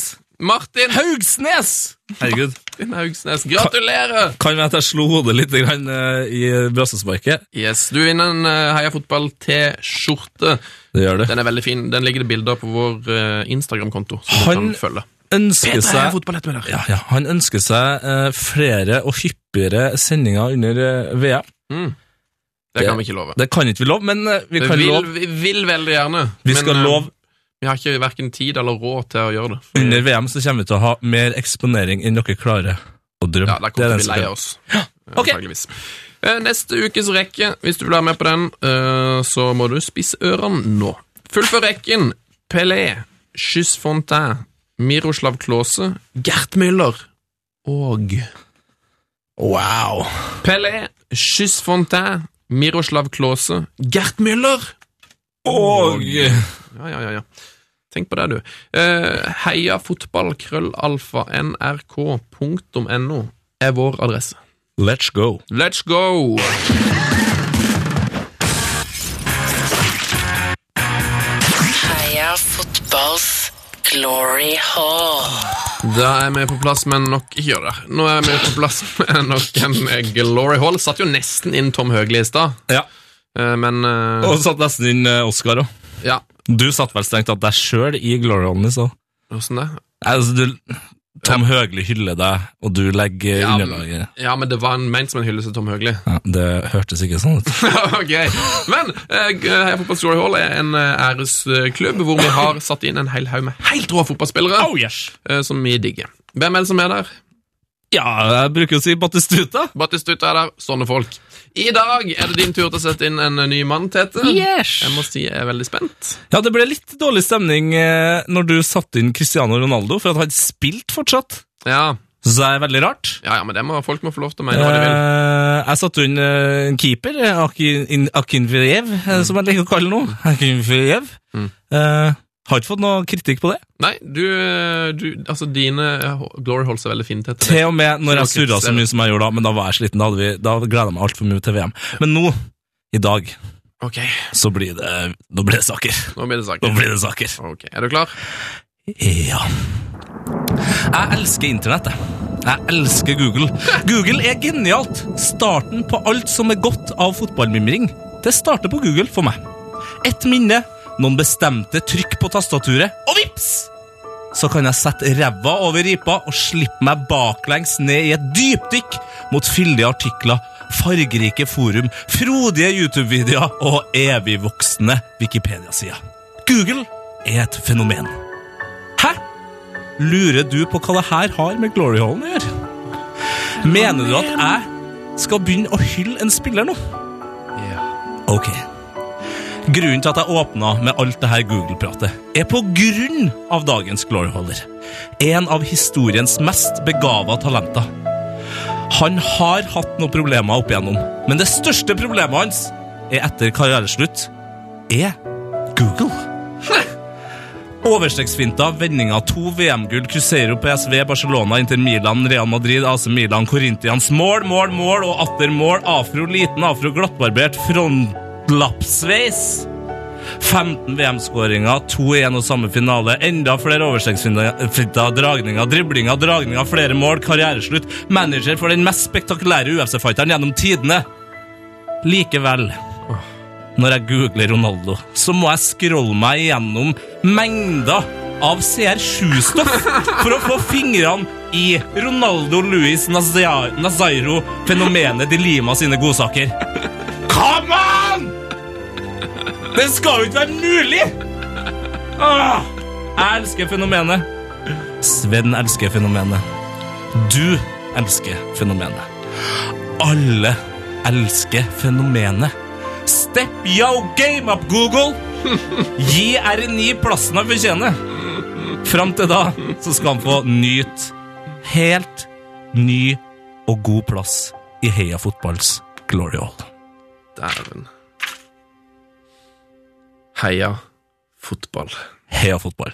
S1: Martin
S2: Haugsnes! Herregud.
S1: Martin Haugsnes, gratulerer!
S2: Kan være at jeg slo hodet litt grann, eh, i brassesparket.
S1: Yes, Du vinner en eh, Heia Fotball-T-skjorte.
S2: Det gjør det.
S1: Den er veldig fin. Den ligger det bilder på vår eh, Instagram-konto. som du
S2: Han-
S1: kan følge.
S2: Ønsker seg
S1: fotball heter
S2: ja, ja, han ønsker seg eh, flere og hyppigere sendinger under eh, VM.
S1: Det kan vi ikke love.
S2: Det kan ikke vi love, men eh, vi
S1: Det
S2: kan
S1: vil,
S2: love
S1: vi vil veldig gjerne.
S2: Vi
S1: men,
S2: skal
S1: eh,
S2: love
S1: Vi har ikke hverken tid eller råd til å gjøre det. For-
S2: under VM, så kommer vi til å ha mer eksponering enn dere klarer å drømme.
S1: Ja, Da kommer
S2: Det
S1: vi til å
S2: er den
S1: bli lei
S2: som-
S1: oss. Antageligvis. Eh, Neste ukes rekke, hvis du vil være med på den, eh, så må du spisse ørene nå. Fullfør rekken. Pelé, Skyss Fontaine, Miroslav Klause, Gert Müller og
S2: Wow!
S1: Pelé, Skyss Fontaine, Miroslav Klause, Gert Müller.
S2: Og
S1: Ja, ja, ja, ja. Tenk på det, du. Eh, heia fotball, krøllalfa, nrk.no er vår adresse.
S2: let's go.
S1: Let's go!
S11: Heia fotballs glory hall.
S1: Da er vi på plass, men nok ikke gjør det. Nå er vi på plass <laughs> med nok en Glory Hall. Satt jo nesten inn Tom Høgli i stad,
S2: Ja.
S1: eh, men eh,
S2: Og satt nesten inn eh, Oscar òg.
S1: Ja,
S2: Du satt vel strengt tatt deg sjøl i Glory Only, så.
S1: åssen det?
S2: Altså, du, Tom Høgli hyller deg, og du legger
S1: Ja, men,
S2: underlaget.
S1: ja, men det var en, ment som en hyllest til Tom Høgli. <laughs>
S2: Ja, det hørtes ikke sånn ut.
S1: ok, Men eh, Heia Fotball Glory Hall er en eh, æresklubb hvor vi har satt inn en hel haug med helt rå fotballspillere eh, som vi digger. Hvem er det som er der?
S2: Ja, jeg bruker å si Batistuta.
S1: Battistuta er der. Sånne folk. I dag er det din tur til å sette inn en ny mann, Tete. Jeg må si jeg er veldig spent.
S2: Ja, det ble litt dårlig stemning eh, når du satte inn Cristiano Ronaldo, for at han spilte fortsatt.
S1: Ja,
S2: Så det er veldig rart.
S1: Ja, ja, men det må, folk må få lov til å mene hva de vil.
S2: Eh, jeg satte inn eh, en keeper, eh, Akin- in- Akinfejev, eh, som jeg liker å kalle ham nå. Akinfejev. Eh, har ikke fått noe kritikk på det.
S1: Nei, du, du Altså, dine glory holds er veldig fine til dette.
S2: Til og med når jeg surra så mye som jeg gjorde da, men da var jeg sliten. Da, hadde vi, da gleda jeg meg altfor mye til VM. Men nå, i dag,
S1: Ok,
S2: så blir det, nå blir det saker.
S1: nå blir det
S2: Nå
S1: saker.
S2: blir det saker.
S1: Ok, Er du klar?
S2: Ja. Jeg elsker internett, jeg. Jeg elsker Google. Google er genialt. Starten på alt som er godt av fotballmimring. Det starter på Google for meg. Et minne, noen bestemte trykk på tastaturet, og vips! Så kan jeg sette ræva over ripa og slippe meg baklengs ned i et dypdykk mot fyldige artikler, fargerike forum, frodige YouTube-videoer og evigvoksende Wikipedia-sider. Google er et fenomen. Hæ? Lurer du på hva det her har med Glory Hallen å gjøre? Mener du at jeg skal begynne å hylle en spiller nå?
S1: Ja.
S2: Ok. Grunnen til at jeg åpna med alt det her Google-pratet, er på grunn av dagens gloryholder. En av historiens mest begava talenter. Han har hatt noen problemer opp igjennom, men det største problemet hans er etter karriereslutt er Google. Overstreksfinter, vendinger, to VM-gull, Cruzeiro, PSV, Barcelona, Inter Milan, Real Madrid, AC Milan, Korintians, mål, mål, mål og atter mål, afro, liten afro, glattbarbert, frontlappsveis. 15 VM-skåringer, 2-1 og samme finale, enda flere overstreksfinter, dragninger, driblinger, dragninger, flere mål, karriereslutt, manager for den mest spektakulære UFC-fighteren gjennom tidene. Likevel når jeg googler Ronaldo, så må jeg scrolle meg gjennom mengder av CR7-stoff for å få fingrene i Ronaldo Luis Nazia- Nazairo, fenomenet de Lima sine godsaker. Come on! Det skal jo ikke være mulig! Åh, jeg elsker fenomenet. Sven elsker fenomenet. Du elsker fenomenet. Alle elsker fenomenet. Step yo game up, Google! Gi R9 plassen han fortjener. Fram til da så skal han få nyte helt ny og god plass i Heia Fotballs glory hall.
S1: Dæven. Heia fotball.
S2: Heia fotball.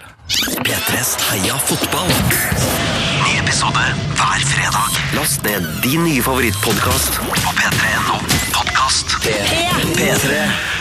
S12: P3s Heia fotball. Ny episode hver fredag. Last ned din nye favorittpodkast på p3.no podkast. P3. P3.